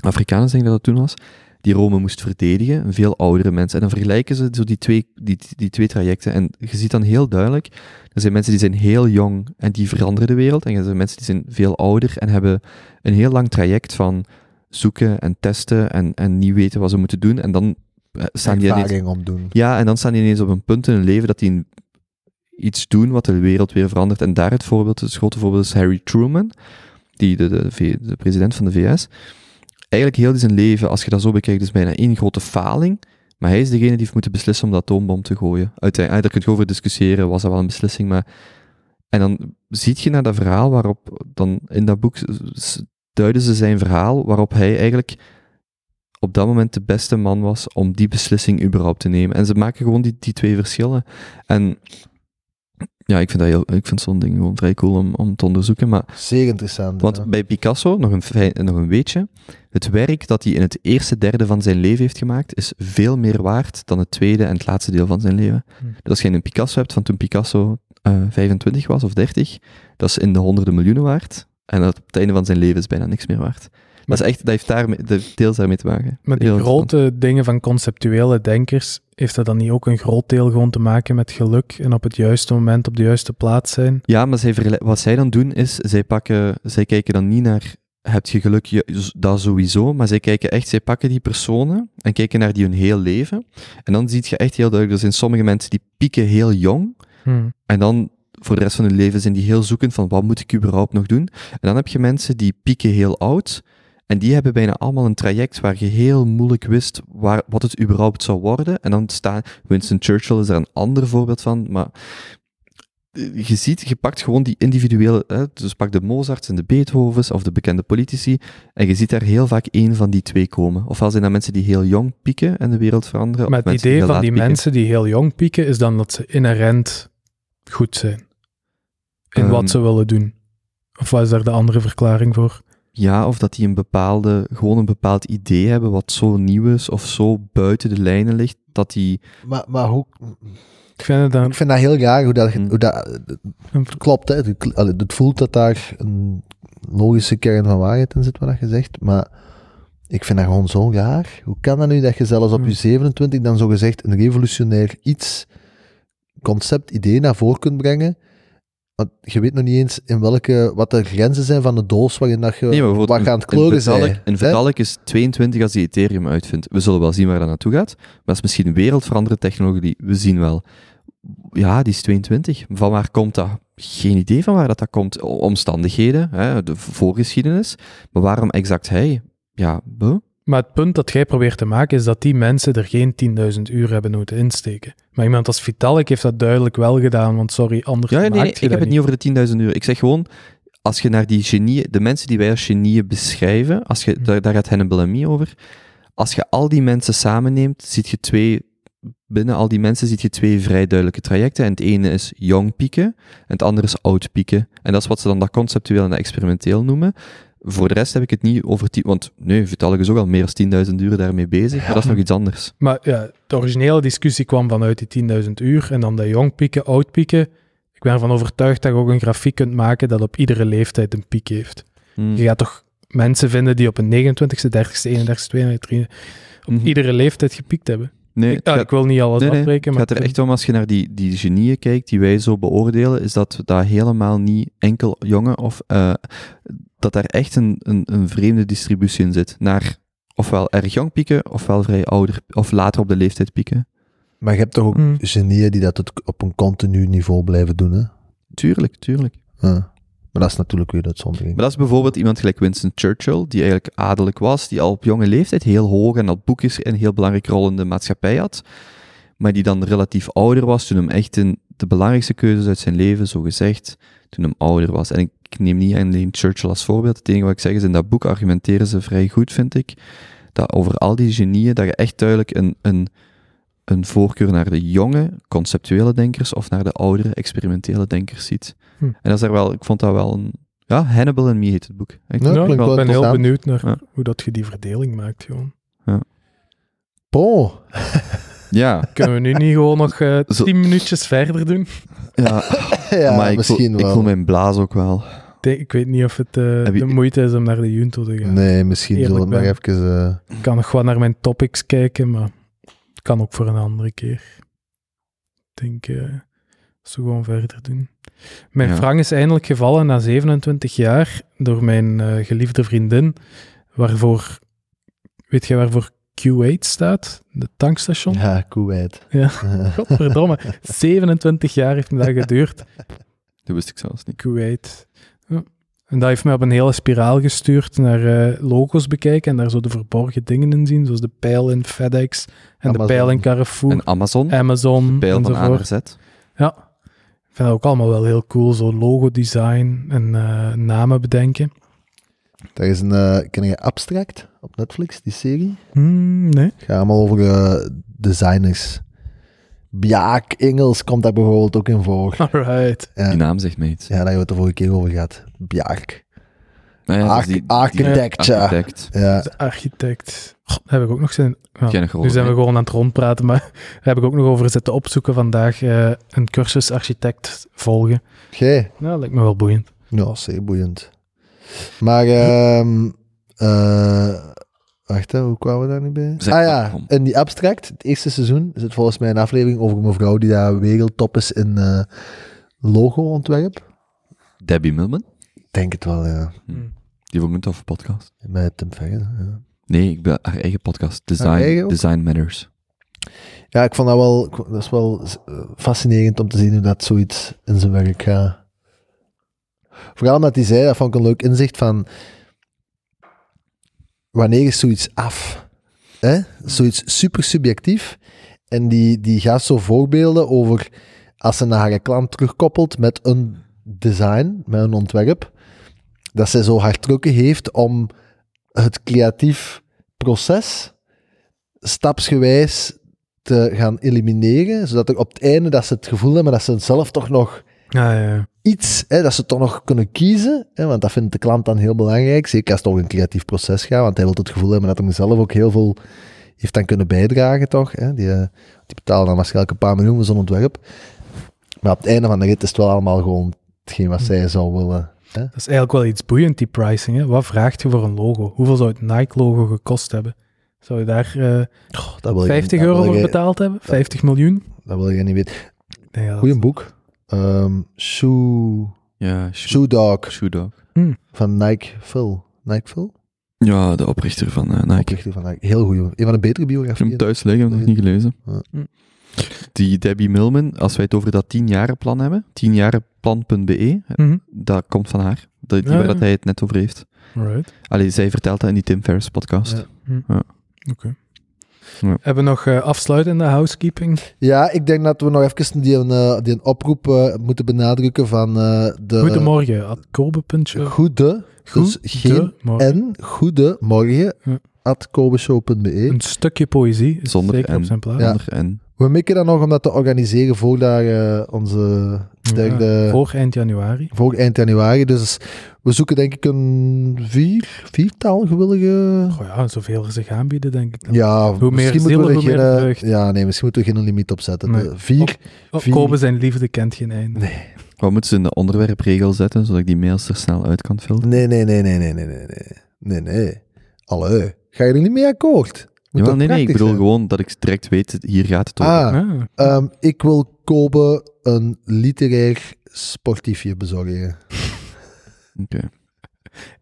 A: Africanus denk ik dat dat toen was, die Rome moest verdedigen, een veel oudere mensen. En dan vergelijken ze zo die, twee, die, die twee trajecten. En je ziet dan heel duidelijk, er zijn mensen die zijn heel jong en die veranderen de wereld. En er zijn mensen die zijn veel ouder en hebben een heel lang traject van zoeken en testen en, en niet weten wat ze moeten doen. En dan eh, staan die ineens...
C: ervaring om doen.
A: Ja, en dan staan die ineens op een punt in hun leven dat die een- iets doen wat de wereld weer verandert. En daar het voorbeeld, het grote voorbeeld is Harry Truman, die de, de, V- de president van de VS. Eigenlijk heel zijn leven, als je dat zo bekijkt, is bijna één grote faling. Maar hij is degene die heeft moeten beslissen om de atoombom te gooien. Uiteindelijk, daar kun je over discussiëren, was dat wel een beslissing, maar... En dan ziet je naar dat verhaal waarop, dan in dat boek s- duiden ze zijn verhaal, waarop hij eigenlijk op dat moment de beste man was om die beslissing überhaupt te nemen. En ze maken gewoon die, die twee verschillen. En ja, ik vind, dat heel, ik vind zo'n ding gewoon vrij cool om, om te onderzoeken. Maar,
C: Zeer interessant.
A: want
C: ja.
A: bij Picasso, nog een, fijn- nog een weetje, het werk dat hij in het eerste derde van zijn leven heeft gemaakt, is veel meer waard dan het tweede en het laatste deel van zijn leven.
B: Hm.
A: Dus als je een Picasso hebt van toen Picasso eh, 25 was of 30, dat is in de honderden miljoenen waard. En dat op het einde van zijn leven is bijna niks meer waard.
B: Maar-
A: Maar dat, is echt, dat heeft daarmee, dat heeft deels daarmee te maken.
B: Met die
A: Heel interessant.
B: grote dingen van conceptuele denkers, heeft dat dan niet ook een groot deel gewoon te maken met geluk en op het juiste moment op de juiste plaats zijn?
A: Ja, maar zij vergel- wat zij dan doen is, zij, pakken, zij kijken dan niet naar, heb je geluk, Ja, z- dat sowieso, maar zij kijken echt, zij pakken die personen en kijken naar die hun heel leven. En dan zie je echt heel duidelijk, er zijn sommige mensen die pieken heel jong
B: Hm.
A: en dan voor de rest van hun leven zijn die heel zoekend van, wat moet ik überhaupt nog doen? En dan heb je mensen die pieken heel oud en die hebben bijna allemaal een traject waar je heel moeilijk wist waar, wat het überhaupt zou worden. En dan staan, Winston Churchill is daar een ander voorbeeld van, maar eh, je ziet, je pakt gewoon die individuele, hè, dus pak de Mozarts en de Beethovens of de bekende politici, en je ziet daar heel vaak één van die twee komen. Ofwel zijn dat mensen die heel jong pieken en de wereld veranderen.
B: Maar
A: of
B: het
A: mensen
B: idee
A: heel
B: van
A: laat
B: die
A: pieken.
B: mensen die heel jong pieken, is dan dat ze inherent goed zijn. In
A: Ehm.
B: wat ze willen doen. Of wat is daar de andere verklaring voor?
A: Ja, of dat die een bepaalde, gewoon een bepaald idee hebben wat zo nieuw is of zo buiten de lijnen ligt, dat die...
C: Maar, maar hoe,
B: Ik vind het dan...
C: ik vind dat heel raar hoe dat,
A: Hmm.
C: hoe dat het klopt. Hè. Het, allee, het voelt dat daar een logische kern van waarheid in zit, wat dat je zegt. Maar ik vind dat gewoon zo raar. Hoe kan dat nu dat je zelfs op
B: Hmm.
C: je 27 dan zogezegd een revolutionair iets, concept, idee naar voren kunt brengen? Want je weet nog niet eens in welke, wat de grenzen zijn van de doos waarin dat je
A: Nee, maar bijvoorbeeld
C: wat
A: een-
C: gaat het
A: een
C: kleuren
A: Vitalik-
C: zijn.
A: Een
C: hè?
A: Vitalik is 22 als hij Ethereum uitvindt. We zullen wel zien waar dat naartoe gaat. Maar dat is misschien wereldveranderende technologie. We zien wel. Ja, die is 22. Van waar komt dat? Geen idee van waar dat, dat komt. O- Omstandigheden, hè, de voorgeschiedenis. Maar waarom exact hij? Ja, buh.
B: Maar het punt dat jij probeert te maken is dat die mensen er geen 10.000 uur hebben moeten insteken. Maar iemand als Vitalik heeft dat duidelijk wel gedaan, want sorry, anders
A: Ja, ja,
B: maakt
A: nee, nee,
B: je
A: ik heb
B: dat
A: het niet over de 10.000 uur. Ik zeg gewoon, als je naar die genieën, de mensen die wij als genieën beschrijven, als je,
B: Hm.
A: daar, daar gaat Hannibal en Me over, als je al die mensen samenneemt, ziet je twee, binnen al die mensen ziet je twee vrij duidelijke trajecten. En het ene is jong pieken, en het andere is oud pieken. En dat is wat ze dan dat conceptueel en dat experimenteel noemen. Voor de rest heb ik het niet over... die- Want nee, Vitalik is ook al meer dan 10.000 uur daarmee bezig, maar dat is nog iets anders.
B: Maar ja, de originele discussie kwam vanuit die 10.000 uur en dan de jong pieken, oud pieken. Ik ben ervan overtuigd dat je ook een grafiek kunt maken dat op iedere leeftijd een piek heeft.
A: Hm.
B: Je gaat toch mensen vinden die op een 29ste, 30ste, 31ste, 32ste, op
A: Mhm.
B: iedere leeftijd gepiekt hebben.
A: Nee,
B: Ik,
A: het
B: ja,
A: gaat-
B: ik wil niet alles
A: Nee, nee,
B: afbreken,
A: Het
B: maar...
A: gaat er echt om, als je naar die, die genieën kijkt, die wij zo beoordelen, is dat we daar helemaal niet enkel jongen of... eh, dat daar echt een, een, een vreemde distributie in zit. Naar ofwel erg jong pieken, ofwel vrij ouder, of later op de leeftijd pieken.
C: Maar je hebt toch ook
B: Hmm.
C: genieën die dat het op een continu niveau blijven doen. Hè?
A: Tuurlijk, tuurlijk.
C: Ja. Maar dat is natuurlijk weer de uitzondering.
A: Maar dat is bijvoorbeeld iemand gelijk Winston Churchill, die eigenlijk adellijk was, die al op jonge leeftijd heel hoog en al boekjes een heel belangrijke rol in de maatschappij had. maar die dan relatief ouder was toen hem echt in de belangrijkste keuzes uit zijn leven, zo gezegd, toen hem ouder was. En ik ik neem niet alleen Churchill als voorbeeld. Het enige wat ik zeg is, in dat boek argumenteren ze vrij goed, vind ik, dat over al die genieën, dat je echt duidelijk een, een, een voorkeur naar de jonge, conceptuele denkers of naar de oudere, experimentele denkers ziet.
B: Hm.
A: En dat is daar wel, ik vond dat wel een... Ja, Hannibal en Me heet het boek. Ik
C: Ja,
B: Ja,
C: klinkt
B: ik
C: wel
B: ben heel
C: interessant.
B: benieuwd naar
A: Ja.
B: hoe dat je die verdeling maakt, gewoon.
C: Po.
A: Ja,
B: Kunnen we nu niet gewoon nog eh
A: Zo-
B: tien minuutjes verder doen?
A: ja,
C: ja,
A: maar ik
C: misschien
A: voel,
C: wel.
A: ik voel mijn blaas ook wel.
B: Ik denk- Ik weet niet of het eh,
A: Heb je-
B: de moeite is om naar de Junto te gaan.
C: Nee, misschien zullen we het maar
B: Eerlijk
C: even... eh,
B: Ik kan nog gewoon naar mijn topics kijken, maar het kan ook voor een andere keer. Ik denk, eh als we gewoon verder doen. Mijn
A: Ja.
B: wrang is eindelijk gevallen na 27 jaar door mijn eh, geliefde vriendin, waarvoor, weet jij waarvoor Q8 staat? De tankstation?
C: ja, koeheid.
B: Ja. Godverdomme, 27 jaar heeft me dat geduurd.
A: Dat wist ik zelfs niet.
B: Kuwait. Ja. En dat heeft mij op een hele spiraal gestuurd naar eh, logo's bekijken en daar zo de verborgen dingen in zien, zoals de pijl in FedEx en de
C: Amazon.
B: pijl in Carrefour,
A: En Amazon,
B: Amazon
A: pijl van A naar
B: enzovoort.
A: Z.
B: Ja, ik vind dat ook allemaal wel heel cool, zo logo-design en eh, namen bedenken.
C: Daar is een... eh, ken je Abstract op Netflix, die serie?
B: Hmm, nee.
C: Het gaat allemaal over eh, designers. Bjaak Engels komt daar bijvoorbeeld ook in voor.
B: Alright.
A: Die naam zegt mij iets.
C: Ja, daar hebben we het de vorige keer over gehad. Bjaak.
A: Nou ja, dat is
C: Arch-
A: die- die-
C: architecture.
A: Architect.
C: Ja,
B: De architect. Goh, daar heb ik ook nog zin in. Ja,
A: Jij nog gehoord,
B: nu zijn we
A: hè?
B: gewoon aan het rondpraten, maar daar heb ik ook nog over zitten opzoeken vandaag. eh, een cursus architect volgen.
C: oké.
B: Nou, dat lijkt me wel boeiend.
C: Ja, zeer boeiend. Maar, ehm eh, wacht, hè, hoe kwamen we daar nu bij?
A: Zeg
C: ah
A: maar,
C: ja,
A: kom.
C: in die abstract, het eerste seizoen, is het volgens mij een aflevering over een mevrouw die daar wereldtop is in eh, logo-ontwerp.
A: Debbie Millman,
C: Ik Denk het wel, ja.
A: die vond ik een toffe podcast.
C: Met Tim Ferriss, ja.
A: Nee, ik ben haar eigen podcast. Design,
C: Haar eigen ook?
A: Design Matters.
C: Ja, ik vond dat wel, ik vond- dat is wel eh, fascinerend om te zien hoe dat zoiets in zijn werk gaat. Vooral omdat hij zei, dat vond ik een leuk inzicht van, wanneer is zoiets af? Hè? Zoiets super subjectief. En die, die gaat zo voorbeelden over, als ze naar haar klant terugkoppelt met een design, met een ontwerp, dat zij zo haar trucken heeft om het creatief proces stapsgewijs te gaan elimineren, zodat er op het einde dat ze het gevoel hebben dat ze zelf toch nog
B: Ja, ja, ja.
C: iets, hè, dat ze toch nog kunnen kiezen, hè, want dat vindt de klant dan heel belangrijk, zeker als het over een creatief proces gaat, want hij wil het gevoel hebben dat hij zelf ook heel veel heeft aan kunnen bijdragen, toch? Hè? Die, eh, die betalen dan waarschijnlijk een paar miljoen voor zo'n ontwerp. Maar op het einde van de rit is het wel allemaal gewoon hetgeen wat zij zou willen.
B: Dat is eigenlijk wel iets boeiend, die pricing. Hè? Wat vraagt je voor een logo? Hoeveel zou het Nike-logo gekost hebben? Zou je daar eh,
C: Dat wil je-
B: 50
C: dat
B: euro
C: wil
B: voor
C: je-
B: betaald hebben? 50 miljoen?
C: Dat wil je niet weten.
B: Nee, ja, dat-
C: Goeie boek. Ehm Shoe,
A: Ja, Shoe,
C: Shoe Dog
A: Shoe Dog.
C: van Nike Phil. Nike Phil?
A: Ja, de oprichter van eh, Nike. Ik
C: Oprichter van Nike. Heel goed. Een van de betere
A: heb hem
C: biografieën.
A: thuis liggen, heb ik nog niet gelezen.
C: Ja.
B: Hm.
A: Die Debbie Millman, als wij het over dat 10 plan hebben, 10jarenplan.be,
B: Mhm.
A: dat komt van haar. Dat, die
B: Ja,
A: waar
B: ja.
A: dat hij het net over heeft.
B: Alright. Mhm.
A: Allee, zij vertelt dat in die Tim Ferriss podcast.
C: Ja.
B: Oké.
A: Ja.
B: Hebben we nog eh, afsluitende housekeeping?
C: Ja, ik denk dat we nog even die, eh, die een oproep eh, moeten benadrukken van eh, de...
B: Goedemorgen, at kobe.show.
C: Goede, dus geen
B: Goedemorgen.
C: en goede morgen
B: Ja.
C: at kobeshow.be.
B: Een stukje poëzie is
A: Zonder
B: zeker op
A: en.
B: zijn plaats.
C: Ja.
A: Zonder En
C: We mikken dan nog om dat te organiseren voor daar eh, onze derde...
B: Ja, Voor eind januari.
C: Voor eind januari. Dus we zoeken denk ik een vier, viertal gewillige...
B: Oh ja, zoveel er zich aanbieden, denk ik. dan.
C: Ja,
B: Hoe meer
C: misschien
B: zielen,
C: moeten we
B: hoe
C: geen,
B: meer
C: eh,
B: vreugd.
C: ja, nee, misschien moeten we geen limiet opzetten.
B: Nee.
C: Eh, vier,
B: Oh,
C: vier-
B: Kobe zijn liefde kent geen einde.
A: wat moeten ze in de onderwerpregel zetten, zodat ik die mails er snel uit kan filteren?
C: Nee, nee, nee, nee, nee, nee, nee, nee. Nee, nee. Allee, ga je er niet mee akkoord? Moet
A: Jawel,
C: toch
A: nee, nee, ik
C: prachtig
A: bedoel
C: zijn?
A: gewoon dat ik direct weet, hier gaat het over.
C: Ah,
B: Ah,
C: ehm, ik wil Kobe een literair sportiefje bezorgen.
A: Oké.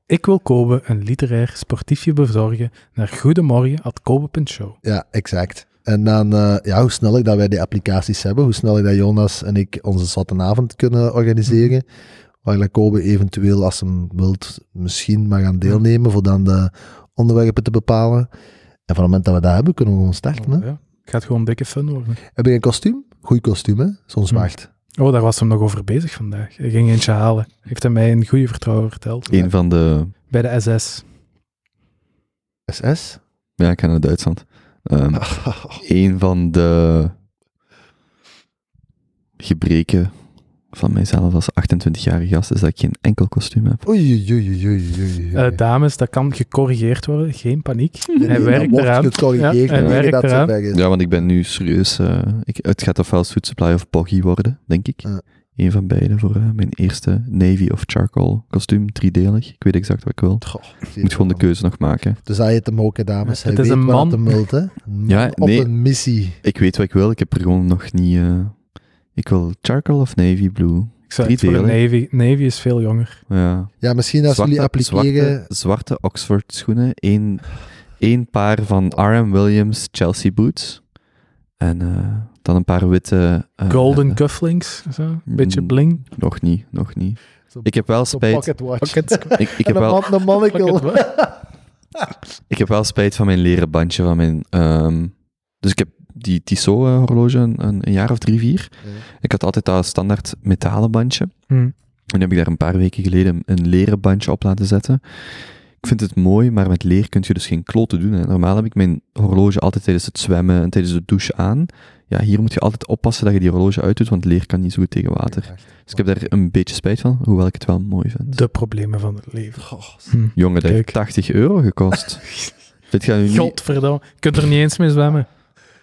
B: Ik wil Kobe een literair sportiefje bezorgen naar goedemorgen.kobe.show.
C: Ja, exact. En dan, eh, ja, hoe sneller dat wij die applicaties hebben, hoe sneller dat Jonas en ik onze zattenavond kunnen organiseren, waar dat Kobe eventueel, als hem wilt, misschien maar aan deelnemen voor dan de onderwerpen te bepalen. En van het moment dat we dat hebben, kunnen we gewoon starten. Hè?
B: Ja. Gaat gewoon dikke fun worden.
C: Heb je een kostuum? Goed kostuum, hè?
A: Hm.
C: Zo'n zwaard.
B: Oh, daar was hem nog over bezig vandaag. Hij ging eentje halen. Heeft hij mij een goede vertrouwen verteld.
A: Een van de...
B: Bij de SS.
C: SS?
A: Ja, ik ken het Duitsland. Ehm, een van de gebreken van mijzelf als 28-jarige gast is dat ik geen enkel kostuum heb.
C: Oei, oei, oei, oei, oei, oei.
B: Eh, dames, dat kan gecorrigeerd worden. Geen paniek.
C: Nee,
B: hij
C: nee,
B: werkt
C: dat
B: eraan.
C: wordt gecorrigeerd
B: Ja, hij
C: wanneer
B: werkt
C: dat
B: eraan.
C: zover is.
A: Ja, want ik ben nu serieus... eh, ik, het gaat ofwel Suit Supply of Poggy worden, denk ik.
C: Ja.
A: Een van beide voor eh, mijn eerste Navy of Charcoal kostuum, driedelig. Ik weet exact wat ik wil.
C: Goh,
A: Ik moet gewoon de keuze nog maken.
C: Dus hij heet hem ook, dames.
B: Het
C: Hij
B: is
C: weet
B: een
C: wat
B: man.
C: hem wilt, hè. Een
A: Ja,
C: man op
A: nee.
C: een missie.
A: Ik weet wat ik wil, ik heb er gewoon nog niet... eh, ik wil charcoal of navy blue.
B: Ik zou het voor de
A: Driedelig.
B: Navy. Navy is veel jonger.
A: Ja.
C: Ja, misschien als jullie appliceren...
A: Zwarte, zwarte Oxford schoenen, één, één paar van R.M. Williams Chelsea boots en eh, dan een paar witte... eh,
B: Golden
A: eh,
B: cufflinks. Zo. Beetje
A: Mm.
B: bling.
A: nog niet, nog niet.
C: Zo'n-
A: Ik heb wel
C: zo'n
A: spijt...
C: pocket watch.
A: Ik, ik,
C: En
A: heb
C: een
A: wel,
C: man- een monocle.
B: Pocket watch.
A: ik heb wel spijt van mijn leren bandje, van mijn... ehm, dus ik heb die Tissot-horloge een, een- een jaar of drie, vier.
C: Ja.
A: Ik had altijd dat standaard metalen bandje.
B: Hm.
A: En heb ik daar een paar weken geleden een leren bandje op laten zetten. Ik vind het mooi, maar met leer kun je dus geen kloten doen. Hè. Normaal heb ik mijn horloge altijd tijdens het zwemmen en tijdens de douche aan. Ja, hier moet je altijd oppassen dat je die horloge uitdoet, want leer kan niet zo goed tegen water. Dus ik heb daar een beetje spijt van, hoewel ik het wel mooi vind.
B: De problemen van het leven.
C: Goh,
B: Hm.
A: Jongen, dat heeft
B: Kijk.
A: 80 euro gekost. Dit gaat nu niet...
B: Godverdomme. Je kunt er niet eens mee zwemmen.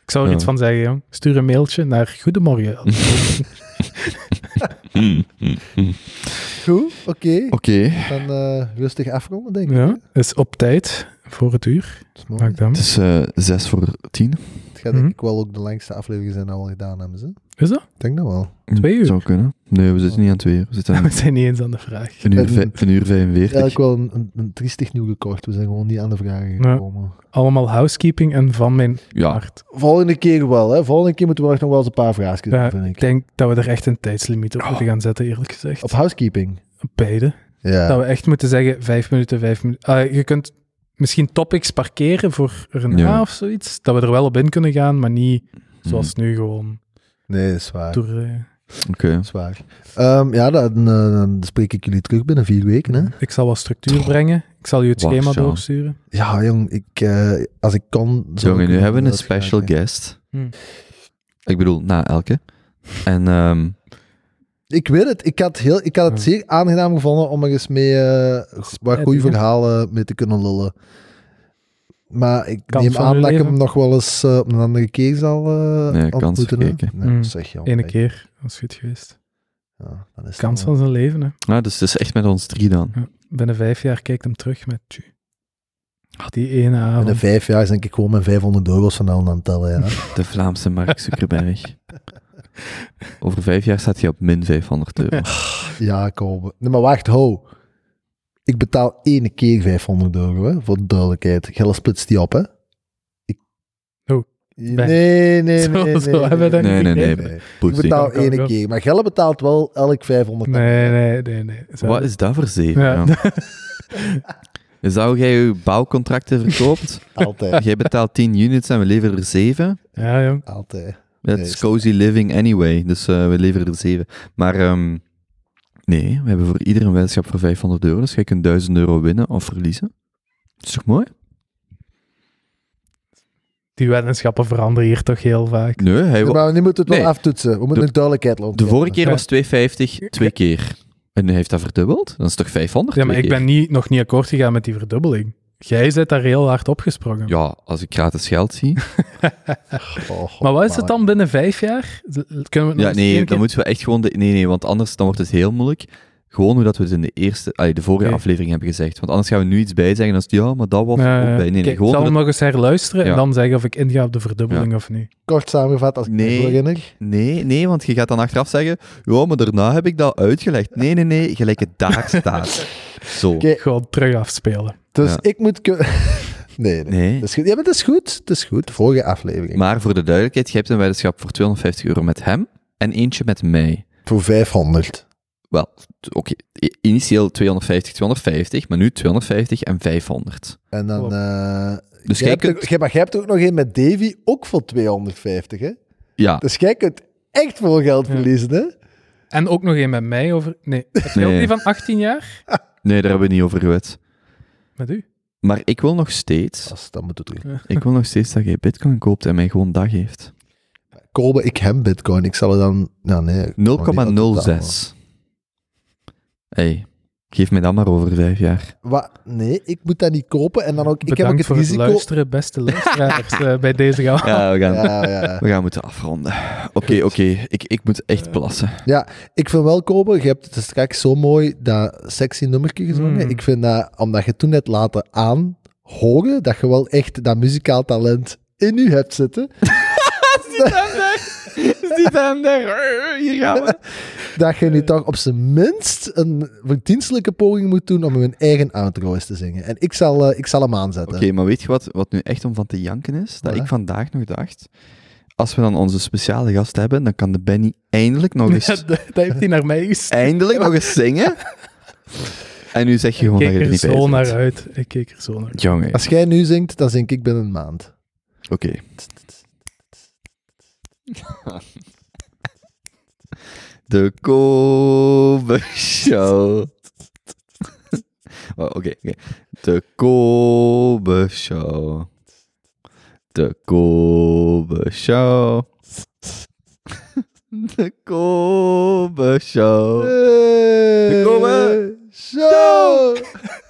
B: Ik zou er
A: Ja.
B: iets van zeggen, jong. Stuur een mailtje naar Goedemorgen.
A: Hmm, hmm, hmm.
C: Goed, oké.
A: Oké,
C: Dan eh, rustig afronden, denk ik.
B: ja, Dus- is op tijd voor het uur.
C: Dat is mooi.
B: Maak dan.
A: het is eh 6 voor 10.
C: Het gaat
B: Mhm.
C: denk ik wel ook de langste afleveringen zijn dat we al gedaan hebben. Ze.
B: Is dat?
C: Ik denk dat wel.
B: Twee uur?
A: Zou kunnen. Nee, we zitten niet aan twee uur. We zitten aan
B: We zijn niet eens aan de vraag.
A: een uur, vij- een uur 45.
C: Eigenlijk wel een, een, een triestig nieuw gekort. We zijn gewoon niet aan de vragen
B: Ja.
C: gekomen.
B: Allemaal housekeeping en van mijn
A: Ja,
B: hart.
C: Volgende keer wel, hè. Volgende keer moeten we echt nog wel eens een paar vraagjes doen,
B: Ja,
C: vind
B: ik
C: ik.
B: denk dat we er echt een tijdslimiet op moeten gaan zetten, eerlijk gezegd.
C: Op housekeeping.
B: Op beide.
C: Ja.
B: Dat we echt moeten zeggen, vijf minuten, vijf minuten. Ah, je kunt misschien topics parkeren voor een
A: Ja.
B: A of zoiets. Dat we er wel op in kunnen gaan, maar niet zoals nu gewoon
C: Nee, dat is waar.
B: door... eh,
A: Mm, oké.
C: Dat is waar. Ehm, ja, dan, eh, dan spreek ik jullie terug binnen vier weken, hè.
B: Ik zal wat structuur brengen. Ik zal je het
A: Wacht,
B: schema
A: Sean.
B: doorsturen.
C: Ja, jong, ik, eh, als ik kon... zou
A: Jongen,
C: ik
A: nu
C: het
A: hebben we een
C: wel
A: special
C: vragen.
A: guest.
B: Hm.
A: Ik bedoel, na elke. En ehm,
C: Ik weet het. Ik had, heel, ik had het
B: Ja.
C: zeer aangenaam gevonden om er eens mee eh, wat goede
B: hè?
C: verhalen mee te kunnen lullen. Maar ik
B: Kans
C: neem
B: van
C: aan
B: uw
C: dat ik
B: leven?
C: hem nog wel eens eh, op een andere keer zal eh
A: Nee, kans
C: ontmoeten, hè?
A: verkeken.
C: Nee,
B: Mm.
C: zeg, joh,
B: Ene
C: nee.
B: keer, dat is goed geweest.
C: Ja, dan is het
B: Kans
C: wel-
B: van zijn leven, hè.
A: ja, dus het is echt met ons drie dan.
B: Ja. Binnen vijf jaar kijkt hem terug met... "Tju, Die ene
C: In de
B: avond.
C: vijf jaar is denk ik gewoon mijn 500 euro's van aan het tellen. Ja.
A: De Vlaamse Mark Zuckerberg. Over vijf jaar staat hij op min 500 euro.
C: ja, komen. Nee, maar wacht, ho. Ik betaal ene keer 500 euro, hè, voor de duidelijkheid. Gelle splitst die op, hè? Ik...
B: Oh.
C: Nee, nee, nee.
B: Zo-
C: nee,
B: zo
C: nee,
B: hebben we dat
A: Nee,
B: niet
A: nee,
B: gekeken.
A: nee.
C: Ik
A: Poesie.
C: betaal
B: Kan, kan,
C: één
B: kan.
C: keer. Maar Gelle betaalt wel elk 500
B: Nee, nee, nee. nee. Zo-
A: Wat is dat voor zeven?
B: Ja.
A: Ja. Zou jij je bouwcontracten verkoopt?
C: Altijd.
A: jij betaalt 10 units en we leveren er 7.
B: Ja, jong.
C: Altijd.
A: Dat
C: Nee,
A: is
C: is-
A: cozy living anyway. Dus eh, we leveren er 7. Maar ehm, nee, we hebben voor ieder een weddenschap voor 500 euro. Dus jij kunt 1000 euro winnen of verliezen. Dat is toch mooi?
B: Die weddenschappen veranderen hier toch heel vaak.
A: Nee, hij
C: Nee,
A: wa-
C: maar nu moeten we het wel
A: Nee.
C: aftoetsen. We
A: De-
C: moeten een duidelijkheid laten.
A: de vorige keer
B: Ja.
A: was 250, twee keer. En hij heeft dat verdubbeld. Dan is het toch 500?
B: Ja, maar
A: twee
B: ik
A: keer?
B: ben niet, nog niet akkoord gegaan met die verdubbeling. Jij bent daar heel hard opgesprongen.
A: Ja, als ik gratis geld zie.
C: Oh,
B: maar wat is het dan binnen vijf jaar? Z- Kunnen we het nog
A: Ja,
B: eens één
A: nee,
B: keer-
A: dan moeten we echt gewoon... De, nee, nee, want anders dan wordt het heel moeilijk. Gewoon hoe dat we het in de eerste... allee, de vorige
B: Oké.
A: aflevering hebben gezegd. Want anders gaan we nu iets bij zeggen als... het, Ja, maar dat was
B: Ja,
A: ook
B: ja.
A: bij. Nee, nee,
B: Kijk,
A: gewoon
B: ik zal
A: hoe
B: hem nog eens herluisteren
A: Ja.
B: en dan zeggen of ik inga op de verdubbeling of niet.
C: Kort samengevat, als ik
A: Nee.
C: me herinner.
A: Nee, nee, want je gaat dan achteraf zeggen, ja, maar daarna heb ik dat uitgelegd. Nee, nee, nee, gelijk het daar staat. Zo.
C: Oké.
B: Gewoon terug afspelen.
C: Dus
A: Ja.
C: ik moet... kun- nee, nee.
A: Nee.
C: Dat is goed. Ja, maar dat is goed. Dat is goed. Vorige aflevering.
A: Maar voor de duidelijkheid, je hebt een weddenschap voor 250 euro met hem en eentje met mij.
C: Voor 500.
A: Wel, t- oké, i- initieel 250, 250, maar nu 250 en 500.
C: En dan
B: Klopt.
C: eh,
A: Dus
C: jij
A: jij
C: hebt
A: kunt...
C: ook- jij- maar jij hebt ook nog een met Davy, ook voor 250, hè?
A: Ja,
C: Dus jij kunt echt veel geld
B: Ja.
C: verliezen, hè?
B: En ook nog een met mij over... Nee, het
A: Nee.
B: geldt die van 18 jaar?
A: nee, daar hebben we het niet over gewet.
B: Met u?
A: Maar ik wil nog steeds...
C: Als, dan moet het terug.
A: Ik wil nog steeds dat jij bitcoin koopt en mij gewoon dag geeft. 0,06.
C: Kopen, ik heb bitcoin. Ik zal er dan... Ja, nee.
A: Oh,
C: ik kan niet altijd betalen.
A: hey, geef mij dat maar over vijf jaar.
C: Wat? Nee, ik moet dat niet kopen. En dan ook... Ik heb
B: Bedankt
C: ook het
B: voor
C: risico...
B: het luisteren, beste luisteraars, eh, bij deze gaan.
A: Ja, we gaan,
C: Ja, ja.
A: we gaan moeten afronden. Oké, oké. Ik, ik moet echt plassen.
C: Ik vind wel, Kobe, je hebt het straks zo mooi dat sexy nummertje gezongen.
B: Mm.
C: Ik vind dat, omdat je toen net laten aanhoren, dat je wel echt dat muzikaal talent in u hebt zitten.
A: Ziet hem daar? Ziet hem daar? Eh, Hier gaan we.
C: Dat je nu toch op zijn minst een verdienstelijke poging moet doen om hun eigen outro eens te zingen. En ik zal, eh, ik zal hem aanzetten.
A: Oké, maar weet je wat, wat nu echt om van te janken is? Dat
C: Wat, hè?
A: ik vandaag nog dacht... Als we dan onze speciale gast hebben, dan kan de Benny eindelijk nog eens,
B: dat, dat heeft hij naar mij gestuurd.
A: eindelijk nog eens zingen. En nu zeg je gewoon
B: Ik
A: dat je
B: keek
A: er
B: er
A: niet bij
B: zo
A: bent.
B: naar uit. Ik keek er zo naar uit.
A: Jongen,
C: Als jij nu zingt, dan zing ik binnen een maand.
A: oké. De Kobe Show. Oh, Oké, oké. De Kobe Show. De Kobe Show. De Kobe Show.
C: De Eh,
A: Kobe
C: Show!